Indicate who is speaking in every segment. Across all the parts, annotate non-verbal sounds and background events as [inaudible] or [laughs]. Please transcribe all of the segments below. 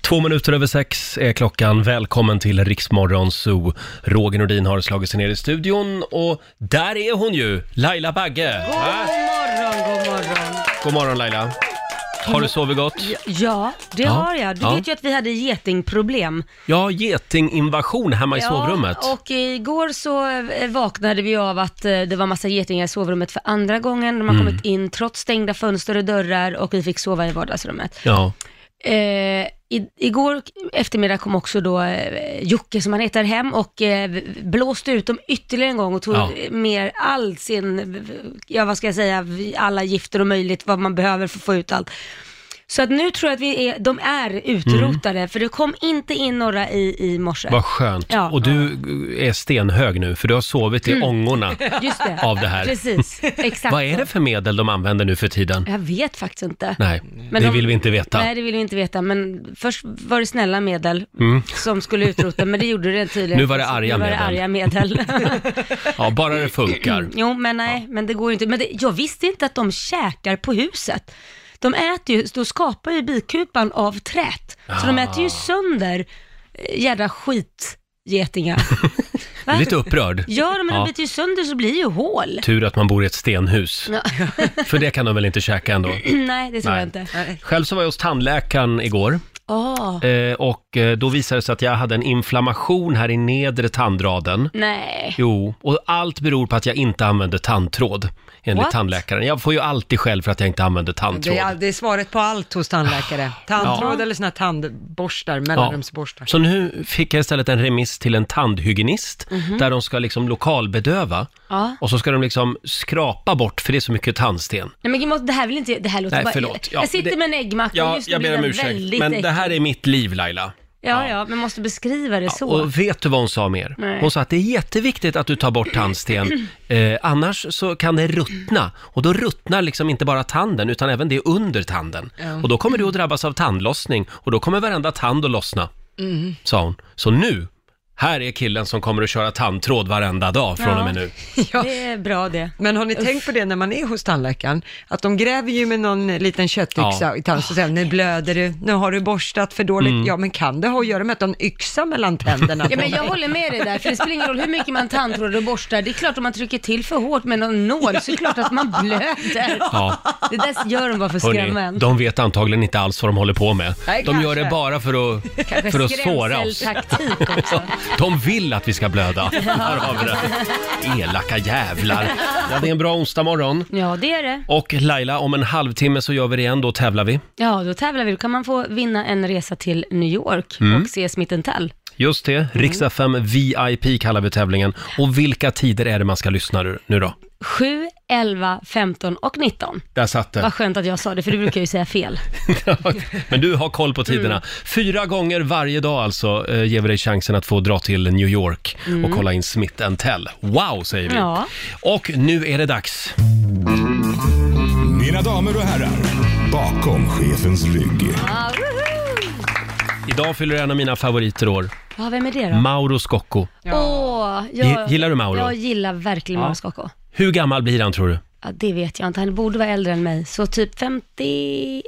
Speaker 1: Två minuter över sex är klockan. Välkommen till Riksmorgon Zoo. Roger Nordin har slagit sig ner i studion och där är hon ju, Laila Bagge.
Speaker 2: God morgon, god morgon.
Speaker 1: God morgon Laila. Har du sovit gott?
Speaker 2: Ja, det
Speaker 1: Ja,
Speaker 2: har jag. Du
Speaker 1: ja.
Speaker 2: vet ju att vi hade getingproblem.
Speaker 1: Ja, getinginvasion hemma i
Speaker 2: ja,
Speaker 1: sovrummet.
Speaker 2: Och igår så eh, vaknade vi av att eh, det var massa getingar i sovrummet för andra gången. De har
Speaker 1: Mm.
Speaker 2: kommit in trots stängda fönster och dörrar och vi fick sova i vardagsrummet.
Speaker 1: Ja.
Speaker 2: Eh, i, igår eftermiddag kom också då eh, Jocke, som han heter, hem och eh, blåste ut dem ytterligare en gång och tog
Speaker 1: Ja.
Speaker 2: med all sin, ja vad ska jag säga, alla gifter och möjligt, vad man behöver för att få ut allt. Så att nu tror jag att vi är, de är utrotade, för det kom inte in några i, i morse.
Speaker 1: Mm. Vad skönt.
Speaker 2: Ja.
Speaker 1: Och du är stenhög nu för du har sovit i
Speaker 2: Mm. [laughs]
Speaker 1: ångorna.
Speaker 2: Just det.
Speaker 1: av det här.
Speaker 2: Precis, exakt.
Speaker 1: [laughs] Vad är det för medel de använder nu för tiden?
Speaker 2: Jag vet faktiskt inte.
Speaker 1: Nej,
Speaker 2: Men
Speaker 1: det
Speaker 2: de-
Speaker 1: vill vi inte veta.
Speaker 2: Nej, det vill vi inte veta, men först var det snälla medel
Speaker 1: Mm.
Speaker 2: som skulle utrota, men det gjorde det tydligen.
Speaker 1: Nu var det arga
Speaker 2: nu var
Speaker 1: medel.
Speaker 2: Det arga medel.
Speaker 1: [laughs] Ja, bara det funkar.
Speaker 2: Jo, men nej, men det går ju inte. Men det, jag visste inte att de käkar på huset. De äter ju, då skapar ju bikupan av trät. Så de
Speaker 1: Ah.
Speaker 2: äter ju sönder eh, jädra skitgetingar. Va?
Speaker 1: Lite upprörd.
Speaker 2: Ja, men
Speaker 1: Ja.
Speaker 2: de biter ju sönder så blir det ju hål. [clears throat]
Speaker 1: Tur att man bor i ett stenhus.
Speaker 2: Ja.
Speaker 1: [laughs] För det kan de väl inte käka ändå?
Speaker 2: nej, det tror
Speaker 1: Nej.
Speaker 2: jag inte. Ah,
Speaker 1: Själv så var jag hos tandläkaren igår
Speaker 2: Åh,
Speaker 1: eh, och eh, då visade det sig att jag hade en inflammation här i nedre tandraden.
Speaker 2: nej.
Speaker 1: Jo, och allt beror på att jag inte använder tandtråd enligt
Speaker 3: What?
Speaker 1: tandläkaren. Jag får ju alltid skäll för att jag inte använder tandtråd.
Speaker 3: Det är, det är svaret på allt hos tandläkare. Tandtråd
Speaker 1: Ja.
Speaker 3: eller såna här tandborstar,
Speaker 1: Ja.
Speaker 3: mellanrumsborstar.
Speaker 1: Så nu fick jag istället en remiss till en tandhygienist
Speaker 3: Mhm.
Speaker 1: där de ska liksom lokalbedöva
Speaker 2: Ja.
Speaker 1: och så ska de liksom skrapa bort för det är så mycket tandsten.
Speaker 2: Nej, men Gimmo, det här vill inte, det här låter
Speaker 1: Nej,
Speaker 2: bara
Speaker 1: förlåt. Ja,
Speaker 2: Jag sitter
Speaker 1: det-
Speaker 2: med en äggmacka och
Speaker 1: Ja,
Speaker 2: just nu
Speaker 1: jag
Speaker 2: blir
Speaker 1: ber om
Speaker 2: den
Speaker 1: ursäkt,
Speaker 2: väldigt
Speaker 1: men det här
Speaker 2: äcklig.
Speaker 1: är mitt liv Laila.
Speaker 2: Ja, ja, men måste beskriva det så.
Speaker 1: Och vet du vad hon sa mer?
Speaker 2: Nej.
Speaker 1: Hon sa att det är jätteviktigt att du tar
Speaker 2: [clears throat]
Speaker 1: bort tandsten, eh, annars så kan det ruttna. Och då ruttnar liksom inte bara tanden, utan även det under tanden.
Speaker 3: Ja.
Speaker 1: Och då kommer du att drabbas av tandlossning, och då kommer varenda tand att lossna,
Speaker 3: Mm.
Speaker 1: sa hon. Så nu, här är killen som kommer att köra tandtråd varenda dag från och med nu.
Speaker 2: Det är bra det.
Speaker 3: Men har ni tänkt på det när man är hos tandläkaren? Att de gräver ju med någon liten köttyxa
Speaker 1: Ja.
Speaker 3: i tanden, så säger de, nu blöder du, nu har du borstat för dåligt.
Speaker 1: Mm.
Speaker 3: Ja, men kan det ha att göra med att de har en yxa mellan tänderna?
Speaker 2: Ja,
Speaker 3: på
Speaker 2: men jag
Speaker 3: dig?
Speaker 2: håller med dig där, för det spelar ingen roll hur mycket man tandtrådar och borstar. Det är klart om man trycker till för hårt med någon nål så är det klart att man blöder. [laughs]
Speaker 1: Ja.
Speaker 2: Det där gör de bara för skrämmen.
Speaker 1: de vet antagligen inte alls vad de håller på med.
Speaker 2: Nej,
Speaker 1: de gör
Speaker 2: kanske.
Speaker 1: det bara för att,
Speaker 2: Kanske
Speaker 1: för att såra oss.
Speaker 2: skrämseltaktik också.
Speaker 1: De vill att vi ska blöda. Här har vi det. Elaka jävlar. Ja, det är en bra onsdag morgon.
Speaker 2: Ja, det är det.
Speaker 1: Och Laila, om en halvtimme så gör vi det igen, då tävlar vi.
Speaker 2: Ja, då tävlar vi. Då kan man få vinna en resa till New York
Speaker 1: Mm.
Speaker 2: och se Smith Tell.
Speaker 1: Just
Speaker 2: Mm.
Speaker 1: det, Rix FM VIP kallar vi tävlingen. Och vilka tider är det man ska lyssna nu- nu då?
Speaker 2: 7, 11, 15 och 19.
Speaker 1: Där satt det.
Speaker 2: Vad skönt att jag sa det, för du brukar ju säga fel.
Speaker 1: [laughs] Men du har koll på tiderna.
Speaker 2: Mm.
Speaker 1: Fyra gånger varje dag alltså eh, ger vi dig chansen att få dra till New York
Speaker 2: Mm.
Speaker 1: och kolla in Smith Tell. Wow, säger vi.
Speaker 2: Ja.
Speaker 1: Och nu är det dags.
Speaker 4: Mina damer och herrar, bakom chefens rygg.
Speaker 2: Ah, woho!
Speaker 1: Idag fyller en av mina favoriter år.
Speaker 2: Ja, vem är det då?
Speaker 1: Mauro Scocco.
Speaker 2: Åh,
Speaker 1: Gi-
Speaker 2: jag,
Speaker 1: gillar du Mauro?
Speaker 2: Jag gillar verkligen
Speaker 1: Ja.
Speaker 2: Mauro Scocco.
Speaker 1: Hur gammal blir han tror du?
Speaker 2: Ja, det vet jag inte. Han borde vara äldre än mig. Så typ 51?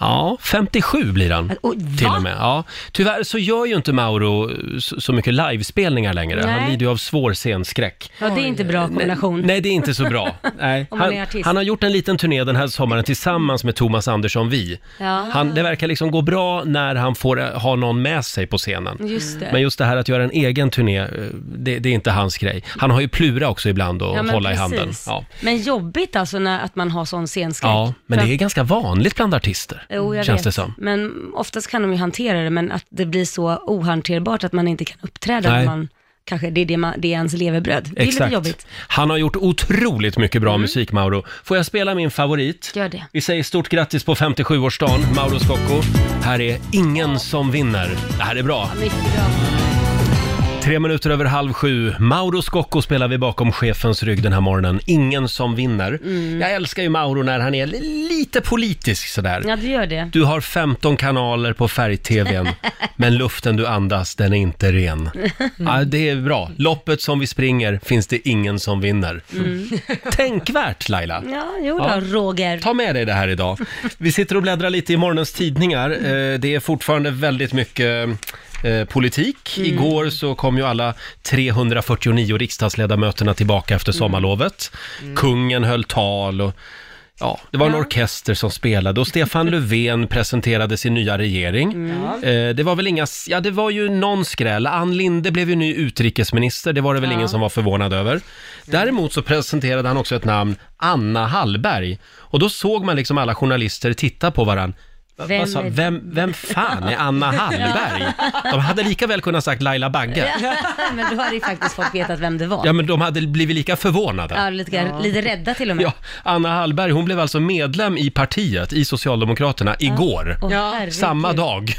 Speaker 1: Ja, 57 blir han.
Speaker 2: Oj,
Speaker 1: Till
Speaker 2: oh, va?
Speaker 1: och med. Ja. Tyvärr så gör ju inte Mauro så så mycket livespelningar längre. Han
Speaker 2: Nej.
Speaker 1: lider ju av svår scenskräck.
Speaker 2: Ja, det är inte bra kombination.
Speaker 1: Nej, det är inte så bra. Nej.
Speaker 2: [laughs] Om man
Speaker 1: Han,
Speaker 2: är artist.
Speaker 1: han har gjort en liten turné den här sommaren tillsammans med Thomas Andersson Vi.
Speaker 2: Ja.
Speaker 1: Han, det verkar liksom gå bra när han får eh, ha någon med sig på scenen.
Speaker 2: Just det.
Speaker 1: Men just det här att göra en egen turné, eh, det, det är inte hans grej. Han har ju Plura också ibland och
Speaker 2: Ja, men
Speaker 1: hålla i
Speaker 2: precis.
Speaker 1: handen. Ja.
Speaker 2: Men jobbigt alltså när, att man har sån scenskräck.
Speaker 1: ja, men det
Speaker 2: För
Speaker 1: är
Speaker 2: att-
Speaker 1: ganska vanligt bland artister,
Speaker 2: Jo, jag
Speaker 1: känns
Speaker 2: vet.
Speaker 1: det som.
Speaker 2: Men oftast kan de ju hantera det, men att det blir så ohanterbart att man inte kan uppträda.
Speaker 1: Nej.
Speaker 2: när Man, kanske det är, det, man, det är ens levebröd. Det är lite jobbigt. Mm.
Speaker 1: Han har gjort otroligt mycket bra musik, Mauro. Får jag spela min favorit?
Speaker 2: Gör det.
Speaker 1: Vi säger stort grattis på 57-årsdagen, Mauro Scocco. Här är Ingen som vinner. Det här är bra.
Speaker 2: Mycket bra.
Speaker 1: Tre minuter över halv sju. Mauro Scocco spelar vi bakom chefens rygg den här morgonen. Ingen som vinner.
Speaker 2: Mm.
Speaker 1: Jag älskar ju Mauro när han är li- lite politisk sådär.
Speaker 2: Ja, du gör det.
Speaker 1: Du har 15 kanaler på färg-tvn Men luften du andas, den är inte ren. Ja, det är bra. Loppet som vi springer finns det ingen som vinner. [laughs] Tänkvärt Laila!
Speaker 2: Ja, jo då,
Speaker 1: Ja.
Speaker 2: Roger.
Speaker 1: Ta med dig det här idag. Vi sitter och bläddrar lite i morgonens tidningar. Eh, Det är fortfarande väldigt mycket eh, politik. Igår så kom ju alla 349 riksdagsledamöterna tillbaka efter sommarlovet. Kungen höll tal och Ja, det var en orkester som spelade och Stefan Löfven presenterade sin nya regering. Eh, Det var väl inga, s- ja det var ju någon skräll. Ann Linde blev ju ny utrikesminister, det var det väl ingen som var förvånad över. Däremot så presenterade han också ett namn, Anna Hallberg. Och då såg man liksom alla journalister titta på varann. Va-
Speaker 2: Vem
Speaker 1: vad sa,
Speaker 2: är-
Speaker 1: vem, vem fan är Anna Hallberg? De hade lika väl kunnat sagt Laila Bagge.
Speaker 2: [laughs] Men då hade ju faktiskt folk vetat vem det var.
Speaker 1: Ja, men de hade blivit lika förvånade.
Speaker 2: Ja, lite, grann, lite rädda till och med.
Speaker 1: Ja, Anna Hallberg, hon blev alltså medlem i partiet, i Socialdemokraterna, igår.
Speaker 2: Åh,
Speaker 3: Ja,
Speaker 2: herregud.
Speaker 1: Samma dag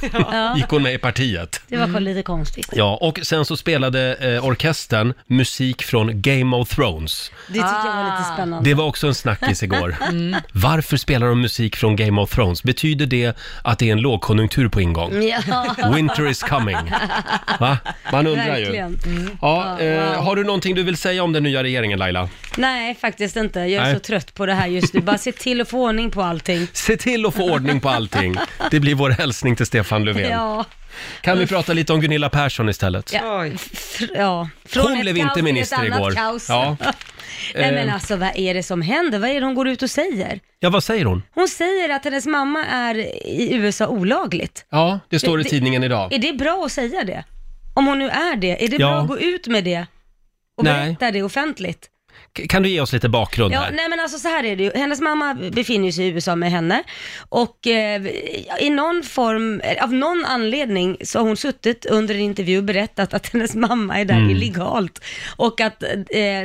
Speaker 1: gick hon med i partiet.
Speaker 2: Det var kon- lite konstigt.
Speaker 1: Ja, och sen så spelade eh, orkestern musik från Game of Thrones.
Speaker 2: Det tyckte jag var lite spännande.
Speaker 1: Det var också
Speaker 2: [laughs]
Speaker 1: en snackis igår.
Speaker 2: Mm.
Speaker 1: Varför spelar de musik från Game of Thrones? Betyder det att det är en lågkonjunktur på ingång?
Speaker 2: Ja,
Speaker 1: [laughs] Winter is coming. Va? Man undrar ju.
Speaker 2: verkligen. Mm.
Speaker 1: Ja, eh, har du någonting du vill säga om den nya regeringen Laila?
Speaker 2: Nej, faktiskt inte. Jag är
Speaker 1: Nej.
Speaker 2: så trött på det här just nu. Bara se till att få ordning på allting.
Speaker 1: Se till att få ordning på allting. Det blir vår hälsning till Stefan Löfven.
Speaker 2: Ja,
Speaker 1: Kan vi prata lite om Gunilla Persson istället?
Speaker 2: ja.
Speaker 3: Oj.
Speaker 2: Fr- ja. Från
Speaker 1: Hon
Speaker 2: ett
Speaker 1: blev
Speaker 2: kaos
Speaker 1: inte
Speaker 2: till ett
Speaker 1: minister
Speaker 2: annat
Speaker 1: igår.
Speaker 2: Kaos.
Speaker 1: Ja.
Speaker 2: Nej men
Speaker 1: Eh.
Speaker 2: alltså vad är det som händer? Vad är det hon går ut och säger?
Speaker 1: ja, vad säger hon?
Speaker 2: Hon säger att hennes mamma är i USA olagligt.
Speaker 1: Ja, det står i
Speaker 2: Det-
Speaker 1: tidningen idag.
Speaker 2: Är det bra att säga det? Om hon nu är det, är det
Speaker 1: Ja.
Speaker 2: bra att gå ut med det? Och
Speaker 1: Nej.
Speaker 2: berätta det offentligt?
Speaker 1: K- Kan du ge oss lite bakgrund
Speaker 2: Ja,
Speaker 1: här?
Speaker 2: nej men alltså så här är det ju. Hennes mamma befinner sig i USA med henne och eh, i någon form, eh, av någon anledning så har hon suttit under en intervju och berättat att [laughs] hennes mamma är där
Speaker 1: Mm.
Speaker 2: illegalt och att eh,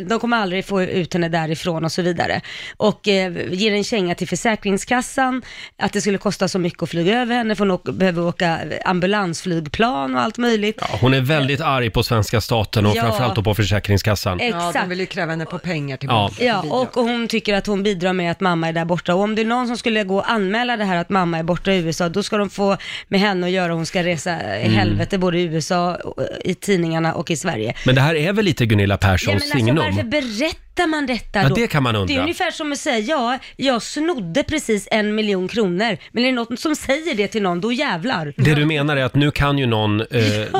Speaker 2: de kommer aldrig få ut henne därifrån och så vidare. Och eh, ger en känga till Försäkringskassan, att det skulle kosta så mycket att flyga över henne, för hon åk- behöver åka ambulansflygplan och allt möjligt.
Speaker 1: Ja, hon är väldigt arg på svenska staten och
Speaker 2: Ja. Eh.
Speaker 1: framförallt då på Försäkringskassan.
Speaker 3: Ja,
Speaker 2: Exakt.
Speaker 3: de vill ju kräva henne på pengar tillbaka.
Speaker 2: Ja,
Speaker 3: för bidrag.
Speaker 2: och hon tycker att hon bidrar med att mamma är där borta. Och om det är någon som skulle gå och anmäla det här att mamma är borta i USA, då ska de få med henne att göra. Hon ska resa
Speaker 1: Mm.
Speaker 2: i helvete både i USA, och, eh, i tidningarna och i Sverige.
Speaker 1: Men det här är väl lite Gunilla
Speaker 2: Ja, men
Speaker 1: Perssons
Speaker 2: alltså,
Speaker 1: signum?
Speaker 2: varför berättar man detta
Speaker 1: Ja,
Speaker 2: då?
Speaker 1: det kan man undra.
Speaker 2: Det är ungefär som att säga, ja, jag snodde precis en miljon kronor. Men är det någon som säger det till någon, då jävlar.
Speaker 1: Det du menar är att nu kan ju någon, eh,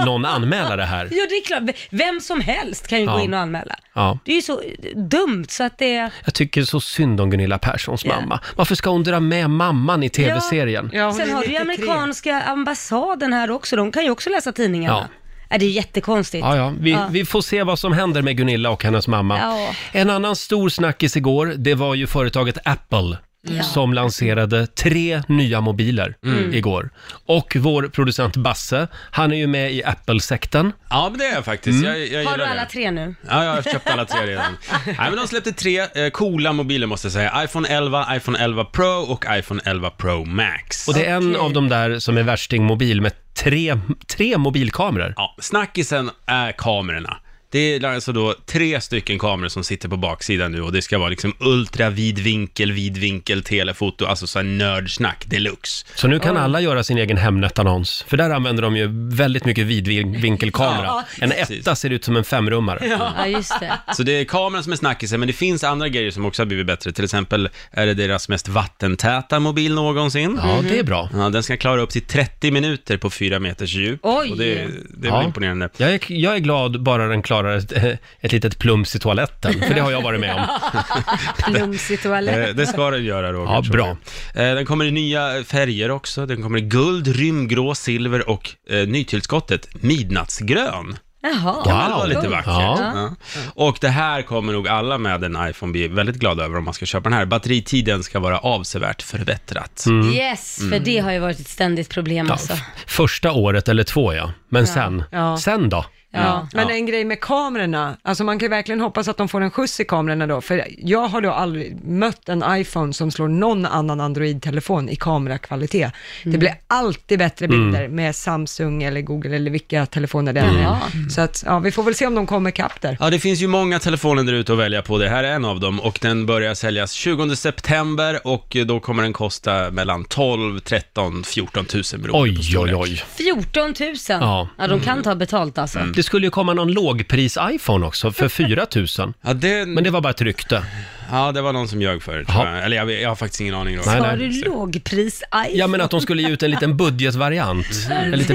Speaker 1: någon anmäla det här.
Speaker 2: Ja, det är klart. Vem som helst kan ju
Speaker 1: Ja.
Speaker 2: gå in och anmäla.
Speaker 1: Ja.
Speaker 2: Det är ju så dumt så att det...
Speaker 1: Jag tycker så synd om Gunilla Perssons
Speaker 2: Ja.
Speaker 1: mamma. Varför ska hon dra med mamman i tv-serien?
Speaker 3: Ja, hon
Speaker 2: Sen
Speaker 3: är
Speaker 2: har du ju
Speaker 3: 93.
Speaker 2: amerikanska ambassaden här också, de kan ju också läsa tidningarna. Ja. Det är jättekonstigt.
Speaker 1: Ja, ja. Vi,
Speaker 2: Ja.
Speaker 1: vi får se vad som händer med Gunilla och hennes mamma.
Speaker 2: Ja.
Speaker 1: En annan stor snackis igår, det var ju företaget Apple. som lanserade tre nya mobiler
Speaker 2: Mm.
Speaker 1: igår. Och vår producent Basse, han är ju med i Apple-sekten.
Speaker 5: Ja, men det är jag faktiskt.
Speaker 1: Mm.
Speaker 5: Jag, jag gillar
Speaker 2: Har du alla
Speaker 5: det.
Speaker 2: tre nu?
Speaker 5: Ja, jag har köpt alla
Speaker 2: [laughs]
Speaker 5: tre redan. Nej, men de släppte tre eh, coola mobiler måste jag säga. iPhone 11, iPhone 11 Pro och iPhone 11 Pro Max.
Speaker 1: Och det är en av de där som är värstingmobil med tre, tre mobilkameror.
Speaker 5: Ja, snackisen är kamerorna. Det är alltså då tre stycken kameror som sitter på baksidan nu och det ska vara liksom ultra vid vinkel, vid vinkel, telefoto, alltså så här nördsnack deluxe.
Speaker 1: Så nu kan alla göra sin egen Hemnet-annons. För där använder de ju väldigt mycket vidvinkelkamera.
Speaker 5: Ja,
Speaker 1: en
Speaker 5: precis.
Speaker 1: etta ser ut som en femrummare.
Speaker 2: Ja, just det.
Speaker 5: Så det är kameran som är snackisen, men det finns andra grejer som också har blivit bättre. Till exempel är det deras mest vattentäta mobil någonsin.
Speaker 1: Ja, det är bra.
Speaker 5: Ja, den ska klara upp till 30 minuter på 4 meters djup.
Speaker 2: Oj.
Speaker 5: Och det, det är
Speaker 1: Ja.
Speaker 5: väl imponerande.
Speaker 1: Jag är, jag är glad bara den klarar ett, [laughs] ett litet plums i toaletten, för det har jag varit med om.
Speaker 2: Plums i toaletten.
Speaker 5: Eh, Det ska den göra Roger.
Speaker 1: Ja,
Speaker 5: tror
Speaker 1: bra.
Speaker 5: jag. Eh, Den kommer i nya färger också. Den kommer i guld, rymdgrå, silver och eh, nytillskottet midnattsgrön.
Speaker 2: Jaha.
Speaker 5: Ja, det var lite
Speaker 2: Coolt.
Speaker 5: vackert. Ja. Och det här kommer nog alla med en iPhone bli väldigt glada över om man ska köpa den här. Batteritiden ska vara avsevärt förbättrat. Mm.
Speaker 2: Yes, för det har ju varit ett ständigt problem
Speaker 1: Mm. Ja,
Speaker 2: alltså.
Speaker 1: f- första året eller två ja, Men sen,
Speaker 3: Ja.
Speaker 1: sen då?
Speaker 3: Ja, men
Speaker 1: Ja.
Speaker 3: en grej med kamerorna, alltså man kan ju verkligen hoppas att de får en skjuts i kamerorna då, för jag har då aldrig mött en iPhone som slår någon annan Android-telefon i kamerakvalitet.
Speaker 2: Mm.
Speaker 3: Det blir alltid bättre bilder med Samsung eller Google eller vilka telefoner det
Speaker 2: Mm.
Speaker 3: än är. Så att, ja, vi får väl se om de kommer kapp där.
Speaker 5: Ja, det finns ju många telefoner där ute att välja på. Det här är en av dem och den börjar säljas 20 september och eh, då kommer den kosta mellan 12, 13, 14 000 beroende på
Speaker 1: Oj,
Speaker 5: storlek.
Speaker 1: oj, oj.
Speaker 2: 14 000.
Speaker 1: Ja.
Speaker 2: Ja. de kan ta betalt alltså.
Speaker 5: Mm.
Speaker 1: Det skulle ju komma någon lågpris-iPhone också för 4 000.
Speaker 5: Ja det,
Speaker 1: Men det var bara ett rykte.
Speaker 5: ja, det var någon som ljög förut.
Speaker 1: Jaha.
Speaker 5: tror jag. Eller jag, vet- jag har faktiskt ingen aning. om
Speaker 1: Nej,
Speaker 5: det.
Speaker 2: Har
Speaker 1: nej.
Speaker 2: du lågpris
Speaker 1: Ja, men att de skulle ge ut en liten budgetvariant. En lite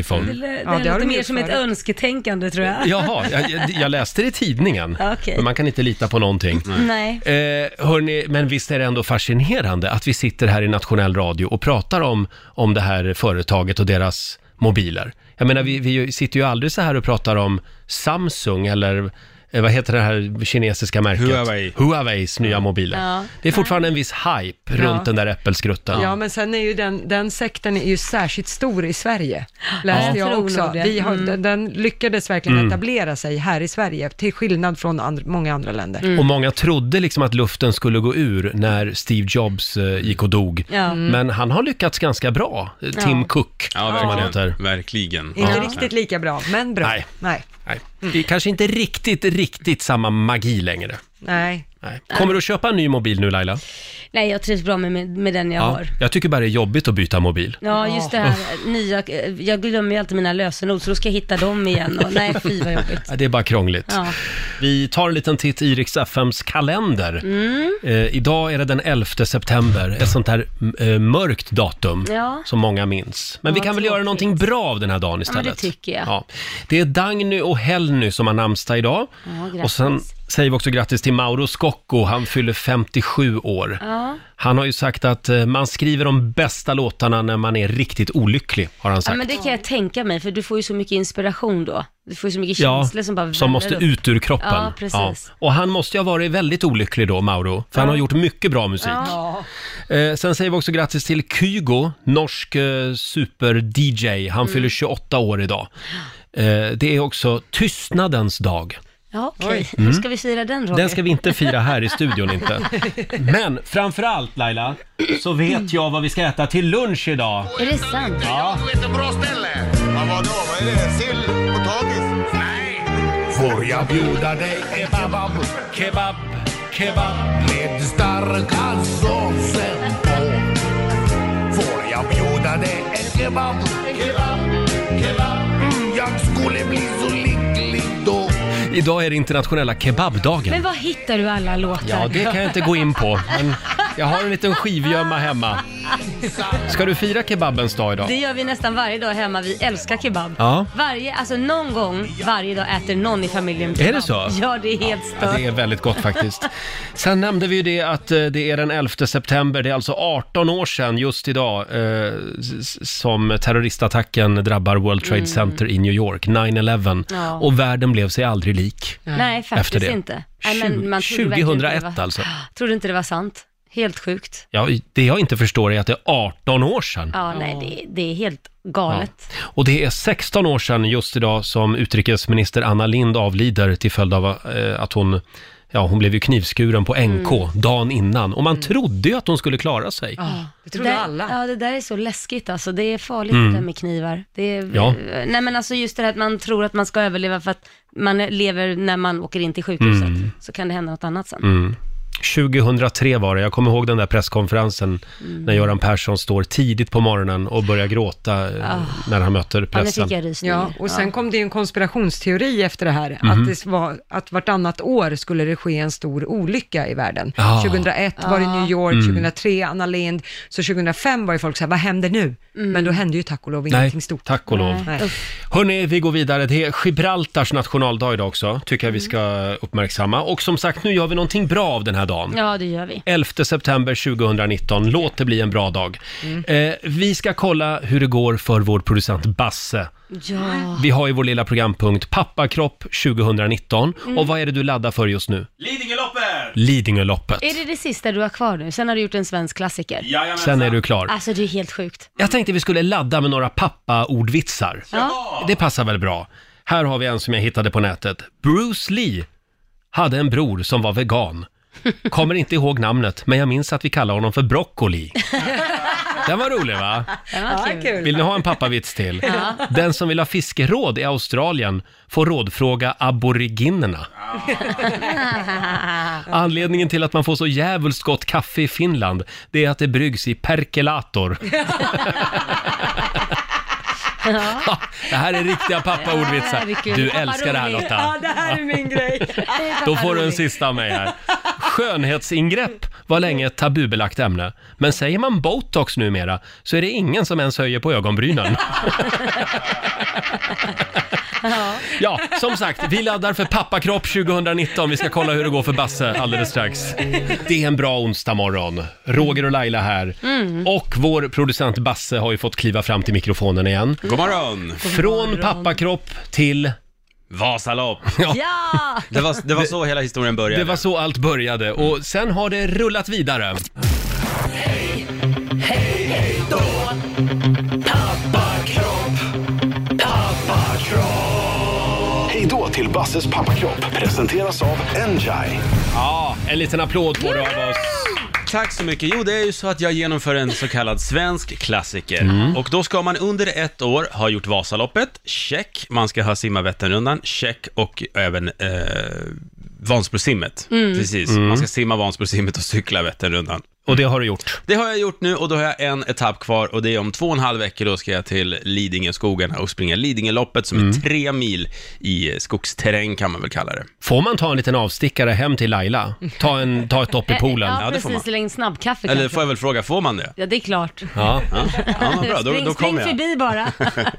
Speaker 2: [laughs]
Speaker 1: iPhone.
Speaker 2: Det,
Speaker 3: Ja,
Speaker 2: är
Speaker 3: det har
Speaker 2: lite
Speaker 3: de
Speaker 2: mer
Speaker 3: gjort
Speaker 2: som ett
Speaker 3: förut.
Speaker 2: önsketänkande tror jag.
Speaker 1: Jaha, jag, jag- jag läste det i tidningen.
Speaker 2: Okej.
Speaker 1: Men man kan inte lita på någonting.
Speaker 2: Nej.
Speaker 1: Eh, hörni, men visst är det ändå fascinerande att vi sitter här i nationell radio och pratar om, om det här företaget och deras mobiler. Jag menar, vi, vi sitter ju aldrig så här och pratar om Samsung eller eh, vad heter det här kinesiska märket?
Speaker 5: Huawei.
Speaker 1: Huaweis nya mobiler.
Speaker 2: Ja.
Speaker 1: Det är fortfarande en viss hype runt den där äppelskrutten.
Speaker 3: Ja, men sen är ju den, den sekten är ju särskilt stor i Sverige, läste
Speaker 2: Ja.
Speaker 3: jag
Speaker 2: Tror
Speaker 3: också.
Speaker 2: nog det.
Speaker 3: Vi har,
Speaker 2: Mm.
Speaker 3: den, den lyckades verkligen etablera sig här i Sverige, till skillnad från andra, många andra länder.
Speaker 2: Mm.
Speaker 1: Och många trodde liksom att luften skulle gå ur när Steve Jobs eh, gick och dog.
Speaker 2: Ja.
Speaker 1: Men han har lyckats ganska bra, eh, Tim
Speaker 2: Ja.
Speaker 1: Cook,
Speaker 5: Ja,
Speaker 1: som han heter.
Speaker 5: verkligen. verkligen.
Speaker 3: Inte
Speaker 5: Ja.
Speaker 3: riktigt lika bra, men bra.
Speaker 1: Nej.
Speaker 3: Nej.
Speaker 1: Nej. Det är kanske inte riktigt, riktigt samma magi längre.
Speaker 3: Nej.
Speaker 1: Nej. Kommer du att köpa en ny mobil nu Laila?
Speaker 2: Nej, jag trivs bra med, med, med den jag har.
Speaker 1: Jag tycker bara det är jobbigt att byta mobil.
Speaker 2: Ja, just det här eh, nya, jag glömmer ju alltid mina lösenord så då ska jag hitta dem igen och nej fy vad jobbigt.
Speaker 1: Ja, Det är bara krångligt.
Speaker 2: Ja.
Speaker 1: Vi tar en liten titt i Rix FMs kalender. Eh, idag är det den 11 september, ett sånt här m- eh, mörkt datum
Speaker 2: Ja.
Speaker 1: som många minns. Men vi
Speaker 2: Ja,
Speaker 1: kan väl
Speaker 2: tråkigt.
Speaker 1: göra någonting bra av den här dagen
Speaker 2: Ja, men
Speaker 1: istället.
Speaker 2: det tycker jag.
Speaker 1: Ja. Det är Dagny och Helny som har namnsdag idag.
Speaker 2: Ja,
Speaker 1: och sen
Speaker 2: grattis.
Speaker 1: säger vi också grattis till Mauro Scocco, han fyller 57 år. Han har ju sagt att eh, man skriver de bästa låtarna när man är riktigt olycklig, har han
Speaker 2: Ja,
Speaker 1: sagt.
Speaker 2: men det kan jag tänka mig för du får ju så mycket inspiration då. Du får ju så mycket
Speaker 1: Ja,
Speaker 2: känslor som bara
Speaker 1: som
Speaker 2: väller
Speaker 1: måste
Speaker 2: upp.
Speaker 1: ut ur kroppen.
Speaker 2: Ja, precis.
Speaker 1: Och han måste ju ha varit väldigt olycklig då, Mauro, för han har gjort mycket bra musik.
Speaker 3: Ja.
Speaker 1: Eh, sen säger vi också grattis till Kygo, norsk eh, super-DJ.
Speaker 2: Mm.
Speaker 1: Han fyller 28 år idag. Eh, det är också tystnadens dag.
Speaker 2: Ja, okej. Hur ska vi fira den Roger?
Speaker 1: Mm. Den ska vi inte fira här i studion
Speaker 2: [laughs]
Speaker 1: inte. Men framför allt Laila, så vet jag vad vi ska äta till lunch idag.
Speaker 2: Är det sant?
Speaker 6: Jag vet ett bra ställe. Ja, vadå? Vad är det? Sill? Potatis? Nej! Får jag bjuda dig kebab?
Speaker 1: Kebab, kebab.
Speaker 6: Med starka såsen på. Får jag bjuda dig en kebab? Kebab, kebab. Mm, jag skulle bli så lycklig då.
Speaker 1: Idag är det internationella kebabdagen.
Speaker 2: Men var hittar du alla låtar?
Speaker 1: Ja, det kan jag inte gå in på. Men jag har en liten skivgömma hemma. Ska du fira kebabens dag idag?
Speaker 2: Det gör vi nästan varje dag hemma, vi älskar kebab.
Speaker 1: Ja.
Speaker 2: Varje, alltså någon gång varje dag äter någon i familjen kebab.
Speaker 1: Är det så?
Speaker 2: Ja, det är helt
Speaker 1: Ja,
Speaker 2: stört.
Speaker 1: det är väldigt gott faktiskt. Sen nämnde vi ju det att eh, det är den 11 september, det är alltså 18 år sedan just idag eh, s- som terroristattacken drabbar World Trade Center i New York, 9-11.
Speaker 2: Mm. Ja.
Speaker 1: Och världen blev sig aldrig lik.
Speaker 2: Nej,
Speaker 1: Efter
Speaker 2: faktiskt
Speaker 1: det.
Speaker 2: inte. Nej, men man trodde verkligen inte det
Speaker 1: 2001
Speaker 2: var,
Speaker 1: alltså.
Speaker 2: Trodde inte det var sant. Helt sjukt.
Speaker 1: Ja, det jag inte förstår är att det är 18 år sedan.
Speaker 2: Ja, nej, det, det är helt galet.
Speaker 1: Och det är 16 år sedan just idag som utrikesminister Anna Lind avlider till följd av eh, att hon Ja, hon blev ju knivskuren på NK dagen innan och man trodde ju att hon skulle klara sig.
Speaker 3: Ah, Det trodde
Speaker 2: där,
Speaker 3: alla.
Speaker 2: Ja, Ah. det där är så läskigt alltså. Det är farligt
Speaker 5: Mm.
Speaker 2: det där med knivar. Det är,
Speaker 1: Ja.
Speaker 2: Nej, men alltså just det här att man tror att man ska överleva för att man lever när man åker in till sjukhuset.
Speaker 5: Mm.
Speaker 2: Så kan det hända något annat sen.
Speaker 1: 2003 var det, jag kommer ihåg den där presskonferensen när Göran Persson står tidigt på morgonen och börjar gråta eh, när han möter
Speaker 2: Ja, nu
Speaker 1: pressen.
Speaker 2: fick jag rysningar.
Speaker 3: Mm. Ja, och sen kom det ju en konspirationsteori efter det här,
Speaker 1: Mhm.
Speaker 3: att, det var, att vartannat år skulle det ske en stor olycka i världen.
Speaker 1: Ja. Mm.
Speaker 3: 2001 var det New York, 2003 Anna Lind, så 2005 var ju folk så här, vad händer nu?
Speaker 2: Mm.
Speaker 3: Men då hände ju tack och lov ingenting
Speaker 1: Nej,
Speaker 3: stort.
Speaker 1: tack och lov.
Speaker 3: Nej.
Speaker 1: Hörni, vi går vidare. Det är Gibraltars nationaldag idag också, tycker jag vi ska uppmärksamma. Och som sagt, nu gör vi någonting bra av den här dagen.
Speaker 2: Ja, det gör vi.
Speaker 1: 11 september 2019. Låt det bli en bra dag. Eh, vi ska kolla hur det går för vår producent Basse
Speaker 2: Ja.
Speaker 1: Vi har ju vår lilla programpunkt Pappakropp 2019. Och vad är det du laddar för just nu?
Speaker 5: Lidingöloppet!
Speaker 1: Lidingöloppet.
Speaker 2: Är det det sista du har kvar nu? Sen har du gjort en svensk klassiker.
Speaker 5: Jajamensan!
Speaker 1: Sen är du klar.
Speaker 2: Alltså det är helt sjukt.
Speaker 1: Jag tänkte vi skulle ladda med några pappa-ordvitsar.
Speaker 2: Ja.
Speaker 1: Det passar väl bra. Här har vi en som jag hittade på nätet. Bruce Lee hade en bror som var vegan. Kommer inte ihåg namnet, men jag minns att vi kallade honom
Speaker 2: [laughs]
Speaker 1: för Broccoli. Den var rolig va?
Speaker 2: Den var kul.
Speaker 1: Vill ni ha en pappavits till? Den som vill ha fiskeråd i Australien får rådfråga aboriginerna.
Speaker 2: [laughs]
Speaker 1: Anledningen till att man får så jävligt gott kaffe i Finland, det är att det bryggs
Speaker 3: [laughs]
Speaker 1: i perkelator. Ja, det här är riktiga pappaordvitsar.
Speaker 2: Herregud,
Speaker 1: Du
Speaker 2: pappa
Speaker 1: älskar det här
Speaker 3: [laughs]
Speaker 2: rolig.
Speaker 1: Lotta.
Speaker 3: det här är min
Speaker 2: [laughs]
Speaker 3: grej.
Speaker 1: Då får du en
Speaker 2: rolig.
Speaker 1: sista av mig här. Skönhetsingrepp var länge ett tabubelagt ämne. Men säger man botox numera så är det ingen som ens höjer på ögonbrynen.
Speaker 3: [laughs]
Speaker 1: Ja, som sagt, vi laddar för pappakropp 2019. Vi ska kolla hur det går för Basse alldeles strax. Det är en bra onsdag morgon. Roger och Laila här.
Speaker 5: Mm.
Speaker 1: Och vår producent Basse har ju fått kliva fram till mikrofonen igen.
Speaker 5: God morgon!
Speaker 1: Från pappakropp till...
Speaker 5: Vasalopp!
Speaker 2: Ja!
Speaker 5: Det var, det var så hela historien började.
Speaker 1: Det var så allt började och sen har det rullat vidare.
Speaker 4: Hej då till Basses pappakropp presenteras av Enjai.
Speaker 1: Ja, en liten applåd får du av oss.
Speaker 5: Tack så mycket. Jo, det är ju så att jag genomför en så kallad svensk klassiker.
Speaker 2: Mm.
Speaker 5: Och då ska man under ett år ha gjort Vasaloppet, check. Man ska ha simmat Vätternrundan, check. Och även eh, Vansbrosimmet.
Speaker 2: Mm.
Speaker 5: Precis. Man ska simma Vansbrosimmet och cykla Vätternrundan.
Speaker 1: Och det har du gjort.
Speaker 5: Det har jag gjort nu och då har jag en etapp kvar och det är om två och en halv vecka då ska jag till Lidingöskogarna och springa Lidingöloppet som
Speaker 2: Mm.
Speaker 5: är tre mil i skogsterräng kan man väl kalla det.
Speaker 1: Får man ta en liten avstickare hem till Laila? Ta, en, ta ett dopp i poolen?
Speaker 2: Ja,
Speaker 5: Ja, det får man.
Speaker 2: precis. Eller en snabbkaffe kanske.
Speaker 5: Eller får jag väl fråga, får man det?
Speaker 2: Ja, det är klart.
Speaker 1: Ja.
Speaker 5: Ja, ja vad bra, då,
Speaker 2: spring
Speaker 5: då
Speaker 2: spring
Speaker 5: kommer jag.
Speaker 2: förbi bara.
Speaker 5: [laughs]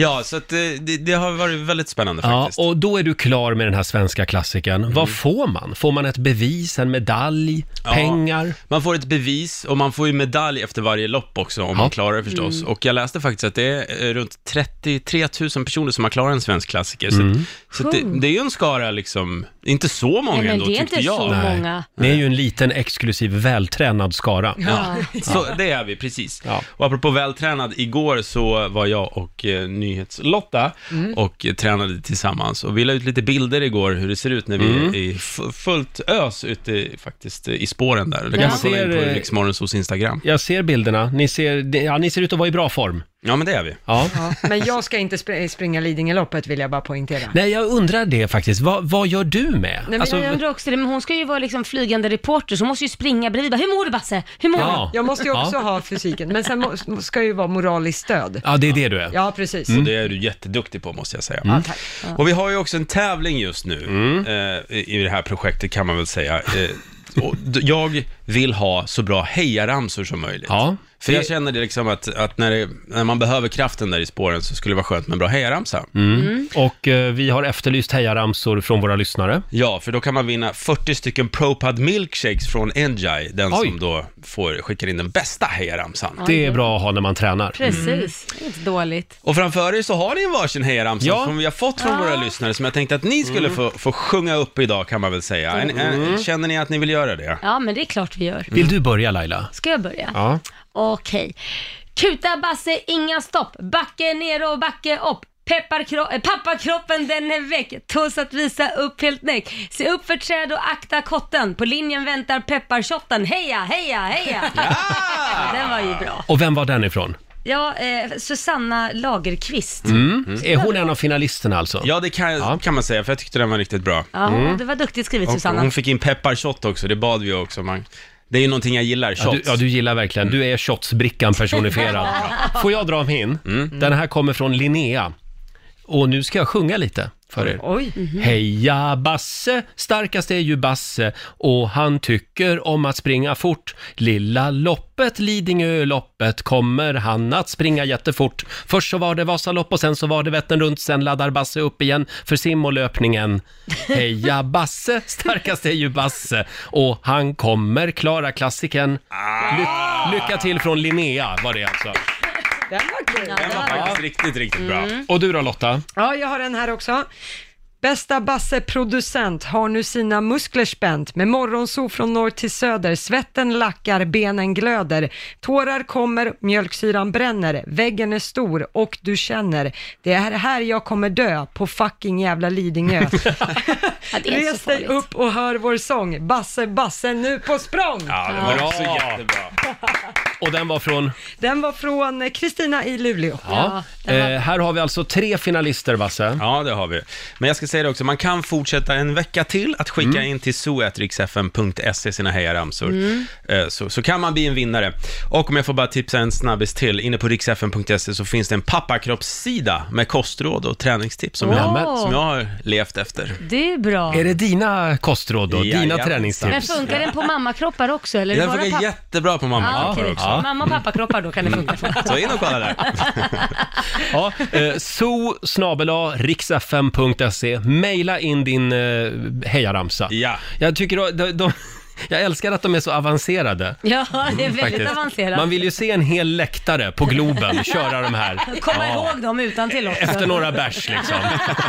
Speaker 5: Ja, så att eh, det, det har varit väldigt spännande
Speaker 1: Ja,
Speaker 5: faktiskt. Mm.
Speaker 1: och då är du klar med den här svenska klassiken. Vad får man? Får man ett bevis, en medalj,
Speaker 5: Ja.
Speaker 1: pengar?
Speaker 5: Man får ett bevis och man får ju medalj efter varje lopp också om man klarar det förstås.
Speaker 2: Mm.
Speaker 5: Och jag läste faktiskt att det är eh, runt 33 000 personer som har klarat en svensk klassiker.
Speaker 1: Mm.
Speaker 5: Så, att, så att det, det är ju en skara liksom, inte så många
Speaker 2: Nej, men
Speaker 5: ändå
Speaker 2: det är
Speaker 5: tyckte
Speaker 2: inte
Speaker 5: jag.
Speaker 2: så
Speaker 1: Nej.
Speaker 2: många.
Speaker 1: Det är ju en liten exklusiv vältränad skara.
Speaker 5: Ja, så det är vi, precis.
Speaker 1: Ja.
Speaker 5: Och apropå vältränad, igår så var jag och eh, Nyhetslotta
Speaker 1: Mm.
Speaker 5: och eh, tränade tillsammans och vi la ut lite bilder igår hur det ser ut när vi
Speaker 1: Mm.
Speaker 5: är i fu- fullt ös ute i- faktiskt eh, i spåren där. Det kan
Speaker 1: Jag
Speaker 5: man kolla in
Speaker 1: ser, eh,
Speaker 5: på Riksmorgons hos Instagram.
Speaker 1: Jag ser bilderna. Ni ser, ja, ni ser ut att vara i bra form.
Speaker 5: Ja, men det är vi.
Speaker 1: Ja.
Speaker 3: Ja, men jag ska inte spr- springa Lidingöloppet vill jag bara poängtera.
Speaker 1: Nej, jag undrar det faktiskt. Vad, vad gör du med?
Speaker 3: men
Speaker 1: Alltså,
Speaker 2: Jag undrar också det, men hon ska ju vara liksom flygande reporter, så hon måste ju springa bredvid. Hur mår du Basse? Hur mår
Speaker 1: Ja.
Speaker 2: du?
Speaker 3: Jag måste ju också
Speaker 1: Ja.
Speaker 3: ha fysiken, men sen må- ska jag ju vara moraliskt stöd.
Speaker 1: ja, det är det du är.
Speaker 3: Ja, precis.
Speaker 1: Mm.
Speaker 5: Och det är du jätteduktig på måste jag säga.
Speaker 3: tack.
Speaker 5: Och vi har ju också en tävling just nu
Speaker 1: Mm.
Speaker 5: eh, i i det här projektet kan man väl säga. Eh, och d- jag vill ha så bra hejaramsor som möjligt.
Speaker 1: Ja,
Speaker 5: För jag känner det liksom att, att när, det, när man behöver kraften där i spåren så skulle det vara skönt med en bra hejaramsa.
Speaker 1: Mm. Och eh, vi har efterlyst hejaramsor från våra lyssnare.
Speaker 5: Ja, för då kan man vinna 40 stycken ProPad milkshakes från Enjai, den
Speaker 1: Oj.
Speaker 5: som då får, skickar in den bästa hejaramsan.
Speaker 1: Det är bra att ha när man tränar.
Speaker 2: Precis, det är inte dåligt.
Speaker 5: Och framför er så har ni en varsin hejaramsa
Speaker 1: Ja. Mm.
Speaker 5: som vi har fått från våra lyssnare som jag tänkte att ni skulle få, få sjunga upp idag kan man väl säga. En, en, känner ni att ni vill göra det?
Speaker 2: Ja, men det är klart vi gör.
Speaker 5: Mm.
Speaker 1: Vill du börja Laila?
Speaker 2: Ska jag börja?
Speaker 1: Ja.
Speaker 2: Okej. Kuta Basse, inga stopp. Backe ner och backe upp. Pepparkro- äh, pappakroppen den är väck. Tuss att visa upp helt näck. Se upp för träd och akta kotten. På linjen väntar peppartjotten. Heja, heja, heja! [laughs] Den var ju bra.
Speaker 1: Och vem var den ifrån?
Speaker 2: Ja, eh, Susanna Lagerqvist.
Speaker 1: Är hon en av finalisterna alltså?
Speaker 5: Mm. Ja, det kan,
Speaker 1: Ja.
Speaker 5: kan man säga, för jag tyckte den var riktigt bra.
Speaker 2: Ja,
Speaker 1: Mm.
Speaker 2: det var duktigt skrivet
Speaker 5: Och,
Speaker 2: Susanna.
Speaker 5: hon fick in pepparshot också, det bad vi också. Man, det är ju någonting jag gillar,
Speaker 1: Ja,
Speaker 5: shots.
Speaker 1: du, ja, du gillar verkligen. Du är shotsbrickan personifierad. Får jag dra min? Den här kommer från Linnea. Och nu ska jag sjunga lite för er.
Speaker 3: Oj.
Speaker 1: Heja Basse, starkast är ju Basse och han tycker om att springa fort. Lilla loppet, Lidingöloppet, kommer han att springa jättefort. Först så var det Vasalopp och sen så var det Vättern runt, sen laddar Basse upp igen för sim och löpningen. Heja Basse, starkast är ju Basse och han kommer klara klassiken. Ly- lycka till från Linnea var det alltså.
Speaker 3: Den var kul.
Speaker 5: Den var faktiskt riktigt, riktigt bra.
Speaker 2: Mm.
Speaker 1: Och du då Lotta?
Speaker 3: Ja, jag har den här också. Bästa Basse-producent har nu sina muskler spänt med morgonsol från norr till söder. Svetten lackar, benen glöder. Tårar kommer, mjölksyran bränner. Väggen är stor och du känner. Det är här jag kommer dö, på fucking jävla Lidingö.
Speaker 2: Ja, det är inte så
Speaker 3: Res dig
Speaker 2: farligt.
Speaker 3: upp och hör vår sång. Basse, Basse, nu på språng!
Speaker 5: Ja, det var
Speaker 1: Bra.
Speaker 5: också jättebra.
Speaker 1: Och den var från?
Speaker 3: Den var från eh, Kristina i Luleå.
Speaker 1: Ja. Eh, här har vi alltså tre finalister Basse.
Speaker 5: Ja, det har vi. Men jag ska säga det också, man kan fortsätta en vecka till att skicka in till zoatrixfm.se sina hejaramsor.
Speaker 2: Mm.
Speaker 5: Eh, Så, så kan man bli en vinnare. Och om jag får bara tipsa en snabbis till, inne på riksfm.se så finns det en pappakroppssida med kostråd och träningstips som, jag,
Speaker 2: Åh.
Speaker 5: som jag har levt efter.
Speaker 2: Det är bra.
Speaker 1: Är det dina kostråd då?
Speaker 5: Ja,
Speaker 1: dina
Speaker 5: ja.
Speaker 2: Men
Speaker 1: träningstips?
Speaker 2: funkar den på mammakroppar också? Eller är det
Speaker 5: Den
Speaker 2: bara
Speaker 5: funkar
Speaker 2: pappa?
Speaker 5: jättebra på mammakroppar
Speaker 2: okej.
Speaker 5: också.
Speaker 2: Mamma och pappakroppar då kan det funka
Speaker 1: Mm.
Speaker 2: på.
Speaker 5: Så in och
Speaker 2: [laughs]
Speaker 5: kolla där.
Speaker 1: Ja, eh, so riksfm.se. Mejla in din eh, hejaramsa.
Speaker 5: Ja.
Speaker 1: Jag tycker de, de, jag älskar att de är så avancerade.
Speaker 2: Ja, det är väldigt
Speaker 5: Faktiskt.
Speaker 2: avancerat.
Speaker 1: Man vill ju se en hel läktare på
Speaker 2: [laughs]
Speaker 1: Globen köra de här.
Speaker 2: Komma
Speaker 1: Ja.
Speaker 2: ihåg dem utan till också.
Speaker 1: Efter några bärs liksom.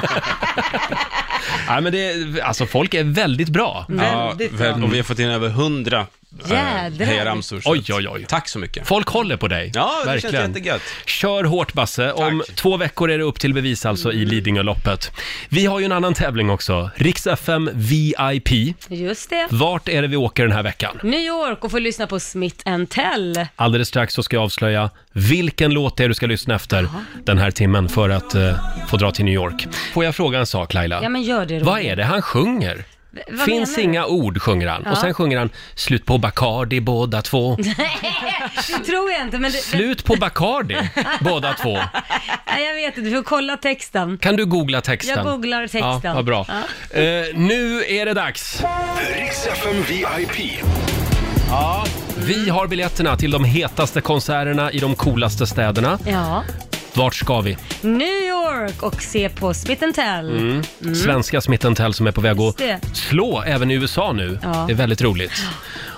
Speaker 2: [laughs]
Speaker 1: ja, men det, alltså folk är väldigt bra.
Speaker 2: Mm.
Speaker 5: Ja,
Speaker 3: Väldigt bra.
Speaker 5: väl, och vi har fått in över hundra
Speaker 2: Jädrar.
Speaker 5: hejaramsor. så
Speaker 1: Oj,
Speaker 5: att-
Speaker 1: oj, oj.
Speaker 5: Tack så mycket.
Speaker 1: Folk håller på dig.
Speaker 5: Ja, det känns jättegött.
Speaker 1: Kör hårt Basse. Om två veckor är det upp till bevis alltså i Lidingöloppet. Vi har ju en annan tävling också. Rix FM VIP.
Speaker 2: Just det.
Speaker 1: Vart är det vi åker den här veckan?
Speaker 2: New York och får lyssna på Smith Tell.
Speaker 1: Alldeles strax så ska jag avslöja vilken låt det är du ska lyssna efter den här timmen för att eh, få dra till New York. Får jag fråga en sak Laila?
Speaker 2: Ja men gör det då.
Speaker 1: Vad är det han sjunger?
Speaker 2: vad
Speaker 1: Finns
Speaker 2: menar du?
Speaker 1: inga ord sjunger han. Och sen sjunger han slut på Bacardi båda två.
Speaker 2: [laughs] Det tror jag inte men det,
Speaker 1: Slut på Bacardi båda två.
Speaker 2: nej, jag vet inte, du får kolla texten.
Speaker 1: Kan du googla texten?
Speaker 2: Jag googlar texten.
Speaker 1: Ja, vad bra. Eh, nu är det dags.
Speaker 4: Riks FM VIP.
Speaker 1: Vi har biljetterna till de hetaste konserterna i de coolaste städerna.
Speaker 2: Ja.
Speaker 1: Vart ska vi?
Speaker 2: New York och se på Smith Tell.
Speaker 1: Mm. Svenska Smith Tell som är på väg
Speaker 2: Mm. Just det.
Speaker 1: att slå även i USA nu.
Speaker 2: Ja.
Speaker 1: Det är väldigt roligt.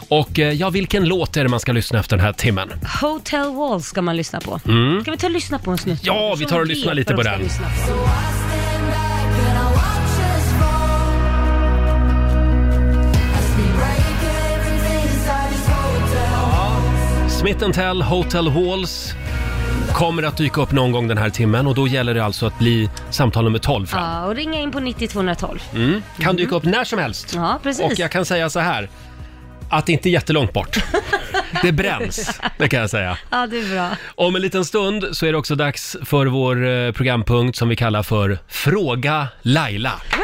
Speaker 1: Och eh, ja, vilken låt är det man ska lyssna efter den här timmen?
Speaker 2: Hotel Wall ska man lyssna på. Ska vi ta och lyssna på en snutt?
Speaker 1: Mm. Ja, vi tar och
Speaker 2: Som
Speaker 1: lyssnar
Speaker 2: vet
Speaker 1: lite
Speaker 2: vad
Speaker 1: på
Speaker 2: de ska
Speaker 1: den.
Speaker 2: lyssna på.
Speaker 1: Smith Tell Hotel Halls kommer att dyka upp någon gång den här timmen och då gäller det alltså att bli samtal nummer 12 fram.
Speaker 2: Ja, och ringa in på 90212.
Speaker 1: Mm. Kan dyka upp när som helst.
Speaker 2: Mm. Ja, precis.
Speaker 1: Och jag kan säga så här, att det inte är
Speaker 2: [laughs]
Speaker 1: jättelångt bort. Det bränns, det kan jag säga.
Speaker 2: Ja, det är bra.
Speaker 1: Om en liten stund så är det också dags för vår eh, programpunkt som vi kallar för Fråga Laila.
Speaker 2: Åh,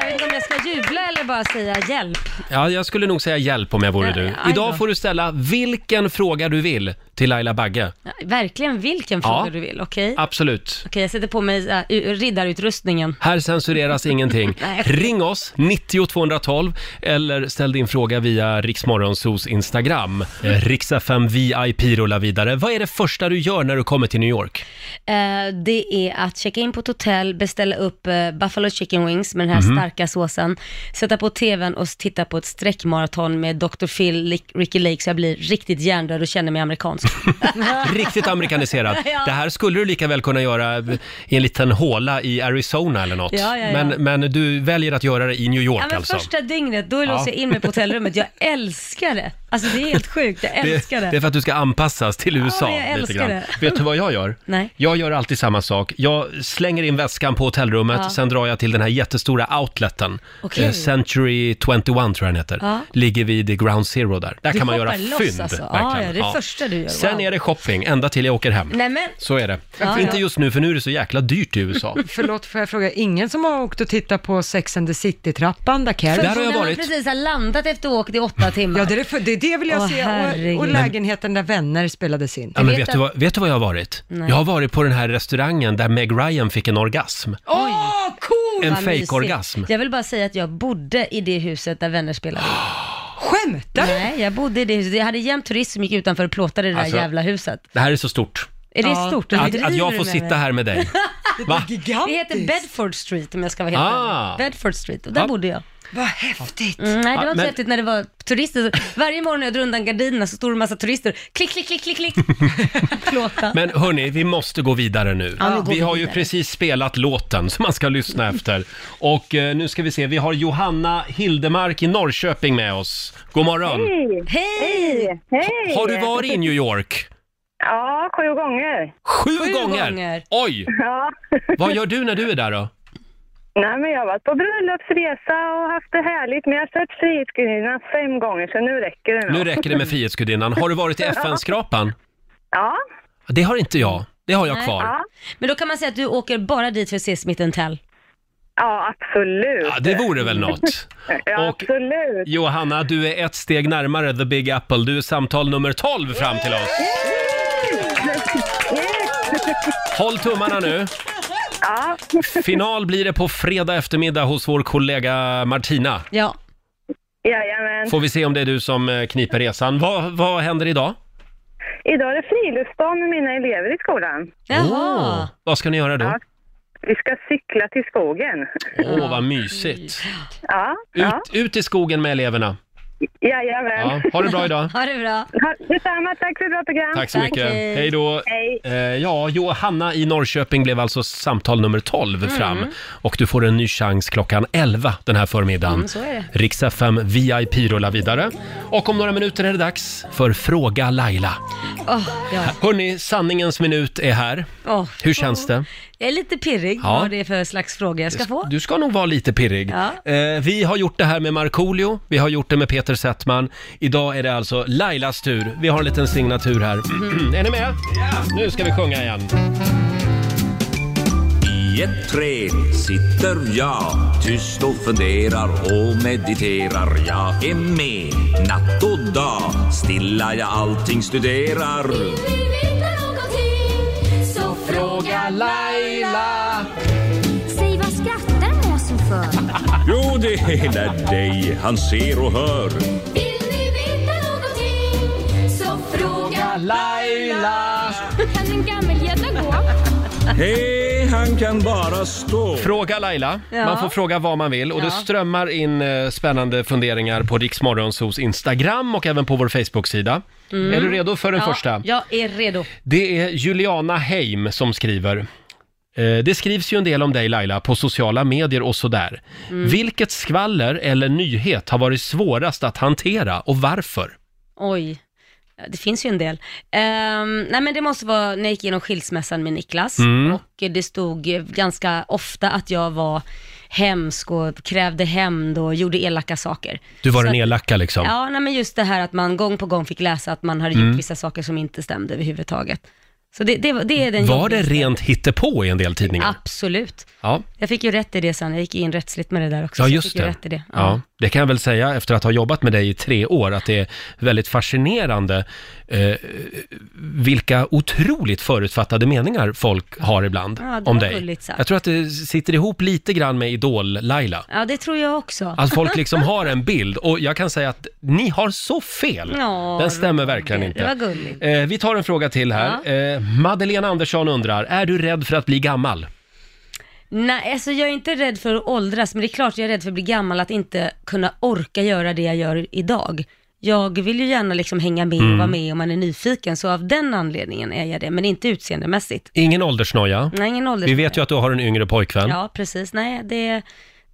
Speaker 2: jag vet inte om jag ska jubla eller bara säga hjälp.
Speaker 1: Ja, jag skulle nog säga hjälp om jag vore
Speaker 2: Ja,
Speaker 1: du.
Speaker 2: ja, aj
Speaker 1: Idag
Speaker 2: då.
Speaker 1: får du ställa vilken fråga du vill till Laila Bagge.
Speaker 2: Ja, Verkligen vilken
Speaker 1: Ja.
Speaker 2: fråga du vill, okej?
Speaker 1: Absolut.
Speaker 2: Okej, jag sätter på mig äh, u- riddarutrustningen.
Speaker 1: Här censureras ingenting.
Speaker 2: [laughs] Nej.
Speaker 1: Ring oss, 90 212 eller ställ din fråga via Riksmorgonsos Instagram. Eh, Rix FM VIP rullar vidare. Vad är det första du gör när du kommer till New York?
Speaker 2: Eh, det är att checka in på ett hotell, beställa upp eh, Buffalo Chicken Wings med den här
Speaker 1: Mhm.
Speaker 2: starka såsen, sätta på tvn och titta på ett sträckmaraton med Dr. Phil, Lick- Ricky Lake så jag blir riktigt hjärndöd och känner mig
Speaker 1: [laughs]
Speaker 2: amerikansk.
Speaker 1: Riktigt amerikaniserat.
Speaker 2: [laughs] Ja.
Speaker 1: Det här skulle du lika väl kunna göra i en liten håla i Arizona eller något.
Speaker 2: Ja, ja, ja.
Speaker 1: Men, men du väljer att göra det i New York
Speaker 2: Ja, men
Speaker 1: alltså.
Speaker 2: första dygnet, då låser jag in mig på hotellrummet. Jag älskar det. Alltså det är helt sjukt, jag älskar det.
Speaker 1: Det är för att du ska anpassas till USA.
Speaker 2: men jag
Speaker 1: lite
Speaker 2: älskar
Speaker 1: grann.
Speaker 2: det.
Speaker 1: Vet du vad jag gör?
Speaker 2: Nej.
Speaker 1: Jag gör alltid samma sak. Jag slänger in väskan på hotellrummet,
Speaker 2: Ja.
Speaker 1: sen drar jag till den här jättestora outleten.
Speaker 2: Okej.
Speaker 1: Eh, Century 21 tror jag den heter.
Speaker 2: Ja.
Speaker 1: Ligger vid ground zero där. Där
Speaker 2: Du
Speaker 1: kan man göra
Speaker 2: hoppar loss,
Speaker 1: fynd.
Speaker 2: alltså. Ja,
Speaker 1: verkligen.
Speaker 2: ja, det är det första du gör.
Speaker 1: Sen
Speaker 2: Wow.
Speaker 1: är det shopping, ända till jag åker hem.
Speaker 2: Nej men,
Speaker 1: Så är det.
Speaker 2: Ja,
Speaker 1: Inte
Speaker 2: ja.
Speaker 1: just nu, för nu är det så jäkla dyrt
Speaker 2: [laughs]
Speaker 1: i USA.
Speaker 3: Förlåt, får jag fråga, ingen som har åkt och tittat på Sex and the City-trappan, där Carrie?
Speaker 2: för
Speaker 1: Där har jag
Speaker 2: när
Speaker 1: varit.
Speaker 2: man precis har landat efter åkt i åtta timmar.
Speaker 3: Ja, det, är det, för- det, är det vill jag
Speaker 2: Åh,
Speaker 3: se. Och, och
Speaker 2: herregud.
Speaker 3: lägenheten där vänner spelades in.
Speaker 1: Ja, men
Speaker 2: vet
Speaker 1: vet, du vad, vet du vad jag har varit? Jag har varit på den här restaurangen där Meg Ryan fick en orgasm.
Speaker 3: Åh, cool!
Speaker 1: En
Speaker 2: Vad mysigt.
Speaker 1: fejkorgasm.
Speaker 2: Jag vill bara säga att jag bodde i det huset där vänner spelade.
Speaker 1: [gasps]
Speaker 3: Skämtar du?
Speaker 2: Nej, jag bodde i det huset. Jag hade jämt turist som gick utanför och plåtade det där
Speaker 1: Alltså-
Speaker 2: jävla huset.
Speaker 1: Det här är så stort.
Speaker 2: Är det
Speaker 3: Ja.
Speaker 2: stort?
Speaker 1: Att, att jag får sitta här med dig. Va?
Speaker 2: Det heter Bedford Street om jag ska vara helt
Speaker 1: Ah.
Speaker 2: ärlig. Bedford Street, och där
Speaker 1: Ja. bodde
Speaker 2: bodde jag.
Speaker 3: Vad häftigt.
Speaker 2: Mm, nej, det var
Speaker 1: Ja,
Speaker 2: inte
Speaker 1: men-
Speaker 2: så häftigt när det var turister. Så Varje morgon när jag drog undan gardinerna så stod det en massa turister. Klick, klick, klick, klick, klick.
Speaker 1: [laughs]
Speaker 2: Plåta.
Speaker 1: Men hörni, vi måste gå vidare nu.
Speaker 2: Ja, nu går
Speaker 1: vi
Speaker 2: vi
Speaker 1: har ju
Speaker 2: vidare.
Speaker 1: precis spelat låten som man ska lyssna efter. Och eh, nu ska vi se, vi har Johanna Hildemark i Norrköping med oss. God morgon!
Speaker 2: Hej!
Speaker 7: Hej!
Speaker 1: Har du varit i New York?
Speaker 7: Ja, sju gånger.
Speaker 1: Sju,
Speaker 2: Sju
Speaker 1: gånger.
Speaker 2: gånger.
Speaker 1: Oj!
Speaker 7: Ja.
Speaker 1: Vad gör du när du är där då?
Speaker 7: Nej, men jag har varit på bröllopsresa och haft det härligt. Men jag har sett Frihetsgudinnan fem gånger, så nu räcker det nog.
Speaker 1: Nu räcker det med Frihetsgudinnan. Har du varit i FN-skrapan?
Speaker 7: Ja,
Speaker 1: Det har inte jag. Det har jag
Speaker 2: Nej.
Speaker 1: kvar.
Speaker 7: Ja.
Speaker 2: Men då kan man säga att du åker bara dit för att se Smith Tell.
Speaker 7: ja absolut.
Speaker 1: Ja, det vore väl något.
Speaker 7: Ja,
Speaker 1: och-
Speaker 7: absolut.
Speaker 1: Johanna, du är ett steg närmare The Big Apple. Du är samtal nummer 12 fram till oss. Håll tummarna nu.
Speaker 7: Ja,
Speaker 1: Final blir det på fredag eftermiddag hos vår kollega Martina.
Speaker 2: Ja.
Speaker 7: jajamän.
Speaker 1: Får vi se om det är du som eh, kniper resan. Vad, vad händer idag?
Speaker 7: Idag är det friluftsdag med mina elever i skolan.
Speaker 2: Jaha.
Speaker 1: Åh, vad ska ni göra då?
Speaker 7: Ja. Vi ska cykla till skogen.
Speaker 1: Åh, vad mysigt.
Speaker 7: Ja, ja.
Speaker 1: Ut, ut i skogen med eleverna. Mm. Ja,
Speaker 7: jajamän.
Speaker 1: ha det bra idag.
Speaker 2: Ha det bra.
Speaker 7: Ja. Detsamma, tack för ett bra program.
Speaker 1: Tack så
Speaker 2: Tack,
Speaker 1: mycket.
Speaker 2: hej.
Speaker 1: Hej då.
Speaker 7: Hej.
Speaker 1: Eh, ja, Johanna i Norrköping blev alltså samtal nummer 12
Speaker 2: Mm.
Speaker 1: fram. Och du får en ny chans klockan 11 den här förmiddagen.
Speaker 2: Mm, så är det.
Speaker 1: Rix FM VIP rullar vidare. Och om några minuter är det dags för Fråga Laila.
Speaker 2: Åh, ja.
Speaker 1: Hörni, sanningens minut är här.
Speaker 2: Åh.
Speaker 1: Hur känns det?
Speaker 2: Jag är lite pirrig
Speaker 1: Ja.
Speaker 2: vad det är för slags fråga jag ska få.
Speaker 1: Du ska nog vara lite pirrig.
Speaker 2: Ja.
Speaker 1: Eh, vi har gjort det här med Markoolio, vi har gjort det med Peter Settman. Idag är det alltså Lailas tur. Vi har en liten signatur här. [clears throat] är ni med? Nu ska vi sjunga igen.
Speaker 8: I ett träd sitter jag tyst och funderar och mediterar. Jag är med natt och dag, stilla jag allting studerar.
Speaker 9: Så
Speaker 1: Fråga Laila!
Speaker 9: Säg vad skrattar måsen för?
Speaker 8: Jo, det är när dig han ser och hör.
Speaker 9: Vill ni veta någonting? Så fråga
Speaker 1: Laila!
Speaker 9: Kan en gammelgädda gå?
Speaker 8: Hej, han kan bara stå.
Speaker 1: Fråga Laila.
Speaker 2: Ja.
Speaker 1: Man får fråga vad man vill och det
Speaker 2: Ja.
Speaker 1: strömmar in eh, spännande funderingar på Riksmorgonsos Instagram och även på vår Facebook-sida. Är du redo för den första?
Speaker 2: Mm. Ja, jag är redo.
Speaker 1: Det är Juliana Heim som skriver. Eh, Det skrivs ju en del om dig Laila på sociala medier och sådär.
Speaker 2: Mm.
Speaker 1: Vilket skvaller eller nyhet har varit svårast att hantera och varför?
Speaker 2: Oj, Ja, det finns ju en del. Ehm, nej men det måste vara när jag gick igenom skilsmässan med Niklas
Speaker 1: Mm.
Speaker 2: och det stod eh, ganska ofta att jag var hemsk och krävde hämnd och gjorde elaka saker.
Speaker 1: Du var
Speaker 2: Så
Speaker 1: den
Speaker 2: att-
Speaker 1: elaka liksom.
Speaker 2: Ja, nej men just det här att man gång på gång fick läsa att man hade
Speaker 1: Mm.
Speaker 2: gjort vissa saker som inte stämde överhuvudtaget. Så det, det, var- det är den
Speaker 1: Var det
Speaker 2: jobbigaste.
Speaker 1: rent hittepå i en del tidningar?
Speaker 2: Absolut.
Speaker 1: Ja.
Speaker 2: Jag fick ju rätt i det sen, jag gick in rättsligt med det där också.
Speaker 1: Ja,
Speaker 2: så
Speaker 1: just
Speaker 2: jag fick
Speaker 1: det.
Speaker 2: Ju rätt i det.
Speaker 1: Ja. det kan jag väl säga efter att ha jobbat med dig i tre år, att det är väldigt fascinerande eh, vilka otroligt förutfattade meningar folk har ibland
Speaker 2: Ja, det
Speaker 1: om
Speaker 2: var
Speaker 1: dig.
Speaker 2: gulligt sagt.
Speaker 1: Jag tror att det sitter ihop lite grann med Idol-Laila.
Speaker 2: ja, det tror jag också.
Speaker 1: Att folk liksom har en bild och jag kan säga att ni har så fel.
Speaker 2: Ja,
Speaker 1: Den stämmer verkligen
Speaker 2: det-
Speaker 1: inte.
Speaker 2: det var gulligt.
Speaker 1: Eh, vi tar en fråga till här. Eh, Madeleine Andersson undrar, är du rädd för att bli gammal?
Speaker 2: Nej, alltså jag är inte rädd för att åldras, men det är klart jag är rädd för att bli gammal, att inte kunna orka göra det jag gör idag. Jag vill ju gärna liksom hänga med
Speaker 1: Mm.
Speaker 2: och vara med om man är nyfiken, så av den anledningen är jag det, men inte utseendemässigt.
Speaker 1: Ingen åldersnoja.
Speaker 2: Nej, ingen ålder.
Speaker 1: Vi vet ju att du har en yngre pojkvän.
Speaker 2: Ja, precis. Nej, det,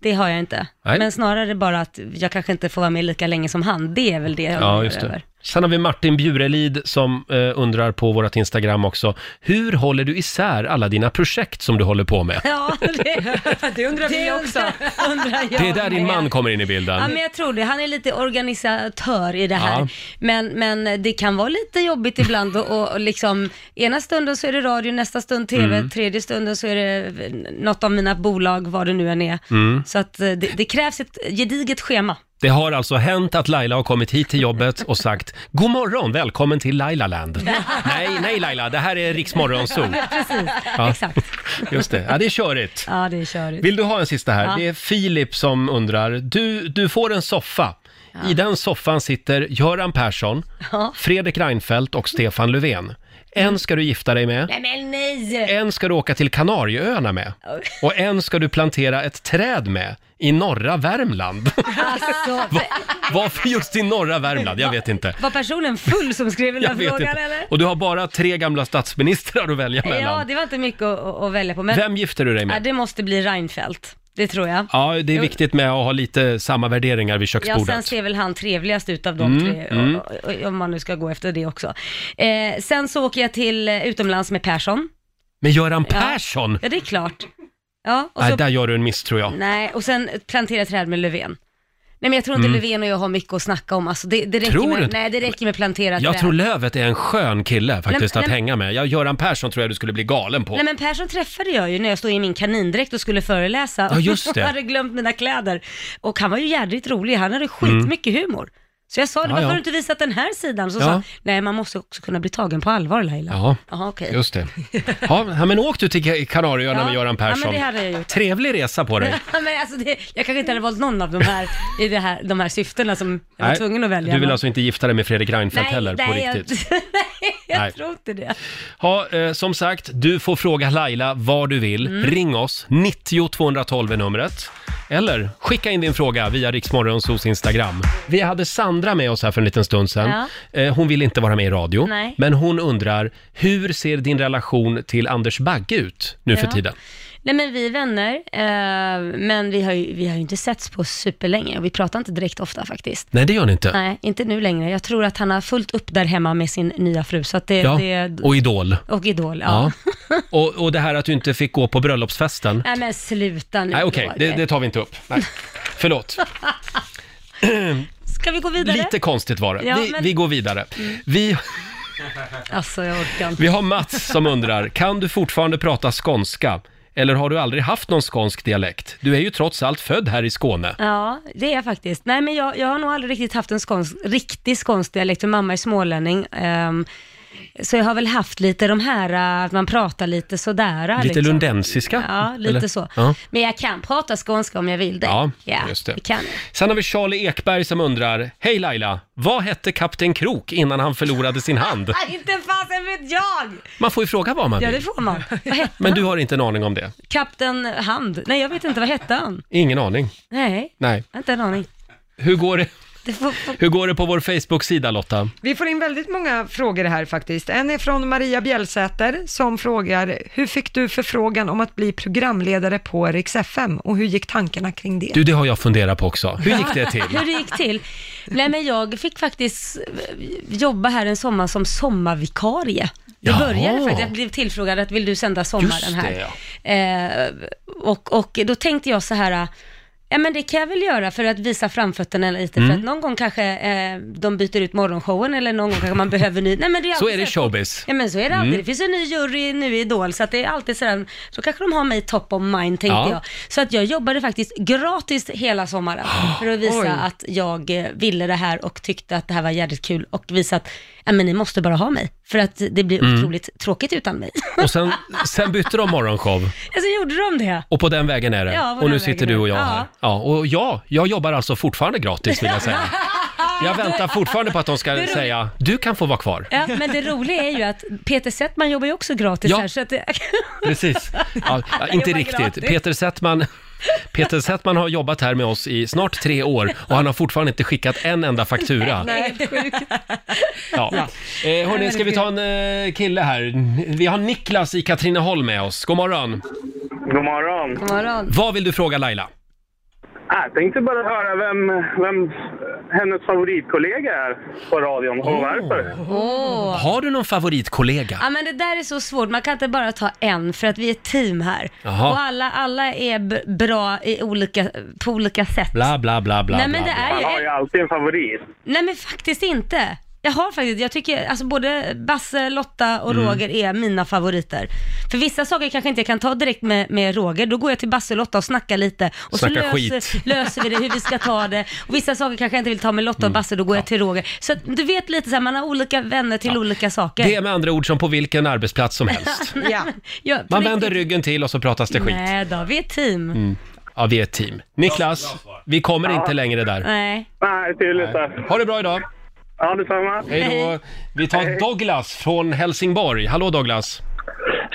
Speaker 2: det har jag inte.
Speaker 1: Nej.
Speaker 2: Men snarare bara att jag kanske inte får vara med lika länge som han, det är väl det jag
Speaker 1: Ja,
Speaker 2: undrar
Speaker 1: just det.
Speaker 2: över.
Speaker 1: Sen har vi Martin Bjurelid som eh, undrar på vårt Instagram också. Hur håller du isär alla dina projekt som du håller på med?
Speaker 2: Ja, det,
Speaker 1: [laughs]
Speaker 3: Det undrar vi
Speaker 2: det
Speaker 3: också.
Speaker 2: undrar- undrar jag
Speaker 1: Det är där din
Speaker 2: med.
Speaker 1: man kommer in i
Speaker 2: Ja,
Speaker 1: bilden.
Speaker 2: men jag tror det. Han är lite organisatör i det här.
Speaker 1: Ja.
Speaker 2: Men, men det kan vara lite jobbigt ibland och, och liksom, ena stunden så är det radio, nästa stund TV,
Speaker 1: Mm.
Speaker 2: tredje stunden så är det något av mina bolag, vad det nu än är.
Speaker 1: Mm.
Speaker 2: Så att eh, det, det krävs ett gediget schema.
Speaker 1: Det har alltså hänt att Laila har kommit hit till jobbet och sagt God morgon, välkommen till
Speaker 2: [laughs]
Speaker 1: Lailaland. nej, nej Laila, det här är Riksmorgon Zoo.
Speaker 2: Precis,
Speaker 1: Ja.
Speaker 2: exakt.
Speaker 1: Just det, ja det är körigt.
Speaker 2: Ja, det är körigt.
Speaker 1: Vill du ha en sista här?
Speaker 2: Ja.
Speaker 1: Det är Filip som undrar. Du, du får en soffa. I den soffan sitter Göran Persson,
Speaker 2: Ja.
Speaker 1: Fredrik Reinfeldt och Stefan Löfven. En ska du gifta dig med,
Speaker 2: Nej men nej!
Speaker 1: en ska du åka till Kanarieöarna med och en ska du plantera ett träd med i norra Värmland.
Speaker 2: [laughs] Alltså,
Speaker 1: Va- Varför just i norra Värmland? Jag
Speaker 2: [laughs]
Speaker 1: vet inte.
Speaker 2: var personen full som skrev den
Speaker 1: Jag
Speaker 2: där
Speaker 1: vet
Speaker 2: frågan
Speaker 1: inte.
Speaker 2: eller?
Speaker 1: Och du har bara tre gamla statsministrar att välja
Speaker 2: Ja,
Speaker 1: mellan.
Speaker 2: det var inte mycket att, att, att välja på. Men
Speaker 1: Vem gifter du dig
Speaker 2: ja,
Speaker 1: med?
Speaker 2: det måste bli Reinfeldt. Det tror jag.
Speaker 1: Ja, det är viktigt med att ha lite samma värderingar vid
Speaker 2: Ja, sen
Speaker 1: köksbordet.
Speaker 2: ser väl han trevligast ut av de
Speaker 1: Mm,
Speaker 2: tre, och- och- och- om man nu ska gå efter det också. Eh, sen så åker jag till eh, utomlands med Persson.
Speaker 1: Men Göran Persson!
Speaker 2: Ja, det är klart. Ja, och
Speaker 1: Nej,
Speaker 2: så,
Speaker 1: där gör du en miss tror jag.
Speaker 2: nej, och sen plantera träd med Löfven. Nej men jag tror inte Löfven och jag har mycket att snacka om alltså, det, det räcker
Speaker 1: Mm. Tror du
Speaker 2: med,
Speaker 1: inte?
Speaker 2: Nej det räcker med plantera träd.
Speaker 1: Jag tror Lövet är en skön kille faktiskt
Speaker 2: Nej,
Speaker 1: att
Speaker 2: men-
Speaker 1: hänga med. Ja, Göran Persson tror jag du skulle bli galen på.
Speaker 2: Nej men Persson träffade jag ju när jag stod i min kanindräkt och skulle föreläsa. [laughs]
Speaker 1: Ja, just det.
Speaker 2: Jag hade glömt mina kläder. Och han var ju jädrigt rolig, han hade skitmycket humor. Så jag sa det,
Speaker 1: Mm. Ja,
Speaker 2: varför
Speaker 1: ja.
Speaker 2: har du inte visat den här sidan? Så
Speaker 1: Ja.
Speaker 2: sa han, nej man måste också kunna bli tagen på allvar Laila.
Speaker 1: Ja.
Speaker 2: Jaha okej.
Speaker 1: Just det. Ja, ja, men åk du till Kanarieöarna
Speaker 2: Ja.
Speaker 1: med Göran Persson.
Speaker 2: Ja, men det hade jag
Speaker 1: [laughs]
Speaker 2: gjort.
Speaker 1: Trevlig
Speaker 2: [laughs]
Speaker 1: resa på dig.
Speaker 2: Ja, men alltså det, jag kanske inte hade valt någon av de här, i det här, de här syftena som jag var
Speaker 1: Nej,
Speaker 2: tvungen att välja.
Speaker 1: Du vill
Speaker 2: men-
Speaker 1: alltså inte gifta dig med Fredrik Reinfeldt heller på
Speaker 2: [laughs] nej,
Speaker 1: riktigt?
Speaker 2: Jag, jag
Speaker 1: Nej.
Speaker 2: tror inte det.
Speaker 1: Ja, eh, som sagt, du får fråga Laila vad du vill.
Speaker 2: Mm.
Speaker 1: Ring oss, 90 212 är numret. Eller skicka in din fråga via Riksmorgonsos Instagram. Vi hade Sandra med oss här för en liten stund sedan. Eh, Hon vill inte vara med i radio,
Speaker 2: Nej.
Speaker 1: men hon undrar hur ser din relation till Anders Bagge ut nu för
Speaker 2: Ja.
Speaker 1: tiden?
Speaker 2: Nej men vi är vänner, eh, men vi har, ju, vi har ju inte setts på superlänge och vi pratar inte direkt ofta faktiskt.
Speaker 1: Nej, det gör ni inte.
Speaker 2: Nej, inte nu längre. Jag tror att han har fullt upp där hemma med sin nya fru, så att det,
Speaker 1: Ja,
Speaker 2: det
Speaker 1: och Idol.
Speaker 2: och Idol, ja. [laughs]
Speaker 1: Ja. Och, och det här att du inte fick gå på bröllopsfesten.
Speaker 2: Nej men sluta nu.
Speaker 1: Nej, okej,
Speaker 2: Roger.
Speaker 1: det, det tar vi inte upp.
Speaker 2: [laughs]
Speaker 1: Nej. Förlåt.
Speaker 2: Ska vi gå vidare?
Speaker 1: Lite konstigt var det.
Speaker 2: Ja,
Speaker 1: vi,
Speaker 2: men- Mm.
Speaker 1: vi går vidare. Vi,
Speaker 2: Alltså jag orkar inte.
Speaker 1: vi har Mats som undrar, kan du fortfarande prata skånska? Eller har du aldrig haft någon skånsk dialekt? Du är ju trots allt född här i Skåne.
Speaker 2: Ja, det är jag faktiskt. Nej, men jag, jag har nog aldrig riktigt haft en skånsk, riktig skånsk dialekt, för mamma är smålänning. ehm, så jag har väl haft lite de här, eh, att man pratar lite sådär. eh,
Speaker 1: Lite
Speaker 2: liksom.
Speaker 1: lundensiska?
Speaker 2: Ja, lite
Speaker 1: [laughs] eller?
Speaker 2: så.
Speaker 1: Ja.
Speaker 2: Men jag kan prata skånska om jag vill det.
Speaker 1: Ja, just det.
Speaker 2: kan. jag.
Speaker 1: Sen har vi Charlie Ekberg som undrar, hej Laila, vad hette Kapten Krok innan han förlorade sin hand?
Speaker 2: Nej, Ah, inte fasen vet jag!
Speaker 1: Man får ju fråga vad man
Speaker 2: Ja, det
Speaker 1: vill.
Speaker 2: får man. Vad hette
Speaker 1: Men du har inte en aning om det?
Speaker 2: Kapten Hand? Nej, jag vet inte. Vad hette han?
Speaker 1: Ingen aning?
Speaker 2: Nej,
Speaker 1: Nej.
Speaker 2: jag har inte en aning.
Speaker 1: Hur går det,
Speaker 2: Det får, får...
Speaker 1: hur går det på vår Facebook-sida Lotta?
Speaker 3: Vi får in väldigt många frågor här faktiskt. En är från Maria Bjälsäter som frågar, hur fick du förfrågan om att bli programledare på Rix FM och hur gick tankarna kring det?
Speaker 1: Du, det har jag funderat på också. Hur gick det till?
Speaker 2: Hur det gick till? Nej, men jag fick faktiskt eh, jobba här en sommar som sommarvikarie. Det
Speaker 1: Jaha.
Speaker 2: började faktiskt, jag blev tillfrågad att vill du sända sommaren
Speaker 1: Just det,
Speaker 2: här? Eh, och, och då tänkte jag så här, eh, ja men det kan jag väl göra för att visa framfötterna lite,
Speaker 1: Mm.
Speaker 2: för att någon gång kanske eh, de byter ut morgonshowen eller någon gång kanske man behöver ny, nej men det är
Speaker 1: Så
Speaker 2: alltid
Speaker 1: är det i
Speaker 2: här-
Speaker 1: showbiz.
Speaker 2: Ja men så är det alltid.
Speaker 1: Mm.
Speaker 2: Det finns en ny jury nu i Idol, så att det är alltid sådär, så kanske de har mig top of mind tänkte
Speaker 1: Ja.
Speaker 2: jag. Så att jag jobbade faktiskt gratis hela
Speaker 1: [gasps]
Speaker 2: sommaren för att visa
Speaker 3: Oj.
Speaker 2: att jag eh, ville det här och tyckte att det här var jävligt kul och visa att, ja men ni måste bara ha mig, för att det blir
Speaker 1: Mm.
Speaker 2: otroligt tråkigt utan mig. [laughs]
Speaker 1: Och sen, sen bytte de morgonshow
Speaker 2: alltså gjorde de det?
Speaker 1: och på den vägen är det.
Speaker 2: Ja, på
Speaker 1: och nu
Speaker 2: den
Speaker 1: sitter
Speaker 2: vägen
Speaker 1: du och
Speaker 2: är det.
Speaker 1: jag
Speaker 2: Ja.
Speaker 1: här. Ja, och ja, jag jobbar alltså fortfarande gratis vill
Speaker 2: [laughs]
Speaker 1: jag säga. Jag väntar fortfarande på att de ska
Speaker 2: roligt.
Speaker 1: säga, du kan få vara
Speaker 2: [laughs]
Speaker 1: kvar.
Speaker 2: Ja, men det roliga är ju att Peter Settman jobbar ju också gratis
Speaker 1: Ja.
Speaker 2: här, så att det,
Speaker 1: Precis. Ja, ja, inte
Speaker 2: jobbar
Speaker 1: riktigt.
Speaker 2: gratis.
Speaker 1: Peter Settman, Peter Settman har jobbat här med oss i snart tre år och han har fortfarande inte skickat en
Speaker 2: [laughs]
Speaker 1: enda faktura.
Speaker 3: Nej.
Speaker 1: Ja. Eh, hörni, ska vi ta en eh, kille här? Vi har Niklas i Katrineholm med oss. God morgon.
Speaker 10: God morgon. Ah,
Speaker 2: God morgon.
Speaker 1: Vad vill du fråga Laila?
Speaker 10: Jag tänkte bara höra vem, vem hennes favoritkollega är på radion och
Speaker 1: Oh.
Speaker 10: varför.
Speaker 2: Åh.
Speaker 1: Har du någon favoritkollega?
Speaker 2: Ja men det där är så svårt, man kan inte bara ta en för att vi är ett team här.
Speaker 1: Jaha.
Speaker 2: Och alla, alla är b- bra i olika, på olika sätt.
Speaker 1: Bla, bla, bla, bla,
Speaker 2: Nej men det
Speaker 1: bla, bla.
Speaker 2: är
Speaker 10: Han har
Speaker 2: ju,
Speaker 10: ju alltid en favorit.
Speaker 2: nej men faktiskt inte. Jag har faktiskt, jag tycker, alltså både Basse, Lotta och
Speaker 1: Mm.
Speaker 2: Roger är mina favoriter. För vissa saker kanske inte jag kan ta direkt med, med Roger, då går jag till Basse och Lotta och snackar lite. Och
Speaker 1: Snacka
Speaker 2: så
Speaker 1: skit.
Speaker 2: löser, [laughs] löser vi det, hur vi ska ta det. Och vissa saker kanske jag inte vill ta med
Speaker 1: Mm.
Speaker 2: Lotta och Basse, då går jag till Roger. Så att du vet lite så här, man har olika vänner till olika saker. [laughs]
Speaker 1: Det är med andra ord som på vilken arbetsplats som helst.
Speaker 3: Ja.
Speaker 2: Ja, på
Speaker 1: Man
Speaker 2: riktigt.
Speaker 1: vänder ryggen till och så pratas det skit. Mm.
Speaker 2: Nej då, vi är ett team.
Speaker 1: Ja, vi är ett team. Niklas, vi kommer inte längre där.
Speaker 2: Nej.
Speaker 10: Nej, tydligt. där.
Speaker 1: Ha det bra idag.
Speaker 10: Ja, detsamma.
Speaker 1: Hej då. Vi tar Douglas från Helsingborg. Hallå Douglas.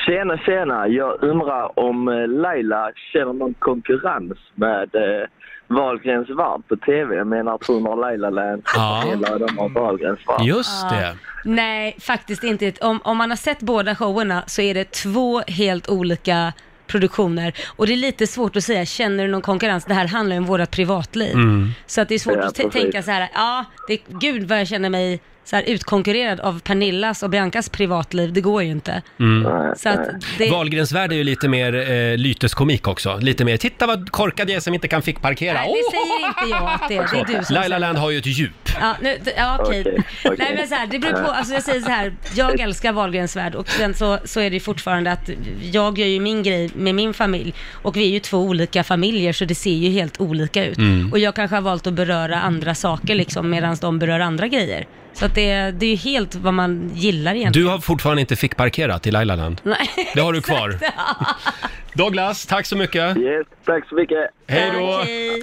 Speaker 11: Tjena, tjena. Jag undrar om eh, Laila känner någon konkurrens med eh, Wahlgrens varv på TV. Jag menar att hon har Laila Land
Speaker 1: Ja.
Speaker 11: och Laila de har Wahlgrens varv.
Speaker 1: Just det.
Speaker 2: Nej, faktiskt inte. Om, om man har sett båda showerna så är det två helt olika produktioner. Och det är lite svårt att säga, känner du någon konkurrens? Det här handlar ju om vårat privatliv.
Speaker 9: Mm.
Speaker 2: Så att det är svårt
Speaker 9: Ja,
Speaker 2: att t-
Speaker 9: precis.
Speaker 2: tänka så här, ja, det, gud vad jag känner mig så här utkonkurrerad av Pernillas och Biancas privatliv. Det går ju inte.
Speaker 1: Mm.
Speaker 2: Så att det-
Speaker 1: Wahlgrens värld är ju lite mer eh, lyteskomik också. Lite mer, titta vad korkad jag är som inte kan fick parkera.
Speaker 2: Nej, det säger inte jag att det är. Det är du som
Speaker 1: Laila
Speaker 2: säger.
Speaker 1: Land har ju ett djup.
Speaker 2: Ja, nu, ja okej.
Speaker 1: Okej, okej.
Speaker 2: Nej men så här, det beror på, alltså jag säger så här,
Speaker 1: [laughs]
Speaker 2: jag älskar Wahlgrens värld och sen så, så är det ju fortfarande att jag gör ju min grej med min familj och vi är ju två olika familjer så det ser ju helt olika ut.
Speaker 9: Mm.
Speaker 2: Och jag kanske har valt att beröra andra saker liksom medan de berör andra grejer. Så att det, det är ju helt vad man gillar egentligen.
Speaker 1: Du har fortfarande inte fick parkerat i Laila Land.
Speaker 2: [laughs] Nej.
Speaker 1: Det har du kvar. [laughs] Douglas, tack så mycket.
Speaker 11: Yes, tack så mycket.
Speaker 1: Hej då.
Speaker 2: Okej.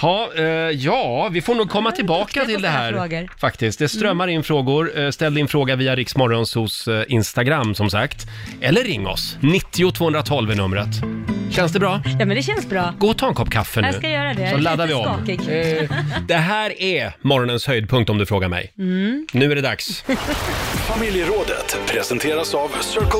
Speaker 1: Ha, eh, ja, vi får nog komma tillbaka till det här.
Speaker 2: frågor. Mm.
Speaker 1: Faktiskt. Det strömmar in frågor. Eh, Ställ din fråga via Riksmorgons hos eh, Instagram som sagt. Eller ring oss. 90 212 är numret. Känns det bra?
Speaker 2: Ja men det känns bra.
Speaker 1: Gå och ta en kopp kaffe nu.
Speaker 2: Jag ska göra det.
Speaker 1: Eh, Så laddar vi om. Eh,
Speaker 2: Skakig.
Speaker 1: Det här är morgonens höjdpunkt om du frågar mig.
Speaker 2: Mm.
Speaker 1: Nu är det dags.
Speaker 4: Familjerådet presenteras av Circle K.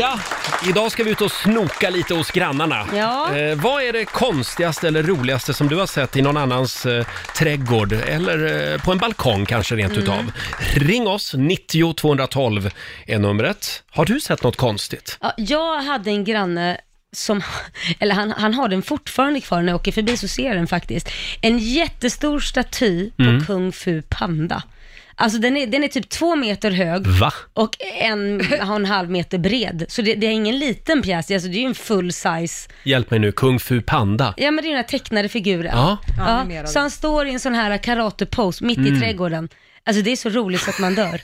Speaker 1: Ja, idag ska vi ut och snoka lite hos grannarna.
Speaker 2: Ja.
Speaker 1: Eh, vad är det konstigaste eller roligaste som du har sett i någon annans eh, trädgård eller eh, på en balkong kanske rent
Speaker 2: Mm.
Speaker 1: utav? Ring oss, 90 212 är numret. Har du sett något konstigt?
Speaker 2: Ja, jag hade en granne som, [laughs] eller han, han har den fortfarande kvar när jag åker förbi så ser jag den faktiskt. En jättestor staty på
Speaker 9: Mm.
Speaker 2: Kung Fu Panda. Alltså den är, den är typ två meter hög
Speaker 1: Va?
Speaker 2: och en, har en halv meter bred. Så det, det är ingen liten pjäs, alltså det är ju en full size.
Speaker 1: Hjälp mig nu, Kung Fu Panda.
Speaker 2: Ja men det är den här tecknade figuren.
Speaker 1: Ja.
Speaker 2: Ja, så han står i en sån här karate-pose mitt i
Speaker 1: Mm.
Speaker 2: trädgården. Alltså det är så roligt så att man dör.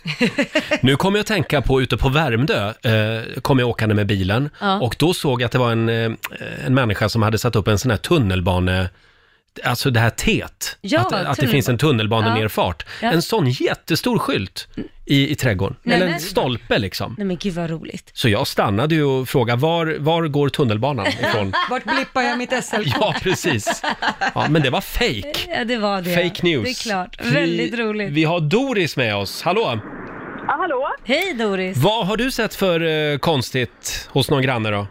Speaker 1: Nu kommer jag att tänka på ute på Värmdö, eh, kom jag åkande med bilen
Speaker 2: Ja.
Speaker 1: och då såg jag att det var en, eh, en människa som hade satt upp en sån här tunnelbane, alltså det här teet,
Speaker 2: Ja,
Speaker 1: att, att det
Speaker 2: tunnelba-
Speaker 1: finns en tunnelbane
Speaker 2: Ja.
Speaker 1: nerfart.
Speaker 2: Ja.
Speaker 1: En sån jättestor skylt i, i trädgården,
Speaker 2: Nej,
Speaker 1: eller en
Speaker 2: men-
Speaker 1: stolpe liksom.
Speaker 2: Nej men gud vad roligt.
Speaker 1: Så jag stannade ju och frågade var, var går
Speaker 2: [laughs]
Speaker 1: tunnelbanan ifrån?
Speaker 3: Vart blippar jag mitt SL-kort?
Speaker 1: Ja, precis. Ja, men det var fake.
Speaker 2: Ja det var det.
Speaker 1: Fake news.
Speaker 2: Det är klart.
Speaker 1: Vi-
Speaker 2: Väldigt roligt.
Speaker 1: Vi har Doris med oss. Hallå!
Speaker 12: Ja, hallå?
Speaker 2: Hej Doris!
Speaker 1: Vad har du sett för eh, konstigt hos någon granne då?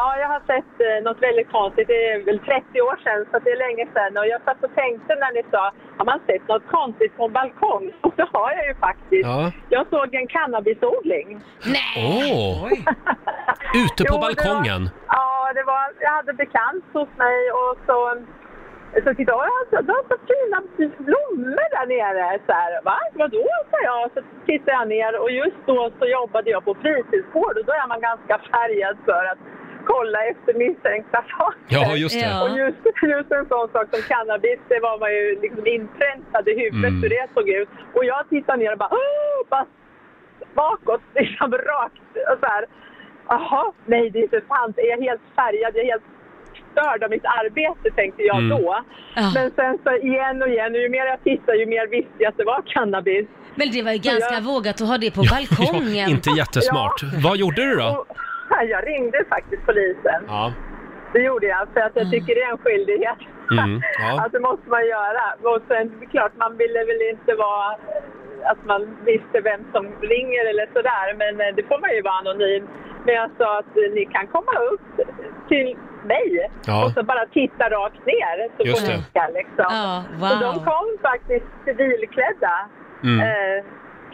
Speaker 12: Ja, jag har sett eh, något väldigt konstigt. Det är väl 30 år sedan, så det är länge sedan. Och jag satt och tänkte när ni sa, har man sett något konstigt på en balkong? [laughs] Och det har jag ju faktiskt.
Speaker 1: Ja.
Speaker 12: Jag såg en cannabisodling.
Speaker 1: Åh! Ute
Speaker 12: Jo,
Speaker 1: på
Speaker 12: det var-
Speaker 1: balkongen.
Speaker 12: Ja, det var, jag hade bekant hos mig och så, så tittade jag, alltså, de har så fina blommor där nere. Så här, Va? Vadå? sa jag. Så tittade jag ner och just då så jobbade jag på fritidsgård och då är man ganska färgad för att kolla efter misstänkta saker.
Speaker 9: Ja, just det. Ja.
Speaker 12: Och just, just en sån sak som cannabis, det var man ju liksom inpräntad i huvudet
Speaker 9: Mm.
Speaker 12: hur det såg ut. Och jag tittade ner och bara, "Åh!" bara bakåt, [laughs] liksom rakt. Och så här, Jaha, nej det är inte sant. Är jag helt färgad? Jag är helt störd av mitt arbete, tänkte jag
Speaker 9: Mm.
Speaker 12: då. Men sen så igen och igen, och ju mer jag tittade ju mer visste jag att det var cannabis.
Speaker 2: Men det var ju ganska vågat att ha det på
Speaker 1: [laughs]
Speaker 2: balkongen.
Speaker 1: Inte jättesmart. Vad gjorde du då?
Speaker 12: Och, [laughs] jag ringde faktiskt polisen.
Speaker 1: Ja.
Speaker 12: Det gjorde jag, för att jag tycker det är en skyldighet.
Speaker 1: Mm, ja.
Speaker 12: Att Alltså, det måste man göra. Och sen det är klart, man ville väl inte vara att man visste vem som ringer eller sådär, men eh, det får man ju vara anonym. Men jag sa att eh, ni kan komma upp till mig
Speaker 9: Ja.
Speaker 12: och så bara titta rakt ner så
Speaker 9: Just
Speaker 12: får
Speaker 9: det.
Speaker 12: ni ska liksom. Så
Speaker 9: wow.
Speaker 12: de kom faktiskt civilklädda
Speaker 9: Mm.
Speaker 12: eh,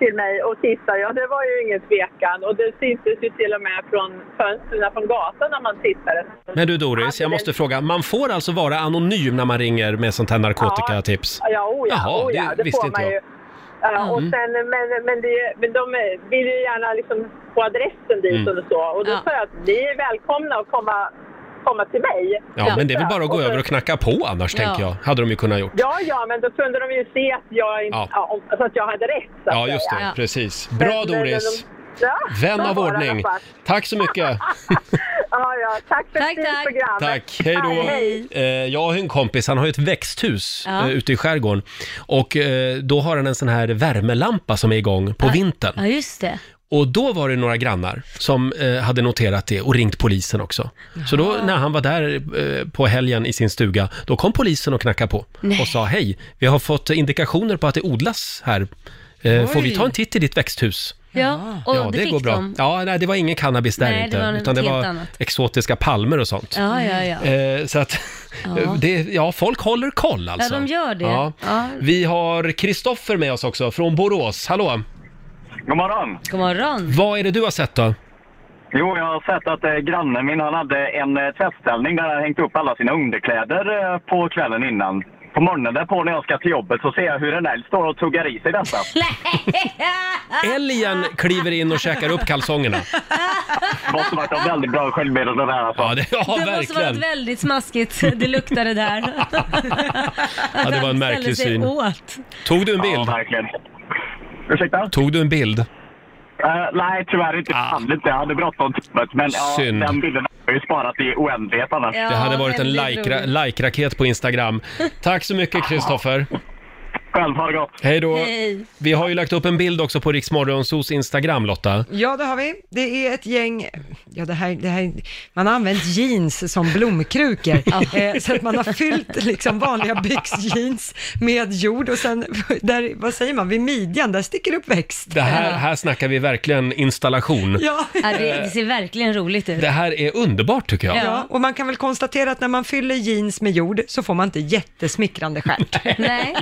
Speaker 12: till mig och tittade. Ja, det var ju ingen tvekan och det syntes ju till och med från fönstren från gatan när man tittade.
Speaker 1: Men du Doris, jag måste fråga. Man får alltså vara anonym när man ringer med sånt här narkotikatips?
Speaker 12: Ja, ja, oh ja,
Speaker 1: Jaha,
Speaker 12: oh ja
Speaker 1: det
Speaker 12: det,
Speaker 1: visste
Speaker 12: får
Speaker 1: inte
Speaker 12: man
Speaker 1: jag. Mm.
Speaker 12: ju. Ja, och sen, men, men, det, men de vill ju gärna liksom få adressen dit
Speaker 1: Mm.
Speaker 12: och så. Och då
Speaker 2: Ja.
Speaker 12: sa jag att ni är välkomna att komma, komma till mig.
Speaker 1: Ja, men det är väl bara att gå
Speaker 12: så-
Speaker 1: över och knacka på annars,
Speaker 12: Ja.
Speaker 1: tänker jag. Hade de ju kunnat gjort.
Speaker 12: Ja, ja, men då kunde de ju se att jag,
Speaker 1: Ja.
Speaker 12: ja. om- alltså att jag hade rätt. så att
Speaker 1: Ja, just
Speaker 12: säga.
Speaker 1: det. Precis. Bra
Speaker 12: Men- men
Speaker 1: Doris!
Speaker 12: de- ja,
Speaker 1: Vän
Speaker 12: de
Speaker 1: av
Speaker 12: var i alla
Speaker 1: ordning.
Speaker 12: fall.
Speaker 1: Tack så mycket!
Speaker 12: Ja, ja. Tack för ett fint program.
Speaker 1: Tack, hej då. Eh, jag har ju en kompis, han har ju ett växthus
Speaker 2: Ja.
Speaker 1: eh, ute i skärgården. Och eh, då har han en sån här värmelampa som är igång på vintern.
Speaker 2: Ja, just det.
Speaker 1: Och då var det några grannar som eh, hade noterat det och ringt polisen också. Så då när han var där eh, på helgen i sin stuga, då kom polisen och knackade på
Speaker 2: Nej.
Speaker 1: och sa hej, vi har fått indikationer på att det odlas här. Eh, får vi ta en titt i ditt växthus?
Speaker 2: Ja, och
Speaker 1: ja,
Speaker 2: det,
Speaker 1: det
Speaker 2: fick
Speaker 1: går bra.
Speaker 2: de.
Speaker 1: Ja, nej, det var ingen cannabis där
Speaker 2: Nej, det
Speaker 1: inte,
Speaker 2: var något
Speaker 1: utan det
Speaker 2: helt
Speaker 1: var
Speaker 2: annat.
Speaker 1: exotiska palmer och sånt.
Speaker 2: Ja, ja, ja.
Speaker 1: Eh, så att,
Speaker 2: Ja.
Speaker 1: [laughs] Det, ja, folk håller koll alltså.
Speaker 2: Ja, de gör det.
Speaker 1: Ja.
Speaker 2: Ja.
Speaker 1: Vi har Kristoffer med oss också från Borås. Hallå!
Speaker 13: God morgon!
Speaker 2: God morgon!
Speaker 1: Vad är det du har sett då?
Speaker 13: Jo, jag har sett att eh, grannen min han hade en eh, tvättställning där han hängt upp alla sina underkläder eh, på kvällen innan. På morgonen därpå när jag ska till jobbet så ser jag hur en älg står och tuggar i sig detta.
Speaker 2: Ah.
Speaker 1: Älgen kliver in och käkar upp kalsongerna.
Speaker 13: Måste varit en väldigt bra självbild och sådär alltså.
Speaker 1: Ja, det, ja
Speaker 2: [laughs] det måste varit
Speaker 1: verkligen.
Speaker 2: väldigt smaskigt, [laughs] det luktade där.
Speaker 1: [laughs] Ja, det var en
Speaker 2: Ställer
Speaker 1: märklig
Speaker 2: sig
Speaker 1: syn.
Speaker 2: Åt.
Speaker 1: Tog du en bild? Ja,
Speaker 13: verkligen. Ursäkta?
Speaker 1: Tog du en bild?
Speaker 13: Eh, nej, tyvärr inte. Ah. inte. Jag hade bråttom till jobbet. Men ja,
Speaker 1: Synd.
Speaker 13: den bilden har jag ju sparat i oändlighet annars.
Speaker 1: Det hade varit en like- like-raket
Speaker 3: [laughs]
Speaker 1: på Instagram. Tack så mycket Kristoffer.
Speaker 13: Själv, ha det gott.
Speaker 1: Hej då.
Speaker 3: Hej.
Speaker 1: Vi har ju lagt upp en bild också på Riksmorgonsos Instagram Lotta.
Speaker 3: Ja, det har vi. Det är ett gäng, ja det här, det här man har använt jeans som blomkrukor. eh, så att man har fyllt liksom vanliga byxjeans med jord och sen, där, vad säger man, vid midjan, där sticker upp växt.
Speaker 1: Det här, här snackar vi verkligen installation.
Speaker 3: Ja.
Speaker 2: Ja, det, det ser verkligen roligt ut.
Speaker 1: Det här är underbart tycker jag.
Speaker 3: Ja. och man kan väl konstatera att när man fyller jeans med jord så får man inte jättesmickrande stjärt.
Speaker 1: [laughs]
Speaker 2: Nej.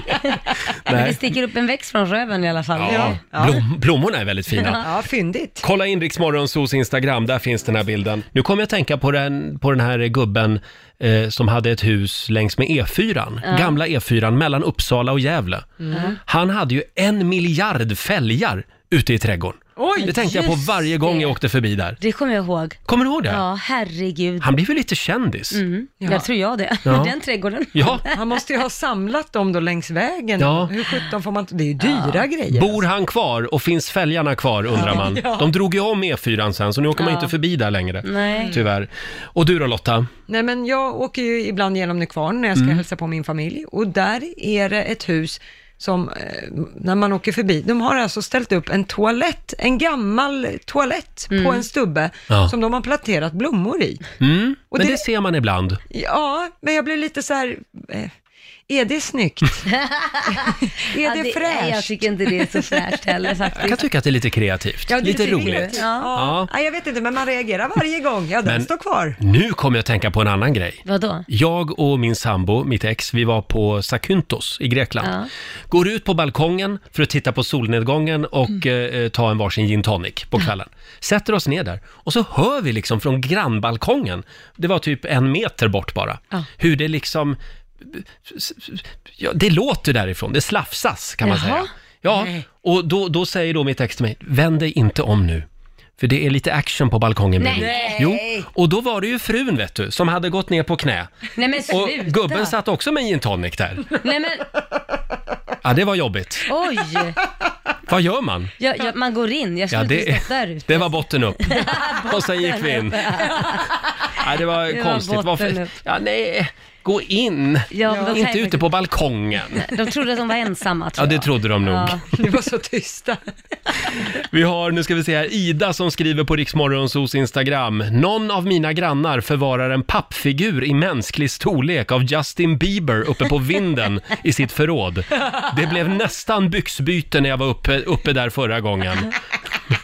Speaker 2: Men det
Speaker 1: Nej.
Speaker 2: sticker upp en växt från röven i alla fall.
Speaker 1: Ja. Blom, blommorna är väldigt fina.
Speaker 3: [laughs] Ja, fyndigt.
Speaker 1: Kolla in Riksmorgonsos Instagram, där finns den här bilden. Nu kommer jag att tänka på den, på den här gubben eh, som hade ett hus längs med E4,
Speaker 2: Ja.
Speaker 1: gamla E4 mellan Uppsala och Gävle.
Speaker 2: Mm.
Speaker 1: Han hade ju en miljard fälgar ute i trädgården.
Speaker 2: Oj,
Speaker 1: det tänkte jag på
Speaker 2: just
Speaker 1: varje gång jag åkte förbi där.
Speaker 2: Det kommer jag ihåg.
Speaker 1: Kommer du ihåg det?
Speaker 2: Ja, herregud.
Speaker 1: Han blev ju lite kändis.
Speaker 2: Mm,
Speaker 1: Ja.
Speaker 2: där tror jag det.
Speaker 1: Ja.
Speaker 2: [laughs] Den trädgården.
Speaker 1: Ja.
Speaker 3: Han måste ju ha samlat dem då längs vägen.
Speaker 1: Ja.
Speaker 3: Hur sjutton får man inte, det är ju dyra grejer.
Speaker 1: Bor han kvar och finns fälgarna kvar undrar
Speaker 3: Ja.
Speaker 1: man.
Speaker 3: Ja.
Speaker 1: De drog ju om E4 sen så nu åker man
Speaker 3: Ja.
Speaker 1: inte förbi där längre.
Speaker 3: Nej.
Speaker 1: Tyvärr. Och du då Lotta?
Speaker 3: Nej men jag åker ju ibland genom Nykvarn när jag ska
Speaker 1: Mm.
Speaker 3: hälsa på min familj och där är det ett hus som, eh, när man åker förbi, de har alltså ställt upp en toalett, en gammal toalett på en stubbe
Speaker 1: Mm. Ja.
Speaker 3: som de har planterat blommor i.
Speaker 1: Mm.
Speaker 3: Och
Speaker 1: Men det...
Speaker 3: det-
Speaker 1: ser man ibland.
Speaker 3: Ja, men jag blir lite så här, eh, är det
Speaker 1: [laughs]
Speaker 3: snyggt? [laughs] är
Speaker 2: Ja,
Speaker 3: det,
Speaker 2: det- nej,
Speaker 3: fräscht?
Speaker 2: jag tycker inte det är så fräscht [laughs] heller
Speaker 1: Jag kan
Speaker 2: faktiskt.
Speaker 1: tycka att det är lite kreativt.
Speaker 3: Ja, det
Speaker 1: lite
Speaker 3: tycker
Speaker 1: roligt.
Speaker 3: jag. Ja. Ja, jag vet inte, men man reagerar varje gång. Ja, den
Speaker 1: Men-
Speaker 3: står kvar.
Speaker 1: Nu kommer jag att tänka på en annan grej.
Speaker 2: Vadå?
Speaker 1: Jag och min sambo, mitt ex, vi var på Sakyntos i Grekland.
Speaker 2: Ja.
Speaker 1: Går ut på balkongen för att titta på solnedgången och
Speaker 2: Mm.
Speaker 1: eh, ta en varsin gin tonic på kvällen. Sätter oss ner där och så hör vi liksom från grannbalkongen, det var typ en meter bort bara, hur det liksom, ja, det låter därifrån, det slafsas kan man
Speaker 2: Jaha.
Speaker 1: säga. Ja,
Speaker 2: Nej.
Speaker 1: och då, då säger då mitt ex till mig, vänd dig inte om nu. För det är lite action på balkongen
Speaker 2: Nej.
Speaker 1: bredvid."
Speaker 2: Nej.
Speaker 1: Jo, och då var det ju frun vet du, som hade gått ner på knä.
Speaker 2: Nej men
Speaker 1: Och
Speaker 2: sluta.
Speaker 1: gubben satt också med en gin tonic där.
Speaker 2: Nej men
Speaker 1: Ja, det var jobbigt.
Speaker 2: oj.
Speaker 1: Vad gör man?
Speaker 2: Jag, jag, man går in, jag skulle
Speaker 1: Ja,
Speaker 2: inte stått där ute.
Speaker 1: det var
Speaker 2: [laughs]
Speaker 1: botten upp. Och sen gick vi in. Ja, det var
Speaker 2: Det var
Speaker 1: konstigt.
Speaker 2: botten
Speaker 1: Varför?
Speaker 2: upp.
Speaker 1: Ja, nej. Gå in.
Speaker 2: Ja, men då kan
Speaker 1: Inte
Speaker 2: jag-
Speaker 1: ute på balkongen.
Speaker 2: De trodde att de var ensamma tror
Speaker 1: Ja, det
Speaker 2: jag.
Speaker 1: trodde de nog.
Speaker 2: Ja.
Speaker 3: Ni var så tysta.
Speaker 1: Vi har, nu ska vi se här, Ida som skriver på Riksmorgonsos Instagram. Någon av mina grannar förvarar en pappfigur i mänsklig storlek av Justin Bieber uppe på vinden i sitt förråd. Det blev nästan byxbyte när jag var uppe, uppe där förra gången.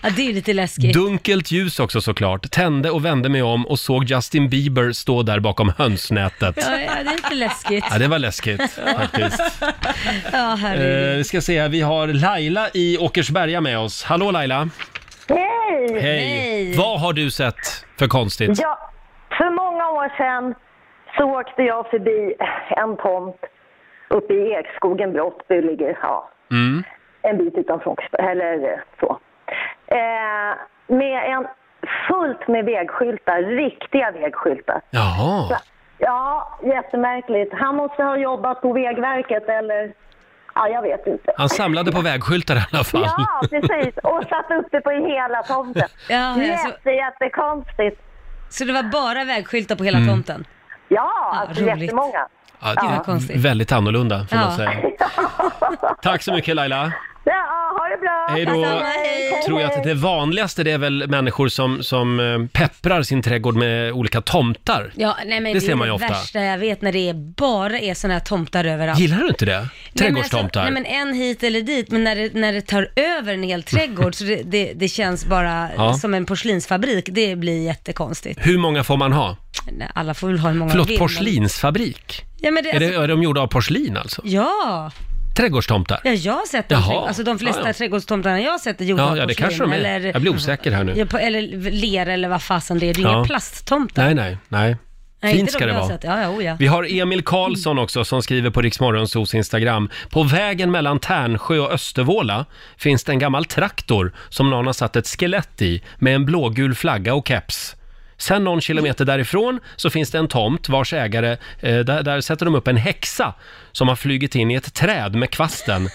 Speaker 2: Ja, det är ju lite läskigt.
Speaker 1: Dunkelt ljus också såklart. Tände och vände mig om och såg Justin Bieber stå där bakom hönsnätet.
Speaker 2: Ja, ja, det är lite läskigt.
Speaker 1: Ja, det var läskigt faktiskt.
Speaker 2: Ja,
Speaker 1: Eh,
Speaker 2: herregud.
Speaker 1: vi ska se, här, vi har Laila i Åkersberga med oss. Hallå Laila!
Speaker 14: Hej!
Speaker 1: Hej! Vad har du sett för konstigt?
Speaker 14: Ja, för många år sedan så åkte jag förbi en tomt uppe i Ekskogen, Brottby, ligger ja,
Speaker 9: Mm.
Speaker 14: en bit utanför Åkersberga, eller så. Eh, med en fullt med vägskyltar, riktiga vägskyltar.
Speaker 1: Jaha.
Speaker 14: Ja, jättemärkligt. Han måste ha jobbat på Vägverket eller, ja jag vet inte.
Speaker 1: Han samlade på vägskyltar i alla fall.
Speaker 14: Ja, precis. Och satt uppe på hela tomten.
Speaker 2: Ja,
Speaker 15: alltså-
Speaker 14: Jätte, jättekonstigt.
Speaker 2: Så det var bara vägskyltar på hela
Speaker 1: Mm.
Speaker 2: tomten?
Speaker 14: Ja, alltså
Speaker 2: roligt.
Speaker 14: jättemånga.
Speaker 1: Ja,
Speaker 14: Ja.
Speaker 1: det är
Speaker 14: Konstigt.
Speaker 1: Väldigt annorlunda får man
Speaker 14: Ja.
Speaker 1: säga. Tack så mycket Laila.
Speaker 14: Ja, ha det bra!
Speaker 1: Hej då.
Speaker 2: Alltså,
Speaker 14: Detsamma, hej.
Speaker 1: Tror jag att det vanligaste det är väl människor som, som eh, pepprar sin trädgård med olika tomtar.
Speaker 2: Ja, nej, men
Speaker 1: Det
Speaker 2: det,
Speaker 1: ser man ju
Speaker 2: är det
Speaker 1: ofta.
Speaker 2: värsta jag vet när det är bara är såna här tomtar överallt.
Speaker 1: Gillar du inte det? Trädgårdstomtar.
Speaker 2: Nej men, alltså, nej, men en hit eller dit, men när det, när det tar över en hel trädgård så det, det, det känns bara
Speaker 1: Ja.
Speaker 2: som en porslinsfabrik. Det blir jättekonstigt.
Speaker 1: Hur många får man ha?
Speaker 2: Nej, Alla får väl ha hur många de
Speaker 1: Förlåt,
Speaker 2: vill, men-
Speaker 1: porslinsfabrik?
Speaker 2: Ja, men det,
Speaker 1: är,
Speaker 2: alltså,
Speaker 1: det, är de gjorda av porslin alltså?
Speaker 2: ja.
Speaker 1: Trädgårdstomtar?
Speaker 2: ja, jag har sett de,
Speaker 1: Jaha.
Speaker 2: trädgård- alltså, de flesta
Speaker 1: Ja, ja.
Speaker 2: trädgårdstomtarna jag har sett är gjorda
Speaker 1: Ja,
Speaker 2: av
Speaker 1: ja, det
Speaker 2: porslin,
Speaker 1: kanske de är.
Speaker 2: Eller,
Speaker 1: Jag blir osäker här nu.
Speaker 2: Ja, på- eller lera eller vad fasen det är. Det är
Speaker 1: Ja.
Speaker 2: inga plasttomtar.
Speaker 1: Nej, nej, nej.
Speaker 2: Nej,
Speaker 1: Fint
Speaker 2: inte
Speaker 1: ska
Speaker 2: de
Speaker 1: det
Speaker 2: jag har
Speaker 1: vara.
Speaker 2: sett. Ja, ja, oh, ja.
Speaker 1: Vi har Emil Karlsson också som skriver på Riksmorgonsos Instagram. På vägen mellan Tärnsjö och Östervåla finns det en gammal traktor som någon har satt ett skelett i med en blågul flagga och keps. Sen någon kilometer därifrån så finns det en tomt vars ägare, eh, där, där sätter de upp en häxa som har flugit in i ett träd
Speaker 2: [laughs]
Speaker 1: med kvasten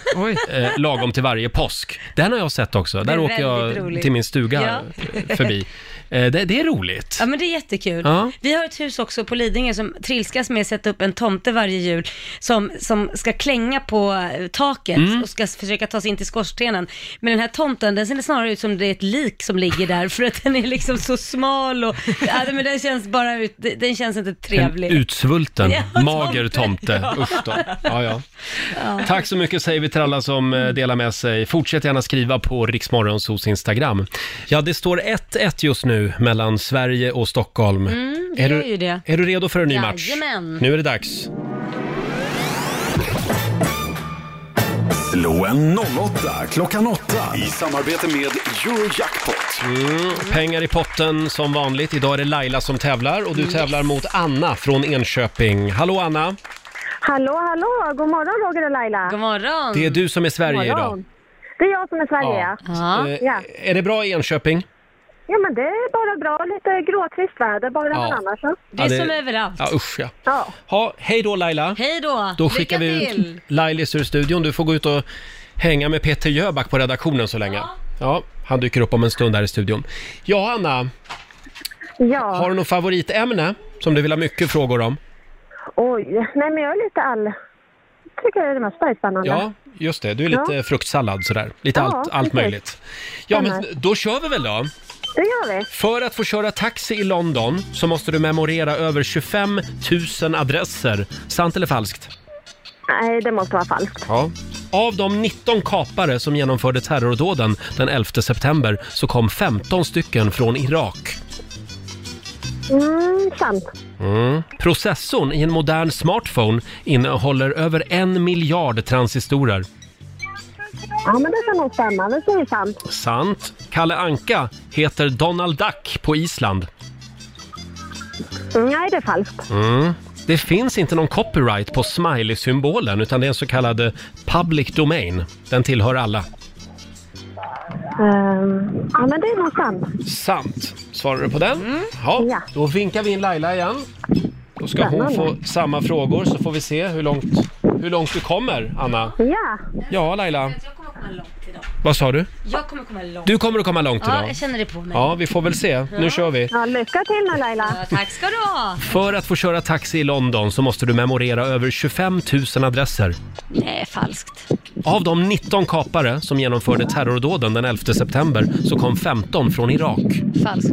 Speaker 1: eh, lagom till varje påsk. Den har jag sett också.
Speaker 2: Det
Speaker 1: Där
Speaker 2: är
Speaker 1: åker jag
Speaker 2: väldigt roligt.
Speaker 1: till min stuga
Speaker 2: Ja.
Speaker 1: förbi. Eh, det, det är roligt.
Speaker 2: Ja men det är jättekul.
Speaker 1: Ja.
Speaker 2: Vi har ett hus också på Lidingö som trilskas med att sätta upp en tomte varje jul som, som ska klänga på eh, taket
Speaker 15: Mm.
Speaker 2: och ska försöka ta sig in till skorstenen. Men den här tomten, den ser snarare ut som det är ett lik som ligger där för att den är liksom så smal och, ja, men den känns bara ut, den känns inte trevlig.
Speaker 1: En utsvulten,
Speaker 2: Ja,
Speaker 1: mager tomte.
Speaker 2: Ja.
Speaker 1: Usch då. Ja, ja.
Speaker 2: Ja.
Speaker 1: Tack så mycket säger vi till alla som eh, delar med sig. Fortsätt gärna skriva på Riksmorgonsos Instagram. Ja, det står 1-1 just nu mellan Sverige och Stockholm.
Speaker 2: Mm, det
Speaker 1: är,
Speaker 2: gör ju
Speaker 1: du,
Speaker 2: det.
Speaker 1: är du redo för en ny match?
Speaker 2: Jajamän.
Speaker 1: Nu är det dags. Mm.
Speaker 4: Slå en 08 klockan 8 i samarbete med Eurojackpot.
Speaker 1: Mm, pengar i potten som vanligt. Idag är det Laila som tävlar
Speaker 2: Mm,
Speaker 1: och du tävlar mot Anna från Enköping. Hallå Anna!
Speaker 15: Hallå, hallå! God morgon Roger och Laila. God
Speaker 2: morgon.
Speaker 1: Det är du som är Sverige
Speaker 15: God morgon. Det är jag som är Sverige,
Speaker 1: Ja.
Speaker 15: ja.
Speaker 1: Eh,
Speaker 15: ja.
Speaker 1: Är det bra i Enköping?
Speaker 15: Ja, men det är bara bra. Lite gråtrist väder bara,
Speaker 1: Ja.
Speaker 15: men annars så.
Speaker 1: Ja, Ja, usch ja.
Speaker 15: Ja.
Speaker 1: Ha, hej då Laila!
Speaker 2: Hej då!
Speaker 1: Då skickar vi
Speaker 2: Lycka till.
Speaker 1: ut Lailis ur studion. Du får gå ut och hänga med Peter Jöback på redaktionen så länge. Ja, han dyker upp om en stund här i studion. Ja, Anna. Har du något favoritämne som du vill ha mycket frågor om?
Speaker 15: Oj, nej men jag är lite all... Tycker det mesta är spännande.
Speaker 1: Ja, just det. Du är lite
Speaker 15: Ja.
Speaker 1: fruktsallad sådär. Lite
Speaker 15: Ja,
Speaker 1: allt, allt
Speaker 15: precis.
Speaker 1: möjligt. Ja, men
Speaker 15: Stämmer.
Speaker 1: då kör vi väl då.
Speaker 15: Det gör vi.
Speaker 1: För att få köra taxi i London så måste du memorera över 25 000 adresser. Sant eller falskt?
Speaker 15: Nej, det måste vara falskt.
Speaker 1: Ja. Av de 19 kapare som genomförde terrordåden den 11 september så kom 15 stycken från Irak.
Speaker 15: Mm, sant.
Speaker 1: Mm. Processorn i en modern smartphone innehåller över en miljard transistorer.
Speaker 15: Ja, men det kan nog stämma. Vi säger sant.
Speaker 1: Sant. Kalle Anka heter Donald Duck på Island.
Speaker 15: Nej, det är falskt.
Speaker 1: Mm. Det finns inte någon copyright på smiley-symbolen utan det är en så kallad eh, public domain. Den tillhör alla.
Speaker 15: Ehm, ja, men det är nog sant.
Speaker 1: Sant. Svarar du på den?
Speaker 2: Mm.
Speaker 1: Ja. Då vinkar vi in Laila igen. Då ska hon få
Speaker 15: Spännande.
Speaker 1: samma frågor så får vi se hur långt, hur långt du kommer, Anna.
Speaker 15: Ja.
Speaker 1: Ja, Laila.
Speaker 2: Jag kommer komma långt idag.
Speaker 1: Vad sa du?
Speaker 2: Jag kommer komma långt.
Speaker 1: Du kommer att komma långt
Speaker 2: Ja,
Speaker 1: idag.
Speaker 2: jag känner det på mig.
Speaker 1: Ja, vi får väl se. Nu kör vi.
Speaker 15: Ja, lycka till nu Laila.
Speaker 2: Ja, tack ska du ha.
Speaker 1: För att få köra taxi i London så måste du memorera över 25 000 adresser.
Speaker 2: Nej, falskt.
Speaker 1: Av de 19 kapare som genomförde terrordåden den 11 september så kom 15 från Irak.
Speaker 2: Falskt.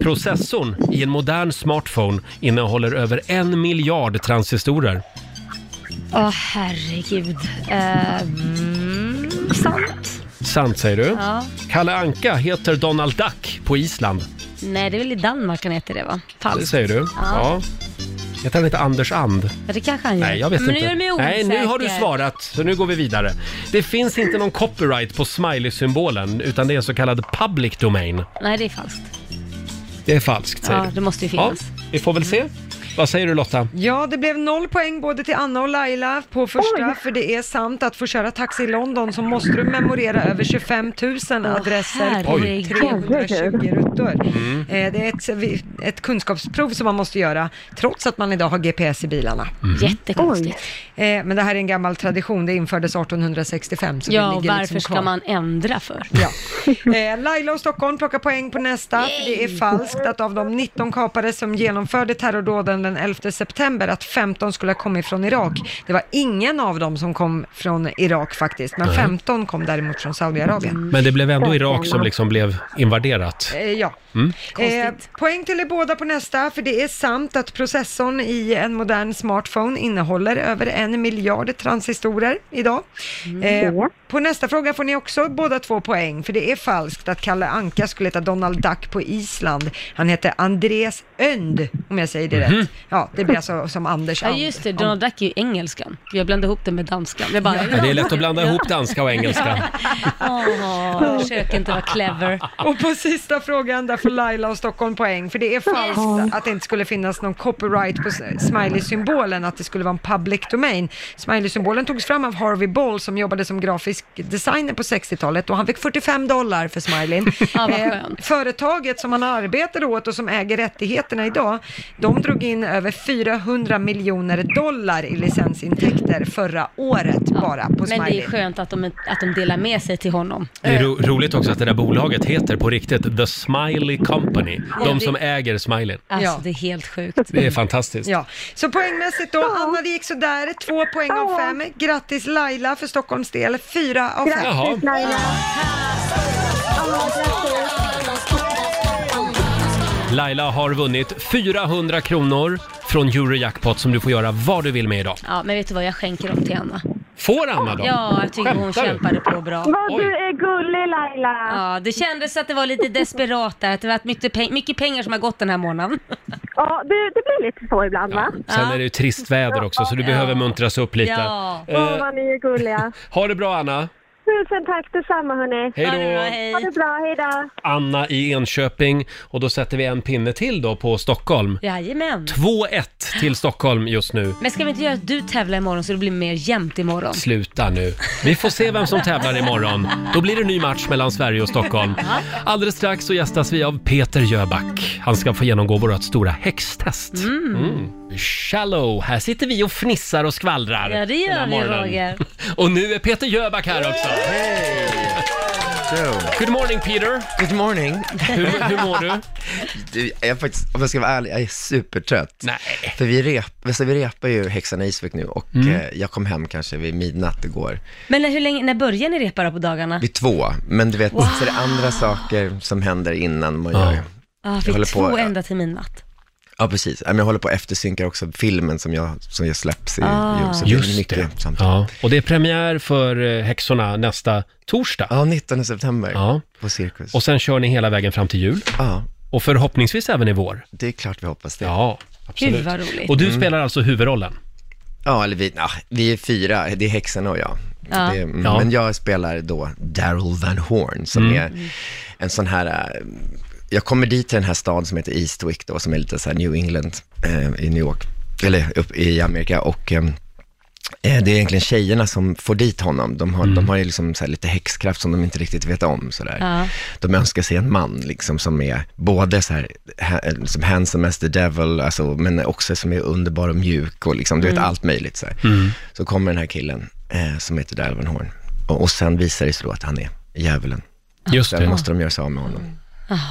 Speaker 1: Processorn i en modern smartphone innehåller över en miljard transistorer.
Speaker 2: Åh herregud. Eh, mm, sant?
Speaker 1: Sant säger du.
Speaker 2: Ja.
Speaker 1: Kalle Anka heter Donald Duck på Island.
Speaker 2: Nej, det är väl i Danmark han heter det va?
Speaker 1: Det
Speaker 2: Falskt.
Speaker 1: säger du. Ja. Heter han inte Anders And?
Speaker 2: Ja, det kanske han gör.
Speaker 1: Nej, jag vet
Speaker 2: Men
Speaker 1: inte.
Speaker 2: Men nu gör det mig
Speaker 1: Nej,
Speaker 2: osäker.
Speaker 1: nu har du svarat, så nu går vi vidare. Det finns inte någon copyright på smiley-symbolen, utan det är så kallad public domain.
Speaker 2: Nej, det är falskt.
Speaker 1: Det är falskt, säger
Speaker 2: Ja,
Speaker 1: du.
Speaker 2: det måste ju finnas.
Speaker 1: Ja, vi får väl se. Vad säger du Lotta?
Speaker 3: Ja, det blev noll poäng både till Anna och Laila på första, för det är sant att för att köra taxi i London så måste du memorera över 25 000 adresser på
Speaker 2: herregud.
Speaker 3: 320 rutor.
Speaker 1: Mm.
Speaker 3: Eh, Det är ett, ett kunskapsprov som man måste göra, trots att man idag har GPS i bilarna.
Speaker 1: Mm.
Speaker 2: Jättekonstigt.
Speaker 3: Eh, Eh, men det här är en gammal tradition, det infördes 1865. Så
Speaker 2: Ja,
Speaker 3: det
Speaker 2: och
Speaker 3: ligger
Speaker 2: varför
Speaker 3: liksom
Speaker 2: ska
Speaker 3: kvar.
Speaker 2: man ändra för?
Speaker 3: Ja. Eh, Laila och Stockholm plockar poäng på nästa. För det är falskt att av de 19 kapare som genomförde terrordåden den 11 september, att 15 skulle ha kommit från Irak. Det var ingen av dem som kom från Irak faktiskt, men
Speaker 1: Nej.
Speaker 3: 15 kom däremot från Saudiarabien.
Speaker 1: Men det blev ändå Irak som liksom blev invaderat.
Speaker 3: Eh, ja.
Speaker 1: Mm.
Speaker 3: Eh, poäng till er båda på nästa, för det är sant att processorn i en modern smartphone innehåller över en miljard transistorer idag.
Speaker 2: Mm.
Speaker 3: Eh, på nästa fråga får ni också båda två poäng, för det är falskt att Kalle Anka skulle heta Donald Duck på Island. Han hette Andres Önd, om jag säger det
Speaker 2: Mhm.
Speaker 3: rätt. Ja, det blir alltså som Anders
Speaker 2: Ja
Speaker 3: And.
Speaker 2: just det, Donald Duck är ju engelskan. Jag blandade ihop det med danskan. Jag bara,
Speaker 1: Men det är lätt att blanda ihop danska
Speaker 2: [laughs]
Speaker 1: och engelska.
Speaker 2: Åh, försök inte vara
Speaker 1: [laughs]
Speaker 2: clever.
Speaker 3: Och på sista frågan där får Laila och Stockholm poäng, för det är falskt att det inte skulle finnas någon copyright på s- smiley-symbolen, att det skulle vara en public domain. Smiley-symbolen togs fram av Harvey Ball som jobbade som grafisk designer på 60-talet och han fick 45 dollar för smileyn.
Speaker 2: [laughs] Ja, vad
Speaker 3: Eh,
Speaker 2: skönt.
Speaker 3: Företaget som han arbetade åt och som äger rättigheterna idag, de drog in över 400 miljoner dollar i licensintäkter förra året bara på
Speaker 2: Men det
Speaker 3: smileyn.
Speaker 2: är skönt att de, att de delar med sig till honom.
Speaker 1: Det är ro- roligt också att det där bolaget heter på riktigt The Smiley Company. De som äger Smiley.
Speaker 2: Alltså det är helt sjukt.
Speaker 1: Det är fantastiskt.
Speaker 3: Ja, så poängmässigt då, Anna det gick sådär, två poäng av fem. Grattis Laila för Stockholms del, fyra av fem.
Speaker 16: Oh.
Speaker 1: Jaha. Laila har vunnit 400 kronor från Eurojackpot som du får göra vad du vill med idag.
Speaker 2: Ja, men vet du vad, jag skänker dem till Anna.
Speaker 1: Får Anna dem?
Speaker 2: Ja, jag tycker hon
Speaker 1: Skämtar du?
Speaker 2: kämpade på bra.
Speaker 1: Vad du
Speaker 2: är gullig Laila!
Speaker 17: Uh,
Speaker 2: Ja, det kändes att det var lite desperat där, att det var mycket, peng- mycket pengar som har gått den här månaden. Ja, det, blir lite så ibland va?
Speaker 1: Sen är det ju trist väder också så du behöver muntras upp lite.
Speaker 2: Ja.
Speaker 1: Eh,
Speaker 15: vad ni är gulliga.
Speaker 1: ha det bra Anna!
Speaker 15: Tusen tack detsamma hörni.
Speaker 1: Hej då. Ha det bra,
Speaker 15: hej. Ha det bra, hej då.
Speaker 1: Anna i Enköping och då sätter vi en pinne till då på Stockholm.
Speaker 2: Jajamän.
Speaker 1: 2-1 till Stockholm just nu.
Speaker 2: Men ska vi inte göra att du tävlar imorgon så det blir mer jämnt imorgon?
Speaker 1: Sluta nu. Vi får se vem som tävlar imorgon. Då blir det ny match mellan Sverige och Stockholm. Alldeles strax så gästas vi av Peter Jöback. Han ska få genomgå vårt stora häxtest.
Speaker 2: Mm.
Speaker 1: Mm. Shallow, här sitter vi och fnissar och skvallrar.
Speaker 2: Ja, det gör
Speaker 1: den här
Speaker 2: vi, Roger.
Speaker 1: Och nu är Peter Jöback här också. Good morning Peter!
Speaker 16: Good morning!
Speaker 1: Hur, hur mår du?
Speaker 16: Du, jag är faktiskt, om jag ska vara ärlig, jag är supertrött.
Speaker 1: Nej.
Speaker 16: För vi, rep, så vi repar ju Häxan i Isvik nu och
Speaker 2: Mm.
Speaker 16: eh, jag kom hem kanske vid midnatt igår.
Speaker 2: Men när- hur länge, när börjar ni repa då på dagarna?
Speaker 16: Vid två, men du vet,
Speaker 2: Wow.
Speaker 16: så är det andra saker som händer innan man gör.
Speaker 2: Ja,
Speaker 16: jag
Speaker 2: vi
Speaker 16: håller
Speaker 2: två
Speaker 16: på,
Speaker 2: ända till midnatt.
Speaker 16: Ja, precis. Ja, men Jag håller på att eftersynkar också filmen som jag, som jag släpps i
Speaker 2: Ah.
Speaker 16: jul. Så det
Speaker 1: Just
Speaker 16: är mycket
Speaker 1: det.
Speaker 16: samtidigt.
Speaker 1: Ja, och det är premiär för eh, Häxorna nästa torsdag.
Speaker 16: Ja, 19 september
Speaker 1: ja.
Speaker 16: på Cirkus.
Speaker 1: Och sen kör ni hela vägen fram till jul.
Speaker 16: Ja.
Speaker 1: Och förhoppningsvis även i vår.
Speaker 16: Det är klart vi hoppas det.
Speaker 1: Ja, absolut.
Speaker 16: Gud, vad roligt.
Speaker 1: Och du
Speaker 16: Mm.
Speaker 1: spelar alltså huvudrollen?
Speaker 16: Ja, eller vi, ja, vi är fyra, det är häxorna och jag.
Speaker 1: Ja.
Speaker 16: Det, mm,
Speaker 1: Ja.
Speaker 16: Men jag spelar då Daryl Van Horn, som
Speaker 1: Mm.
Speaker 16: är en sån här, eh, jag kommer dit till den här staden som heter Eastwick då, som är lite så här New England eh, i New York, eller upp i Amerika, och eh, eh, det är egentligen tjejerna som får dit honom. De har,
Speaker 6: Mm.
Speaker 16: de har ju liksom så här lite häxkraft som de inte riktigt vet om. Så där.
Speaker 6: Ja.
Speaker 16: De önskar sig en man liksom, som är både så här, ha, som handsome as the devil, alltså, men också som är underbar och mjuk och liksom, du vet,
Speaker 6: Mm.
Speaker 16: allt möjligt. Så, här.
Speaker 6: Mm.
Speaker 16: så kommer den här killen eh, som heter Dalvin Horn och, och sen visar det sig då att han är djävulen.
Speaker 1: Just
Speaker 16: sen
Speaker 1: det.
Speaker 16: måste de göra sig av med honom.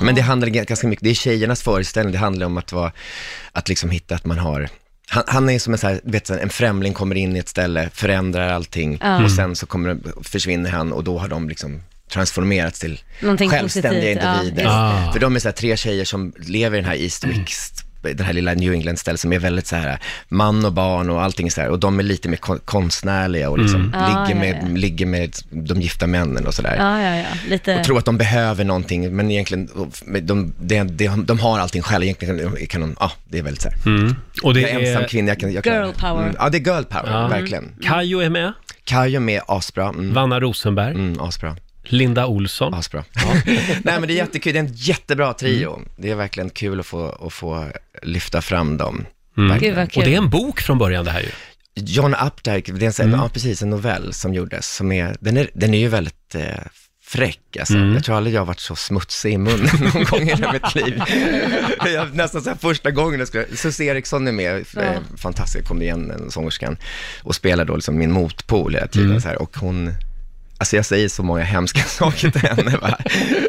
Speaker 16: Men det handlar ganska mycket, det är tjejernas föreställning, det handlar om att, vara, att liksom hitta att man har han, han är som en, så här, vet, du, en främling kommer in i ett ställe, förändrar allting
Speaker 2: Ja. Mm.
Speaker 16: och sen så kommer, försvinner han och då har de liksom transformerats till
Speaker 2: Någonting
Speaker 16: självständiga
Speaker 2: positivt, ja,
Speaker 16: individer.
Speaker 2: just det.
Speaker 16: För de är så här, tre tjejer som lever i den här Eastwick, den här lilla New England-stället som är väldigt så här, man och barn och allting så här, och de är lite mer kon- konstnärliga och liksom
Speaker 2: Mm. Ah,
Speaker 16: ligger,
Speaker 2: ja,
Speaker 16: med, ligger med de gifta männen och sådär.
Speaker 2: Ja, ja, ja. Lite...
Speaker 16: Och tror att de behöver någonting, men egentligen, de, de, de, de har allting själva. Egentligen kan de, ja, det är väldigt så här.
Speaker 1: Och det
Speaker 16: jag är ensam
Speaker 1: är-
Speaker 16: kvinna, jag kan, jag kan,
Speaker 1: Girl power.
Speaker 16: Mm, ja, det är girl power,
Speaker 1: Ja.
Speaker 16: verkligen.
Speaker 1: Kajo är
Speaker 16: Mm.
Speaker 1: med.
Speaker 16: Kajo är med, asbra. Mm.
Speaker 1: Vanna Rosenberg.
Speaker 16: Mm, asbra.
Speaker 1: Linda Olsson.
Speaker 16: Asbra. [laughs] Nej men det är jättekul, det är en jättebra trio. Det är verkligen kul att få, att få lyfta fram dem. Verkligen.
Speaker 1: Gud, vad kul. Och det är en bok från början det här ju.
Speaker 16: John Updike, det är en, sån- ja, precis, en novell som gjordes, som är, den, är, den är ju väldigt eh, fräck alltså. Jag tror aldrig jag har varit så smutsig i munnen [laughs] någon gång i hela mitt liv. jag, nästan så här första gången jag skulle, Sus Eriksson är med,
Speaker 6: Ja.
Speaker 16: ja. fantastisk komedien, sångerskan, och spelar då liksom min motpol hela tiden
Speaker 6: Mm.
Speaker 16: så här, och hon Alltså jag säger så många hemska saker till henne va?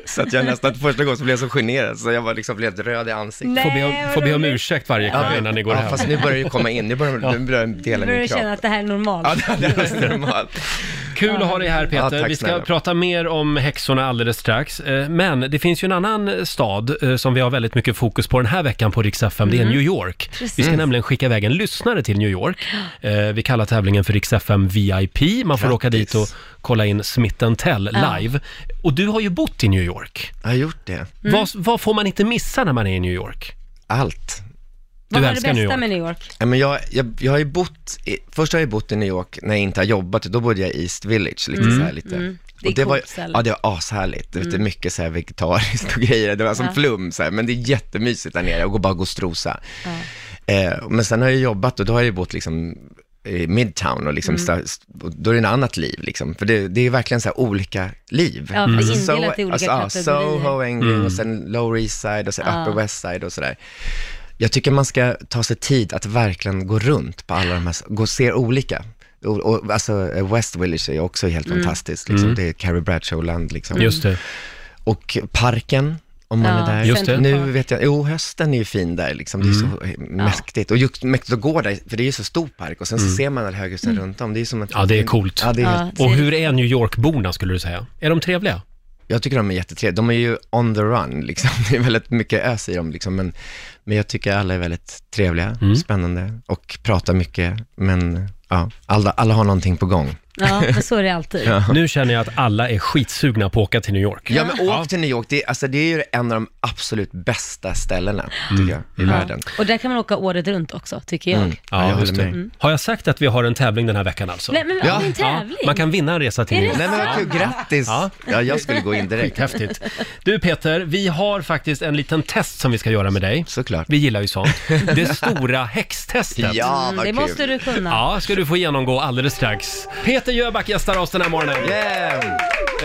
Speaker 16: Så att jag nästan första gången så blev jag så generad så jag var liksom blev röd i ansiktet.
Speaker 2: Nej, Får be om- vad får be om roligt.
Speaker 1: ursäkt varje kväll innan ni går
Speaker 16: ja,
Speaker 1: hem.
Speaker 16: fast nu börjar det ju komma in, nu börjar, nu börjar
Speaker 2: Nu
Speaker 16: delen
Speaker 2: börjar
Speaker 16: i
Speaker 2: du känna
Speaker 16: kroppen.
Speaker 2: att det här är normalt.
Speaker 16: Ja, det är nästan normalt.
Speaker 1: Kul att ha dig här
Speaker 16: Ja,
Speaker 1: Peter.
Speaker 16: tack
Speaker 1: Vi ska
Speaker 16: snälla.
Speaker 1: prata mer om häxorna alldeles strax. Eh, Men det finns ju en annan stad eh, som vi har väldigt mycket fokus på den här veckan på Rix FM. Det är
Speaker 6: Mm.
Speaker 1: New York.
Speaker 6: Precis.
Speaker 1: Vi ska
Speaker 6: Mm.
Speaker 1: nämligen skicka iväg en lyssnare till New York. Eh, Vi kallar tävlingen för Rix FM VIP. Man får åka dit och kolla in Smitten Tell
Speaker 6: Ja.
Speaker 1: live. Och du har ju bott i New York.
Speaker 16: Jag har gjort det.
Speaker 6: Mm.
Speaker 1: Vad, vad får man inte missa när man är i New York?
Speaker 16: Allt.
Speaker 2: Vad var det bästa med New York?
Speaker 16: Ja, men jag, jag, jag har ju bott, i, först har jag bott i New York när jag inte har jobbat, då bodde jag i East Village, lite
Speaker 2: Mm.
Speaker 16: så här, lite.
Speaker 2: Mm. Det är
Speaker 16: och det var,
Speaker 2: coolt ställe.
Speaker 16: Ja, det var ashärligt. Det var
Speaker 2: Mm.
Speaker 16: mycket så här vegetariskt och grejer, det var som
Speaker 2: Ja.
Speaker 16: flum så här, men det är jättemysigt där nere, och går bara gå och strosa.
Speaker 2: Ja.
Speaker 16: Eh, men sen har jag jobbat och då har jag ju bott liksom i Midtown och liksom,
Speaker 2: Mm.
Speaker 16: sta- st- och då är det ett annat liv liksom, för det, det är verkligen så här olika liv. Mm. alltså,
Speaker 2: Ja, för det är indelat i olika
Speaker 16: ja,
Speaker 2: kategorier.
Speaker 16: Soho, Engren
Speaker 2: Mm.
Speaker 16: och sen Lower East Side och sen
Speaker 2: Ja.
Speaker 16: Upper West Side och sådär. Jag tycker man ska ta sig tid att verkligen gå runt på alla de här, gå och se olika. Och, och, alltså eh, West Village är ju också helt
Speaker 6: Mm.
Speaker 16: fantastiskt, liksom.
Speaker 6: Mm.
Speaker 16: det är Carrie Bradshaw-land liksom.
Speaker 6: Just det.
Speaker 16: Och parken, om man
Speaker 6: Ja,
Speaker 16: är där.
Speaker 6: Just det.
Speaker 16: Nu
Speaker 6: Central Park.
Speaker 16: vet jag, jo hösten är ju fin där liksom, det är
Speaker 6: Mm.
Speaker 16: så eh, mäktigt. Och just mäktigt att gå där, för det är ju så stor park och sen
Speaker 1: Mm.
Speaker 16: så ser man alla höghusen
Speaker 1: Mm.
Speaker 16: runt om. Det är ju som att,
Speaker 1: Ja, det är coolt.
Speaker 16: Ja, det är helt
Speaker 1: Och hur är New York-borna skulle du säga? Är de trevliga?
Speaker 16: Jag tycker de är jättetrevliga. De är ju on the run, liksom. [laughs] Det är väldigt mycket ös i dem, liksom. men, men jag tycker alla är väldigt trevliga,
Speaker 5: Mm.
Speaker 16: spännande och pratar mycket. Men ja, alla, alla har någonting på gång.
Speaker 2: Ja, men så är det alltid.
Speaker 1: Nu känner jag att alla är skitsugna på att åka till New York.
Speaker 16: Ja, men åk till New York. Det, är- alltså, det är ju en av de absolut bästa ställena,
Speaker 5: Mm.
Speaker 16: tycker jag, i
Speaker 2: Ja.
Speaker 16: världen.
Speaker 2: Och där kan man åka året runt också, tycker jag.
Speaker 1: Mm. Ja,
Speaker 16: jag
Speaker 1: just
Speaker 16: håller
Speaker 1: det.
Speaker 16: med.
Speaker 2: Mm.
Speaker 1: Har jag sagt att vi har en tävling den här veckan alltså?
Speaker 2: Nej, men vi har Ja. en tävling.
Speaker 1: man kan vinna en resa till
Speaker 2: Är
Speaker 1: New
Speaker 2: det
Speaker 1: York.
Speaker 2: Nej, men vad sant? kul.
Speaker 16: Grattis! Ja. jag skulle gå in
Speaker 5: [laughs]
Speaker 16: direkt.
Speaker 1: Häftigt. Du Peter, vi har faktiskt en liten test som vi ska göra med dig.
Speaker 16: Såklart.
Speaker 1: Vi gillar ju sånt. Det stora häxtestet.
Speaker 2: Mm, det måste du kunna.
Speaker 1: Ja, ska du få genomgå alldeles strax. Peter Jöback gästar oss den här morgonen.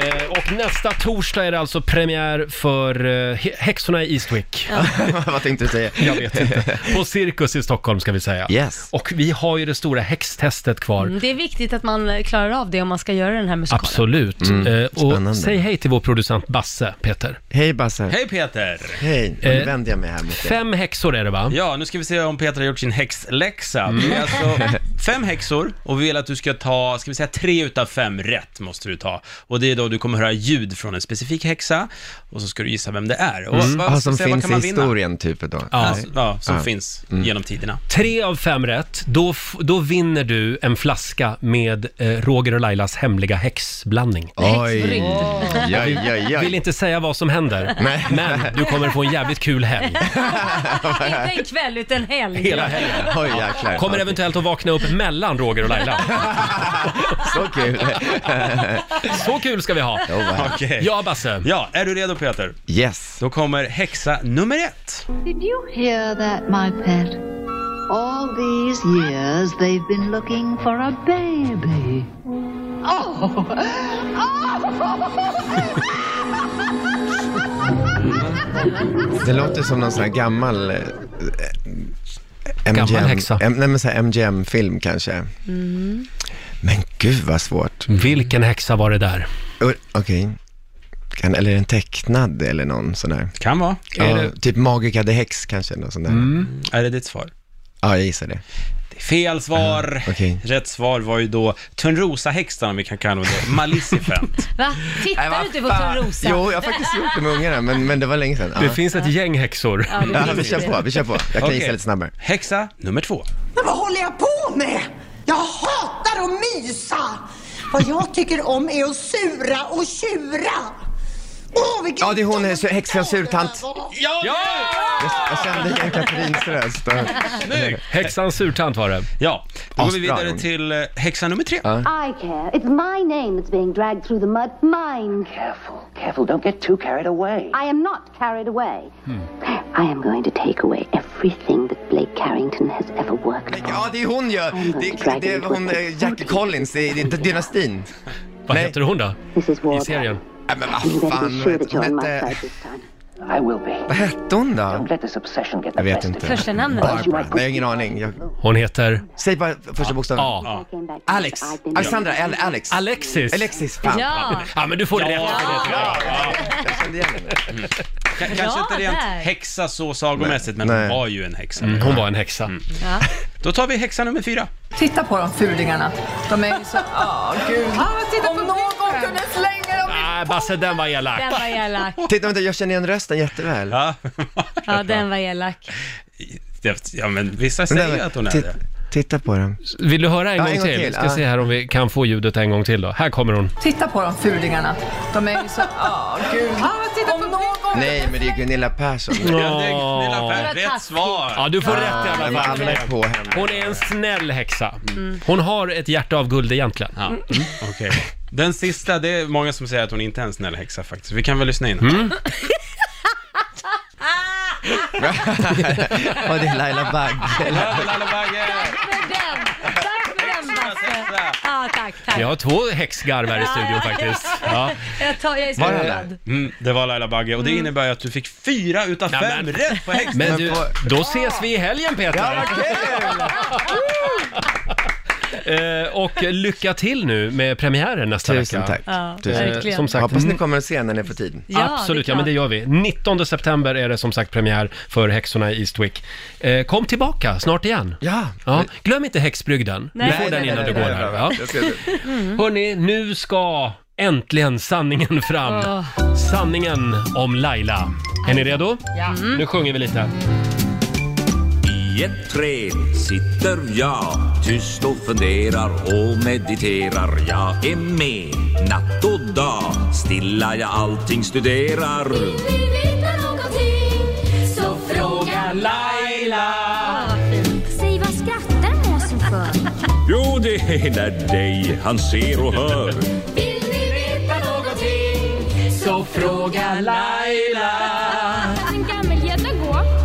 Speaker 1: Eh, och nästa torsdag är det alltså premiär för eh, Hä- Häxorna i Eastwick.
Speaker 16: [laughs] Vad tänkte du säga?
Speaker 1: Jag vet inte. På Cirkus i Stockholm ska vi säga.
Speaker 16: Yes.
Speaker 1: Och vi har ju det stora häxtestet kvar.
Speaker 2: Mm, Det är viktigt att man klarar av det om man ska göra den här musikalen.
Speaker 1: Absolut.
Speaker 16: Mm,
Speaker 1: Eh, och
Speaker 16: spännande.
Speaker 1: säg hej till vår producent Basse, Peter.
Speaker 16: Hej Basse.
Speaker 5: Hej Peter!
Speaker 16: Hej, nu
Speaker 5: Eh,
Speaker 16: vänder jag mig här mot dig.
Speaker 1: Fem häxor är det va?
Speaker 5: Ja, nu ska vi se om Peter har gjort sin häxläxa.
Speaker 16: Mm.
Speaker 5: Det är alltså
Speaker 16: [laughs]
Speaker 5: fem häxor och vi vill att du ska ta, ska vi säga tre utav fem rätt måste du ta. Och det är då du kommer höra ljud från en specifik häxa och så ska du gissa vem det är. Och
Speaker 16: Mm.
Speaker 5: vad-
Speaker 16: Ah,
Speaker 5: ska
Speaker 16: som
Speaker 5: vi säga, vad
Speaker 16: finns
Speaker 5: kan
Speaker 16: i
Speaker 5: man vinna?
Speaker 16: historien, typ. Då.
Speaker 5: Ja,
Speaker 16: Nej.
Speaker 5: alltså, ja, som
Speaker 16: Ja.
Speaker 5: finns
Speaker 16: Mm. [laughs]
Speaker 5: genom tiderna.
Speaker 1: Tre av fem rätt, då, f- då vinner du en flaska med eh, Roger och Lailas hemliga häxblandning.
Speaker 6: Oj. Häxbrygd. Oj, oj, oj, oj.
Speaker 1: Vill inte säga vad
Speaker 16: [laughs]
Speaker 1: som händer,
Speaker 6: Nej.
Speaker 1: men du kommer få en jävligt kul helg.
Speaker 2: Inte en kväll, utan en helg.
Speaker 1: Hela helgen.
Speaker 16: jäklar.
Speaker 1: Kommer
Speaker 16: Okej.
Speaker 1: eventuellt att vakna upp mellan Roger och Laila.
Speaker 16: [laughs] Så kul.
Speaker 1: [laughs] Så kul ska vi ha.
Speaker 5: Okej.
Speaker 1: Ja, Basse.
Speaker 5: Ja, är du redo Peter?
Speaker 16: Yes.
Speaker 5: Då kommer häxa nummer ett.
Speaker 17: Did you hear that, my pet? All these years they've been looking for a baby. Oh!
Speaker 16: Det låter som någon sån här gammal... eh, eh,
Speaker 1: Gammal
Speaker 16: MGM
Speaker 1: häxa.
Speaker 16: M, nej, men så här MGM-film kanske.
Speaker 6: Mm.
Speaker 16: Men gud vad svårt.
Speaker 1: Vilken häxa var det där?
Speaker 16: Okej. Kan, eller en tecknad eller någon sån där.
Speaker 5: Kan vara.
Speaker 16: Ja,
Speaker 5: Är det-
Speaker 16: Typ Magica the Hex kanske, någon sån där.
Speaker 5: Mm. Är det ditt svar?
Speaker 16: Ja, jag gissar det.
Speaker 5: Fel svar.
Speaker 16: okej.
Speaker 5: Rätt svar var ju då Törnrosahäxan, om vi kan kalla henne det. Maleficent.
Speaker 2: Va? Tittar du inte på Törnrosa?
Speaker 16: Jo, jag har faktiskt gjort det med ungarna, men, men det var länge sedan.
Speaker 1: Det finns ett gäng häxor.
Speaker 16: Ja, det Ja, vi finns kör det. på, vi kör på. Jag kan
Speaker 5: Okej.
Speaker 16: gissa lite snabbare.
Speaker 5: Häxa nummer två.
Speaker 18: Men vad håller jag på med? Jag hatar att mysa! Vad jag tycker om är att sura och tjura! Åh, vilken...
Speaker 16: Ja, det är hon, eh, häxan Surtant.
Speaker 5: Ja!
Speaker 16: Jag, jag kände igen Katarins röst.
Speaker 5: Snyggt!
Speaker 1: [laughs] Häxans surtant var det.
Speaker 5: Ja, då går vi
Speaker 16: Asbra,
Speaker 5: vidare
Speaker 16: hon.
Speaker 5: till eh, häxa nummer tre.
Speaker 19: I care. It's my name that's being dragged through the mud. Mine. Careful.
Speaker 17: Careful, don't get too carried away.
Speaker 19: I am not carried away.
Speaker 16: Hmm.
Speaker 17: I am going to take away everything that Blake Carrington has ever worked on.
Speaker 16: Ja, det är hon ju. Det är, det är hon, eh, Jackie Collins i i Dynastin.
Speaker 1: Vad heter hon då? I serien?
Speaker 16: Nej, men
Speaker 17: You
Speaker 16: vad
Speaker 17: better be
Speaker 16: fan,
Speaker 17: sure
Speaker 16: vet- eh,
Speaker 17: that you're on
Speaker 16: hon
Speaker 17: my
Speaker 16: hette...
Speaker 17: side this time. I will be.
Speaker 16: Vad hette hon då?
Speaker 17: Let this obsession get
Speaker 16: Jag
Speaker 17: the
Speaker 16: vet
Speaker 17: best
Speaker 16: inte.
Speaker 17: of you.
Speaker 2: Första namnet.
Speaker 16: Barbara. Nej, jag har ingen aning. Jag...
Speaker 1: Hon heter?
Speaker 16: Säg bara första bokstaven.
Speaker 1: A.
Speaker 16: Alex. Alexandra, Al- Alex.
Speaker 1: Alexis.
Speaker 16: Alexis, fan.
Speaker 1: Ja. Ja, men du får det rätt för det, tror jag.
Speaker 5: K- Mm. kanske inte rent
Speaker 1: där.
Speaker 5: häxa så sagomässigt, men hon var ju en häxa.
Speaker 1: hon var en häxa.
Speaker 5: Då tar vi häxa nummer fyra.
Speaker 20: Titta på de fulingarna. De är ju så... Åh, gud. Om någon kunde slänga dem
Speaker 1: Nej, Basse, den var elak.
Speaker 2: Den var elak.
Speaker 16: Titta, vänta, jag känner igen rösten jätteväl.
Speaker 5: [laughs] Ja,
Speaker 2: Ja, den var elak.
Speaker 5: ja men vissa säger ju att hon är det. Mm.
Speaker 16: Titta på den.
Speaker 1: Vill du höra en
Speaker 16: Ja,
Speaker 1: gång till? Vi ska
Speaker 16: ja.
Speaker 1: se här om vi kan få ljudet en gång till då. Här kommer hon.
Speaker 20: Titta på de fulingarna. De är ju så... Åh, gud. Om någon
Speaker 16: Nej, men det är Gunilla Persson.
Speaker 1: Ja, det är Gunilla Persson.
Speaker 5: Rätt svar!
Speaker 1: Ja, du får
Speaker 16: Ja,
Speaker 1: rätt i
Speaker 16: men
Speaker 1: alla fall.
Speaker 16: alla är på henne.
Speaker 1: Hon är en snäll häxa. Hon har ett hjärta av guld egentligen.
Speaker 5: Ja. Okej. Den sista, det är många som säger att hon inte är en snäll häxa faktiskt. Vi kan väl lyssna in.
Speaker 1: Mm.
Speaker 16: [laughs] Och det är Laila Bagge.
Speaker 2: Ja, tack, tack.
Speaker 1: Vi har två häxgarv här i studion faktiskt.
Speaker 5: Ja.
Speaker 2: Jag, tar, jag är skadad.
Speaker 5: Mm, det var Laila Bagge
Speaker 16: Mm.
Speaker 5: och det innebär ju att du fick fyra utav
Speaker 1: Ja,
Speaker 5: fem
Speaker 1: men-
Speaker 5: rätt på häxan.
Speaker 1: Men du, då ses vi i helgen Peter! [laughs] Eh, och lycka till nu med premiären nästa
Speaker 16: Tusen
Speaker 1: vecka.
Speaker 16: tack. Ja,
Speaker 1: Eh,
Speaker 16: verkligen.
Speaker 1: Som sagt,
Speaker 16: Hoppas ni kommer att se när ni får tid.
Speaker 1: Ja, Absolut, ja men det gör vi. 19 september är det som sagt premiär för Häxorna i Eastwick. Eh, kom tillbaka snart igen.
Speaker 16: Ja.
Speaker 1: Glöm inte häxbrygden. Du
Speaker 16: Nej.
Speaker 1: får
Speaker 16: Nej,
Speaker 1: den
Speaker 16: nej,
Speaker 1: innan
Speaker 16: nej,
Speaker 1: du
Speaker 16: nej,
Speaker 1: går
Speaker 16: nej,
Speaker 1: här.
Speaker 16: nej.
Speaker 1: Ja.
Speaker 16: Jag Mm. ska se.
Speaker 1: Hörni, nu ska äntligen sanningen fram.
Speaker 2: Åh.
Speaker 1: Sanningen om Laila. Är ni redo?
Speaker 20: Ja. Mm.
Speaker 1: Nu sjunger vi lite.
Speaker 8: I ett träd sitter jag tyst och funderar och mediterar. Jag är med natt och dag, stilla jag allting studerar.
Speaker 9: Vill veta någonting, så fråga Laila. Säg, vad skrattar måsen för?
Speaker 8: Jo, det är när dig han ser och hör.
Speaker 9: Vill ni veta någonting, så fråga Laila. En gammelgädda går.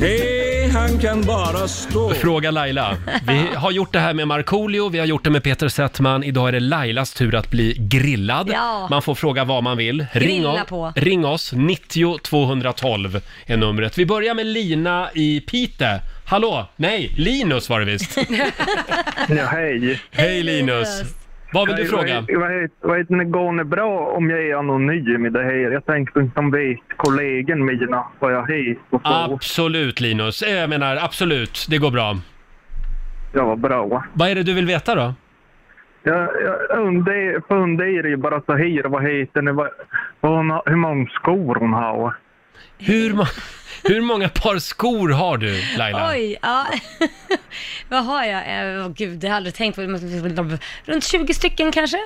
Speaker 8: Hej, han kan bara stå.
Speaker 1: Fråga Laila.
Speaker 2: [laughs]
Speaker 1: Vi har gjort det här med Markoolio, vi har gjort det med Peter Settman. Idag är det Lailas tur att bli grillad.
Speaker 2: Ja.
Speaker 1: Man får fråga vad man vill.
Speaker 2: Grilla
Speaker 1: o-
Speaker 2: på.
Speaker 1: ring oss, 90 212 är numret. Vi börjar med Lina i Pite. Hallå? Nej, Linus var det
Speaker 10: [laughs]
Speaker 1: visst.
Speaker 10: Ja, hej.
Speaker 1: Hej Linus! Vad vill du
Speaker 10: Hej,
Speaker 1: fråga?
Speaker 10: Vad, vad, vad heter det, går det bra om jag är anonym i det här? Jag tänkte inte om vet kollegen mina vad jag heter och så.
Speaker 1: Absolut Linus, Eh, jag menar absolut, det går bra.
Speaker 10: Ja, vad bra.
Speaker 1: Vad är det du vill veta då?
Speaker 10: Jag, jag under- funderar ju bara så här, vad heter ni, vad, vad hon, har- hur många skor hon har.
Speaker 1: Hur, ma- hur många par skor har du Laila?
Speaker 2: [laughs] Oj, ja. [laughs] Vad har jag? Eh, Åh gud, det har jag aldrig tänkt på. Runt 20 stycken kanske?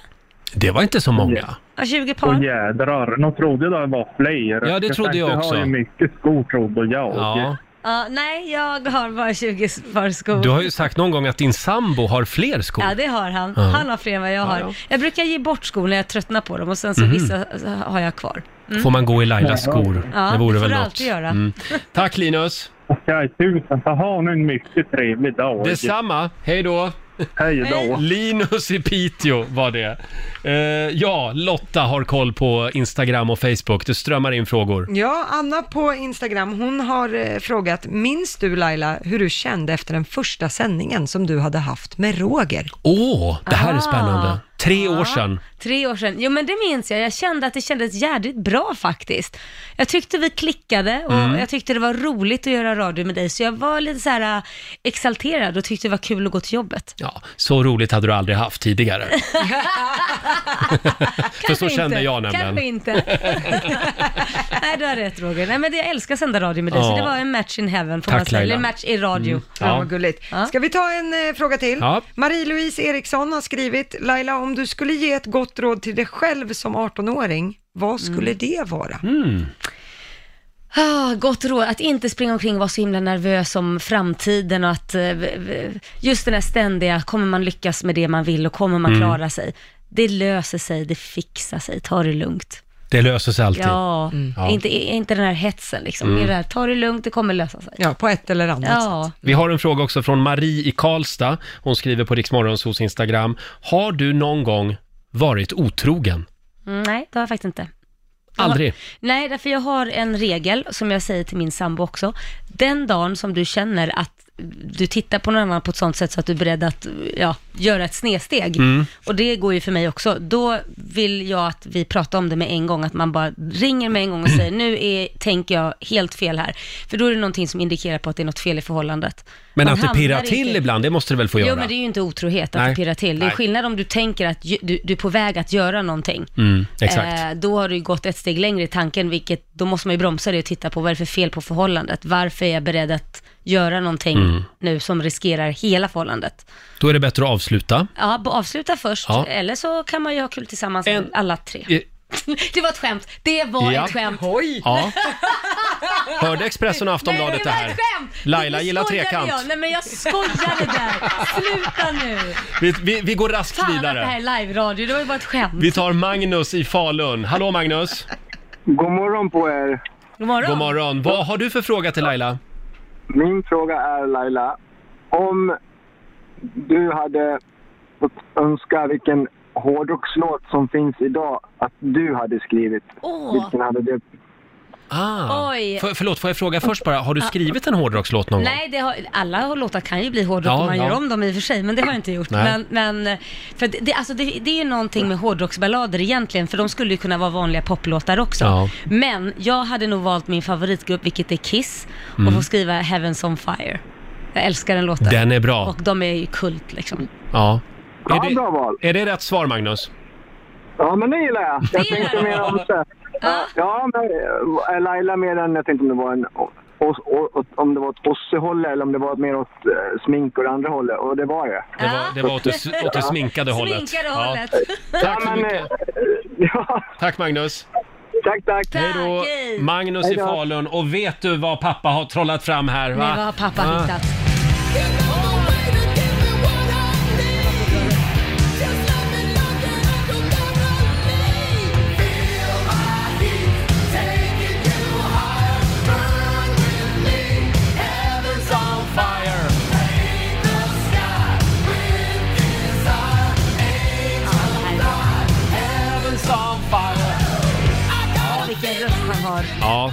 Speaker 1: Det var inte så många.
Speaker 2: Ja, 20 par.
Speaker 10: Åh jädrar, de trodde det var fler.
Speaker 1: Ja, det trodde
Speaker 10: tänkte,
Speaker 1: jag också.
Speaker 10: har ju mycket skor trodde jag.
Speaker 1: Ja.
Speaker 2: Ja, nej, jag har bara 20 par skor.
Speaker 1: Du har ju sagt någon gång att din sambo har fler skor.
Speaker 2: Ja, det har han.
Speaker 1: Ja.
Speaker 2: Han har fler än vad jag
Speaker 1: Ja,
Speaker 2: har.
Speaker 1: ja.
Speaker 2: Jag brukar ge bort skor när jag tröttnar på dem och sen så
Speaker 1: Mhm.
Speaker 2: vissa så har jag kvar. Mm.
Speaker 1: Får man gå i Lailas skor?
Speaker 2: Ja,
Speaker 1: det vore
Speaker 2: det får du
Speaker 1: väl något. Mm.
Speaker 2: alltid göra.
Speaker 1: Tack Linus!
Speaker 10: Okej, tusen tack. Ha nu en mycket trevlig dag.
Speaker 1: Detsamma! Hej då!
Speaker 10: Hej då.
Speaker 1: Linus i Piteå var det. Eh, ja, Lotta har koll på Instagram och Facebook. Det strömmar in frågor.
Speaker 3: Ja, Anna på Instagram, hon har eh, frågat, minns du Laila hur du kände efter den första sändningen som du hade haft med Roger?
Speaker 1: Åh, det här är spännande. Tre år sedan.
Speaker 2: Tre år sedan. Jo men det minns jag. Jag kände att det kändes jädrigt bra faktiskt. Jag tyckte vi klickade och
Speaker 1: Mm.
Speaker 2: jag tyckte det var roligt att göra radio med dig. Så jag var lite så här äh, exalterad och tyckte det var kul att gå till jobbet.
Speaker 1: Ja, så roligt hade du aldrig
Speaker 2: [laughs]
Speaker 1: haft tidigare. För så
Speaker 2: Kanske
Speaker 1: kände
Speaker 2: inte.
Speaker 1: jag nämligen.
Speaker 2: Kanske
Speaker 1: [laughs]
Speaker 2: inte. Nej, du har rätt Roger. Nej, men det, jag älskar att sända radio med dig, så
Speaker 1: Ja.
Speaker 2: det var en match in heaven får
Speaker 1: Tack,
Speaker 2: man säga.
Speaker 1: Laila.
Speaker 2: Eller en match i radio.
Speaker 1: Mm.
Speaker 3: Ja, vad gulligt. Ska vi ta en eh, fråga till?
Speaker 1: Ja.
Speaker 3: Marie-Louise Eriksson har skrivit, Laila om du skulle ge ett gott råd till dig själv som 18-åring, vad skulle det vara?
Speaker 2: Ah, gott råd, att inte springa omkring och vara så himla nervös om framtiden och att eh, v- v- just den där ständiga, kommer man lyckas med det man vill och kommer man
Speaker 1: Mm.
Speaker 2: klara sig? Det löser sig, det fixar sig, ta det lugnt.
Speaker 1: Det löser sig alltid.
Speaker 2: Ja,
Speaker 1: Mm. Ja.
Speaker 2: Inte, inte den här hetsen liksom.
Speaker 1: Mm.
Speaker 2: Det där, ta det lugnt, det kommer lösa sig.
Speaker 3: Ja, på ett eller annat
Speaker 2: ja.
Speaker 1: Vi har en fråga också från Marie i Karlstad. Hon skriver på Riksmorgonsos Instagram. Har du någon gång varit otrogen?
Speaker 2: Mm, Nej, det har jag faktiskt inte.
Speaker 1: Aldrig.
Speaker 2: Nej, därför jag har en regel som jag säger till min sambo också. Den dagen som du känner att du tittar på någon annan på ett sånt sätt så att du är beredd att ja, göra ett snedsteg.
Speaker 9: Mm.
Speaker 2: Och det går ju för mig också. Då vill jag att vi pratar om det med en gång, att man bara ringer med en gång och
Speaker 1: [clears throat]
Speaker 2: säger nu är, tänker jag helt fel här. För då är det någonting som indikerar på att det är något fel i förhållandet.
Speaker 1: Men
Speaker 2: Man
Speaker 1: att det
Speaker 2: hamnar
Speaker 1: pirrar
Speaker 2: inte-
Speaker 1: till ibland, det måste det väl få göra?
Speaker 2: Jo, men det är ju inte otrohet att
Speaker 1: Nej.
Speaker 2: det pirrar till. Det är
Speaker 1: Nej.
Speaker 2: skillnad om du tänker att ju- du, du är på väg att göra någonting.
Speaker 1: Mm, exakt.
Speaker 2: Eh, då har du ju gått ett steg längre i tanken, vilket då måste man ju bromsa det och titta på vad är det för fel på förhållandet. Varför är jag beredd att göra någonting
Speaker 1: Mm.
Speaker 2: nu som riskerar hela förhållandet?
Speaker 1: Då är det bättre att avsluta.
Speaker 2: Ja, b- avsluta först,
Speaker 1: Ja.
Speaker 2: eller så kan man ju ha kul tillsammans alla tre.
Speaker 1: Eh.
Speaker 2: [laughs] det var ett skämt, det var
Speaker 1: Ja.
Speaker 2: ett skämt.
Speaker 1: Ja. Hörde Expressen och
Speaker 2: Nej,
Speaker 1: Aftonbladet det
Speaker 2: var
Speaker 1: här?
Speaker 2: ett skämt!
Speaker 1: Laila
Speaker 2: Nu
Speaker 1: gillar
Speaker 2: skojade
Speaker 1: trekant.
Speaker 2: Jag. Nej men jag skojade där,
Speaker 1: [laughs]
Speaker 2: sluta nu.
Speaker 1: Vi, vi, vi går raskt
Speaker 2: Fan att det här
Speaker 1: vidare.
Speaker 2: är live-radio, det var ju bara ett skämt.
Speaker 1: Vi tar Magnus i Falun. Hallå Magnus!
Speaker 21: God morgon på er!
Speaker 2: God morgon.
Speaker 1: God morgon. Vad har du för fråga till Laila?
Speaker 21: Min fråga är Laila, om du hade fått önska vilken hårdrockslåt som finns idag att du hade skrivit,
Speaker 2: Åh.
Speaker 21: vilken hade det?
Speaker 1: Ah.
Speaker 2: Oj. Ah.
Speaker 1: För, förlåt, får jag fråga först bara, har du skrivit en hårdrockslåt någon gång?
Speaker 2: Nej, det har, alla låtar kan ju bli hårdrock
Speaker 1: Ja,
Speaker 2: om man
Speaker 1: ja.
Speaker 2: gör om dem i och för sig, men det har jag inte gjort.
Speaker 1: Nej.
Speaker 2: Men, men för det, det, alltså det, det är ju någonting med hårdrocksballader egentligen, för de skulle ju kunna vara vanliga poplåtar också.
Speaker 9: Ja.
Speaker 2: Men jag hade nog valt min favoritgrupp, vilket är Kiss, och
Speaker 1: Mm.
Speaker 2: få skriva Heavens on Fire. Jag älskar den låten.
Speaker 1: Den är bra.
Speaker 2: Och de är ju kult liksom.
Speaker 1: Ja.
Speaker 21: Ja, bra val.
Speaker 1: Är det rätt svar Magnus?
Speaker 21: Ja, men det gillar jag. Jag tänkte mer om det. Ja, men är Laila mer än, jag tänkte om det var en os- o- om det var åt ossehållet eller om det var mer åt eh, smink och det andra hållet. Och det var det.
Speaker 1: Det var, det var åt, det, åt
Speaker 2: [laughs]
Speaker 1: det sminkade hållet.
Speaker 2: Sminkade
Speaker 1: Ja.
Speaker 2: hållet.
Speaker 1: Tack så mycket.
Speaker 21: [laughs]
Speaker 1: Tack Magnus.
Speaker 21: eh, Tack, tack.
Speaker 1: Hej då. Magnus
Speaker 2: Hej
Speaker 1: i
Speaker 2: då.
Speaker 1: Falun. Och vet du vad pappa har trollat fram här? Va?
Speaker 2: Men vad har pappa
Speaker 1: Ja.
Speaker 2: hittat? Vilken röst han har.
Speaker 1: Ja,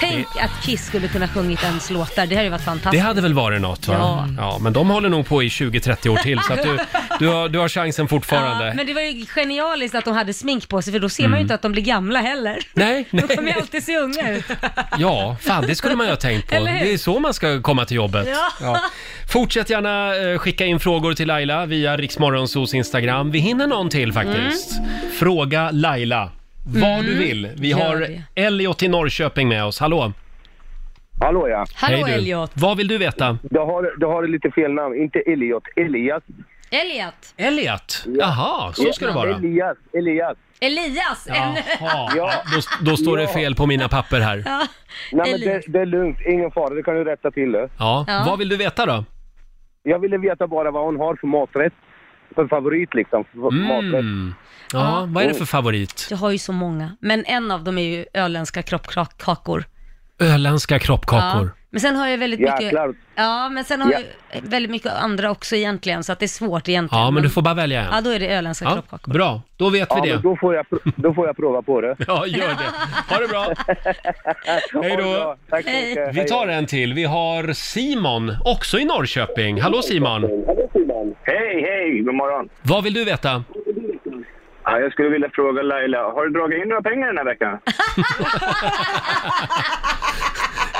Speaker 2: Tänk att Kiss skulle kunna sjungit ens låtar, det hade ju varit
Speaker 1: det
Speaker 2: fantastiskt.
Speaker 1: hade väl varit något va?
Speaker 2: Ja.
Speaker 1: ja men de håller nog på i 20-30 år till så att du, du, har, du har chansen fortfarande.
Speaker 2: Ja, men det var ju genialiskt att de hade smink på sig för då ser man
Speaker 1: Mm.
Speaker 2: ju inte att de blir gamla heller.
Speaker 1: Nej,
Speaker 2: [laughs] De kommer ju alltid se unga ut.
Speaker 1: Ja, fan det skulle man ju ha tänkt på.
Speaker 2: Eller hur?
Speaker 1: Det är så man ska komma till jobbet.
Speaker 2: Ja.
Speaker 1: Fortsätt gärna eh, skicka in frågor till Laila via Riksmorgonsos Instagram. Vi hinner någon till faktiskt. Fråga Laila vad
Speaker 2: Mm.
Speaker 1: du vill. Vi
Speaker 2: Gör
Speaker 1: har
Speaker 2: det.
Speaker 1: Elliot i Norrköping med oss. Hallå!
Speaker 22: Hallå ja.
Speaker 2: Hallå, Elliot.
Speaker 1: Vad vill du veta?
Speaker 22: Du har, du har lite fel namn. Inte Elliot, Elias.
Speaker 2: Elliot.
Speaker 1: Elliot? Jaha, så ska det vara.
Speaker 22: Elias, Elias.
Speaker 2: Elias! en-
Speaker 1: Jaha, då, då står det
Speaker 22: Ja.
Speaker 1: fel på mina papper här.
Speaker 2: Ja.
Speaker 22: Nej men det,
Speaker 2: Elias.
Speaker 22: det är lugnt, ingen fara. Det kan du rätta till det.
Speaker 1: Ja.
Speaker 22: Ja.
Speaker 1: Vad vill du veta då?
Speaker 22: Jag ville veta bara vad hon har för maträtt. För favorit liksom. För Maträtt.
Speaker 1: Ja, vad är det för
Speaker 22: Oh.
Speaker 1: favorit?
Speaker 2: Jag har ju så många, men en av dem är ju öländska kroppkakor.
Speaker 1: Öländska kroppkakor.
Speaker 2: Ja. Men sen har jag väldigt mycket...
Speaker 1: Jäklar.
Speaker 2: Ja, men sen har
Speaker 1: Ja.
Speaker 2: jag väldigt mycket andra också egentligen, så att det är svårt
Speaker 1: Ja,
Speaker 2: egentligen.
Speaker 1: men du får bara välja en.
Speaker 2: Ja, då är det öländska
Speaker 1: Ja,
Speaker 2: kroppkakor.
Speaker 1: Bra, då vet
Speaker 22: Ja,
Speaker 1: vi det.
Speaker 22: men då, får jag, pro- då får jag prova på det.
Speaker 1: Ja, gör det.
Speaker 22: [laughs]
Speaker 1: Ha det bra. Hej då.
Speaker 22: Tack så mycket.
Speaker 1: Vi tar en till. Vi har Simon, också i Norrköping. Hallå Simon!
Speaker 23: Hej, hej, god morgon.
Speaker 1: Vad vill du veta?
Speaker 23: Ja, jag skulle vilja fråga Laila, har du dragit in några pengar den här veckan?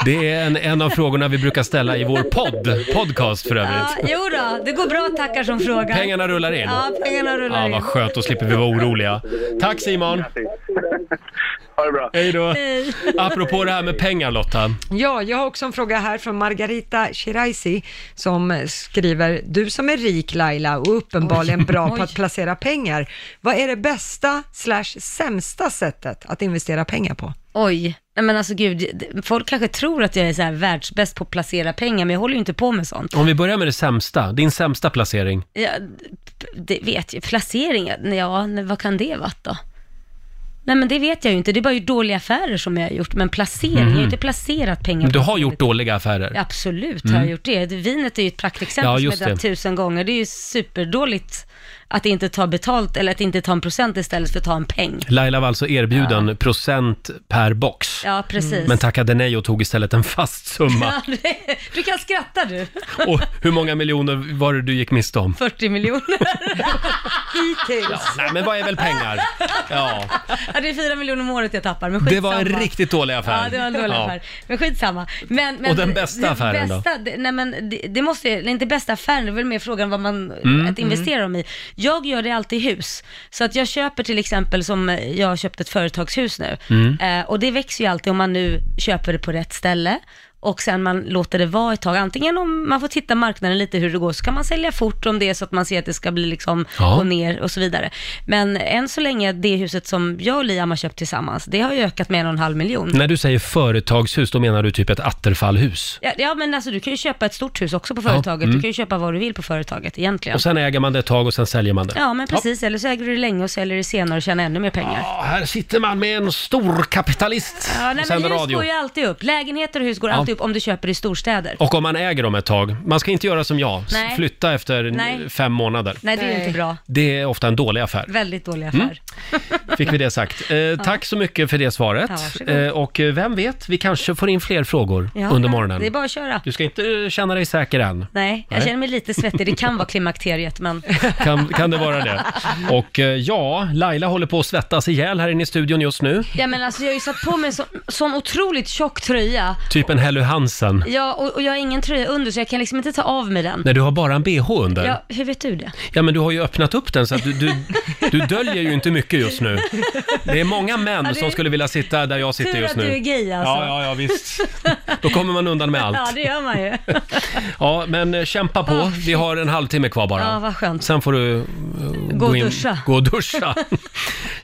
Speaker 1: Det är en, en av frågorna vi brukar ställa i vår podd, podcast för
Speaker 2: Ja,
Speaker 1: övrigt.
Speaker 2: jo då, det går bra tackar som frågar.
Speaker 1: Pengarna rullar in.
Speaker 2: Ja, pengarna rullar
Speaker 1: Ja,
Speaker 2: in.
Speaker 1: vad skönt, då slipper vi vara oroliga. Tack Simon!
Speaker 23: Ha det bra.
Speaker 1: Hej då!
Speaker 3: Hej.
Speaker 1: Apropå det här med pengar Lotta.
Speaker 3: Ja, jag har också en fråga här från Margarita Shiraisi som eh, skriver, du som är rik Laila och uppenbarligen bra på att placera pengar, vad är det bästa slash sämsta sättet att investera pengar på?
Speaker 2: Oj, nej men alltså gud, folk kanske tror att jag är så här världsbäst på att placera pengar, men jag håller ju inte på med sånt.
Speaker 1: Om vi börjar med det sämsta, din sämsta placering.
Speaker 2: Jag, det vet jag, placeringar, ja, nej, vad kan det vara då? Nej men det vet jag ju inte, det är bara ju dåliga affärer som jag har gjort, men placering, jag har
Speaker 1: Mhm.
Speaker 2: ju inte placerat pengar
Speaker 1: Men Du
Speaker 2: på
Speaker 1: har gjort dåliga affärer.
Speaker 2: Absolut
Speaker 1: Mm.
Speaker 2: har jag gjort det. Vinet är ju ett praktexempel
Speaker 1: Ja,
Speaker 2: som jag
Speaker 1: just
Speaker 2: har dragit
Speaker 1: det.
Speaker 2: tusen gånger. Det är ju superdåligt Att inte ta betalt eller att inte ta en procent istället för att ta en peng.
Speaker 1: Laila var alltså erbjuden procent per box.
Speaker 2: Ja, precis.
Speaker 1: Men tackade nej och tog istället en fast summa.
Speaker 2: Ja, [laughs] det- du kan skratta du. [laughs]
Speaker 1: Och hur många miljoner var det du gick miste om?
Speaker 2: 40 miljoner. Hittills.
Speaker 1: Ja,
Speaker 2: Ja.
Speaker 1: nej, men vad är väl pengar? Ja.
Speaker 2: det är 4 miljoner om året jag tappar, men
Speaker 1: Det
Speaker 2: skitsamma.
Speaker 1: var en riktigt dålig affär.
Speaker 2: Ja, det var en dålig
Speaker 1: Ja.
Speaker 2: affär. Men skitsamma. Men, men,
Speaker 1: Och den bästa
Speaker 2: det
Speaker 1: affären då?
Speaker 2: bästa, det, nej men det, det måste, eller inte bästa affären, det är väl mer frågan vad man,
Speaker 7: Mm.
Speaker 2: att investera dem i. Jag gör det alltid i hus. Så att jag köper till exempel, som eh, jag har köpt ett företagshus nu,
Speaker 7: Mm.
Speaker 2: eh, och det växer ju alltid om man nu köper det på rätt ställe. Och sen man låter det vara ett tag, antingen om man får titta marknaden lite hur det går, så kan man sälja fort om det är så att man ser att det ska bli liksom
Speaker 7: Ja.
Speaker 2: gå ner och så vidare. Men än så länge, det huset som jag och Liam har köpt tillsammans, det har ju ökat med en och en halv miljon.
Speaker 1: När du säger företagshus, då menar du typ ett Attefallhus.
Speaker 2: Ja, ja men alltså du kan ju köpa ett stort hus också på företaget.
Speaker 1: mm.
Speaker 2: Du kan ju köpa vad du vill på företaget egentligen.
Speaker 1: Och sen äger man det ett tag och sen säljer man det.
Speaker 2: Ja men precis, eller så äger du det länge och säljer det senare och tjänar ännu mer pengar.
Speaker 1: Ja, här sitter man med en stor kapitalist
Speaker 2: Ja, nej,
Speaker 1: och
Speaker 2: men
Speaker 1: sänder
Speaker 2: hus
Speaker 1: radio.
Speaker 2: går ju alltid upp. Lägenheter och hus går
Speaker 1: Ja.
Speaker 2: alltid upp om du köper i storstäder.
Speaker 1: Och om man äger dem ett tag. Man ska inte göra som jag, s-
Speaker 2: Nej.
Speaker 1: flytta efter
Speaker 2: Nej.
Speaker 1: fem månader.
Speaker 2: Nej, det är ju inte bra.
Speaker 1: Det är ofta en dålig affär.
Speaker 2: Väldigt dålig
Speaker 1: Mm.
Speaker 2: affär.
Speaker 1: Fick vi det sagt. Eh, tack så mycket för det svaret.
Speaker 2: Ja, varsågod.
Speaker 1: eh, och eh, vem vet, vi kanske får in fler frågor
Speaker 2: Ja,
Speaker 1: under morgonen.
Speaker 2: Det är bara att köra.
Speaker 1: Du ska inte eh, känna dig säker än.
Speaker 2: Nej, jag
Speaker 1: Nej.
Speaker 2: känner mig lite svettig. Det kan vara klimakteriet,
Speaker 1: [laughs]
Speaker 2: men...
Speaker 1: Kan, kan det
Speaker 2: [laughs]
Speaker 1: vara det? Och eh, ja, Laila håller på att svettas ihjäl här inne i studion just nu.
Speaker 2: Ja, men alltså, jag har ju satt på mig en så, sån otroligt tjock tröja.
Speaker 1: Typ en Helly Hansen.
Speaker 2: Ja, och, och jag har ingen tröja under, så jag kan liksom inte ta av mig den.
Speaker 1: Nej, du har bara en bh under.
Speaker 2: Ja, hur vet du det?
Speaker 1: Ja, men du har ju öppnat upp den så att du, du, du döljer ju inte mycket just nu. Det är många män
Speaker 2: Ja, det är-
Speaker 1: som skulle vilja sitta där jag sitter
Speaker 2: Tur
Speaker 1: just
Speaker 2: att
Speaker 1: nu.
Speaker 2: du är gay, alltså.
Speaker 1: Ja, ja, ja, visst. Då kommer man undan med
Speaker 2: Ja,
Speaker 1: allt.
Speaker 2: det gör man
Speaker 1: [laughs]
Speaker 2: ju.
Speaker 1: Ja, men eh, kämpa på. Vi har en halvtimme kvar bara.
Speaker 2: Ja, vad skönt.
Speaker 1: Sen får du eh,
Speaker 2: Gå och duscha.
Speaker 1: Gå och duscha.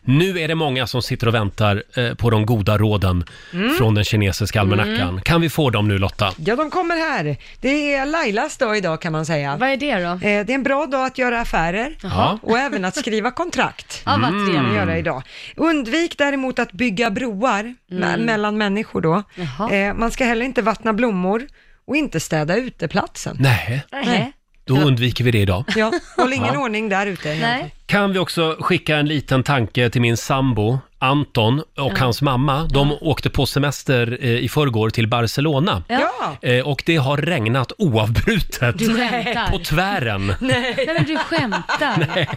Speaker 1: nu är det många som sitter och väntar eh, på de goda råden
Speaker 3: Mm.
Speaker 1: från den kinesiska almanackan.
Speaker 3: Mm.
Speaker 1: Kan vi få dem nu Lotta?
Speaker 3: Ja, de kommer här. Det är Lailas dag idag kan man säga.
Speaker 2: Vad är det då?
Speaker 3: Eh, Det är en bra dag att göra affärer
Speaker 1: Jaha.
Speaker 3: och även att skriva kontrakt.
Speaker 2: Ja, vad Mm. trevligt.
Speaker 3: Kan man göra idag. Undvik däremot att bygga broar me-
Speaker 2: Mm.
Speaker 3: mellan människor då. Eh, Man ska heller inte vattna blommor och inte städa uteplatsen.
Speaker 1: Nej,
Speaker 3: Nej.
Speaker 1: då undviker vi det idag.
Speaker 3: Ja, håll ingen
Speaker 1: Ja.
Speaker 3: ordning där ute.
Speaker 2: Nej.
Speaker 1: Kan vi också skicka en liten tanke till min sambo Anton och hans mamma. De åkte på semester eh, i förrgår till Barcelona.
Speaker 2: Ja.
Speaker 1: Eh, Och det har regnat oavbrutet.
Speaker 2: Du skämtar. [laughs]
Speaker 1: På tvären.
Speaker 2: Nej. men du skämtar. Nej.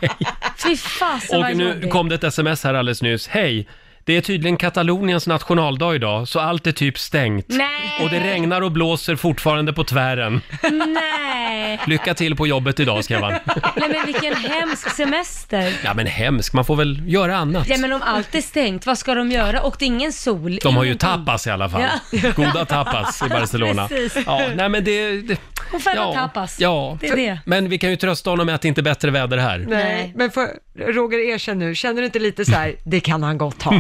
Speaker 2: Fy fasen
Speaker 1: Och
Speaker 2: vad
Speaker 1: nu
Speaker 2: jobbigt.
Speaker 1: kom det ett sms här alldeles nyss. Hej! Det är tydligen Kataloniens nationaldag idag, så allt är typ stängt.
Speaker 2: Nej.
Speaker 1: Och det regnar och blåser fortfarande på tvären.
Speaker 2: Nej.
Speaker 1: Lycka till på jobbet idag, skrev
Speaker 2: [laughs]
Speaker 1: han.
Speaker 2: Nej men vilken hemsk semester.
Speaker 1: Ja men hemskt, man får väl göra annat.
Speaker 2: Ja men om allt är stängt, vad ska de göra? Och det är ingen sol.
Speaker 1: De har ju
Speaker 2: ingenting.
Speaker 1: tapas i alla fall.
Speaker 2: Ja.
Speaker 1: [laughs] Goda tapas i Barcelona.
Speaker 2: Precis.
Speaker 1: Ja, nej men det... det
Speaker 2: Hon får
Speaker 1: ja,
Speaker 2: äta tapas.
Speaker 1: Ja.
Speaker 2: Det är det.
Speaker 1: Men vi kan ju trösta honom med att det inte är bättre väder här.
Speaker 2: [laughs]
Speaker 3: Nej, men för, Roger, erkänn nu, känner du inte lite så här, det kan han gott
Speaker 1: [laughs]
Speaker 3: ha?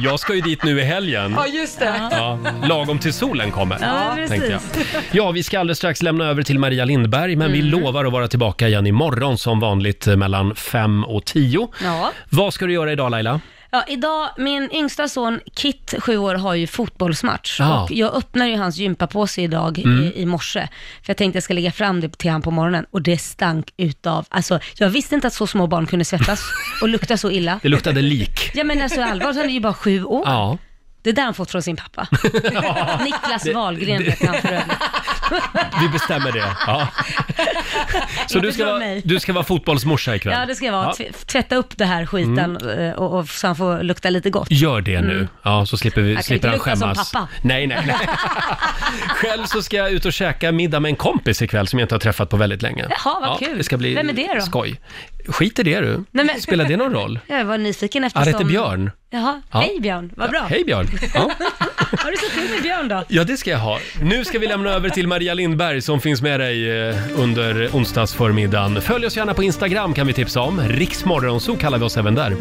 Speaker 1: Jag ska ju dit nu i helgen.
Speaker 3: Ja, just det.
Speaker 1: Ja, lagom till solen kommer,
Speaker 3: Ja, precis.
Speaker 1: tänkte jag. Ja, vi ska alldeles strax lämna över till Maria Lindberg, men vi
Speaker 2: Mm.
Speaker 1: lovar att vara tillbaka igen imorgon som vanligt eh, mellan 5 och 10.
Speaker 2: Ja.
Speaker 1: Vad ska du göra idag Laila?
Speaker 2: Ja, idag, min yngsta son Kit, sju år, har ju fotbollsmatch.
Speaker 1: Ja.
Speaker 2: Och jag öppnar ju hans gympapåse idag
Speaker 7: Mm.
Speaker 2: i, i morse. För jag tänkte jag ska lägga fram det till han på morgonen. Och det stank utav, alltså jag visste inte att så små barn kunde
Speaker 1: [laughs]
Speaker 2: svettas och lukta så illa.
Speaker 1: Det
Speaker 2: [laughs]
Speaker 1: luktade lik.
Speaker 2: Ja men alltså allvarligt, han är ju bara sju år.
Speaker 1: Ja.
Speaker 2: Det där har han fått från sin
Speaker 1: [laughs]
Speaker 2: pappa. Niklas
Speaker 1: Det-
Speaker 2: Wahlgren
Speaker 1: det-
Speaker 2: heter han för övrigt.
Speaker 1: Vi bestämmer det. Ja. Så
Speaker 2: Inte
Speaker 1: du ska,
Speaker 2: från
Speaker 1: vara,
Speaker 2: mig.
Speaker 1: du ska vara fotbollsmorsa ikväll?
Speaker 2: Ja det ska jag vara.
Speaker 1: Ja.
Speaker 2: Tv- Tvätta upp det här skiten eh, och, och, så han får lukta lite gott.
Speaker 1: Gör det nu.
Speaker 2: Mm.
Speaker 1: Ja, så slipper, vi,
Speaker 2: Jag kan
Speaker 1: slipper han
Speaker 2: inte lukta som
Speaker 1: skämmas.
Speaker 2: pappa.
Speaker 1: Nej, nej,
Speaker 2: [laughs]
Speaker 1: nej. Själv så ska jag ut och käka middag med en kompis ikväll som jag inte har träffat på väldigt länge.
Speaker 2: Jaha, vad kul.
Speaker 1: Det ska bli
Speaker 2: Vem är det då?
Speaker 1: skoj. Skit i det du.
Speaker 2: Nej, men-
Speaker 1: Spelar det
Speaker 2: [laughs]
Speaker 1: någon roll?
Speaker 2: Jag var nyfiken
Speaker 1: Ja, det
Speaker 2: eftersom...
Speaker 1: heter Björn.
Speaker 2: Jaha,
Speaker 1: Ja.
Speaker 2: hej Björn, vad bra.
Speaker 1: Hej Björn. Ja.
Speaker 2: Har du sett till med Björn då?
Speaker 1: ja, det ska jag ha. Nu ska vi lämna över till Maria Lindberg som finns med dig eh, under
Speaker 2: Mm.
Speaker 1: onsdagsförmiddagen. Följ oss gärna på Instagram kan vi tipsa om. Riksmorgonzoo kallar vi oss även där.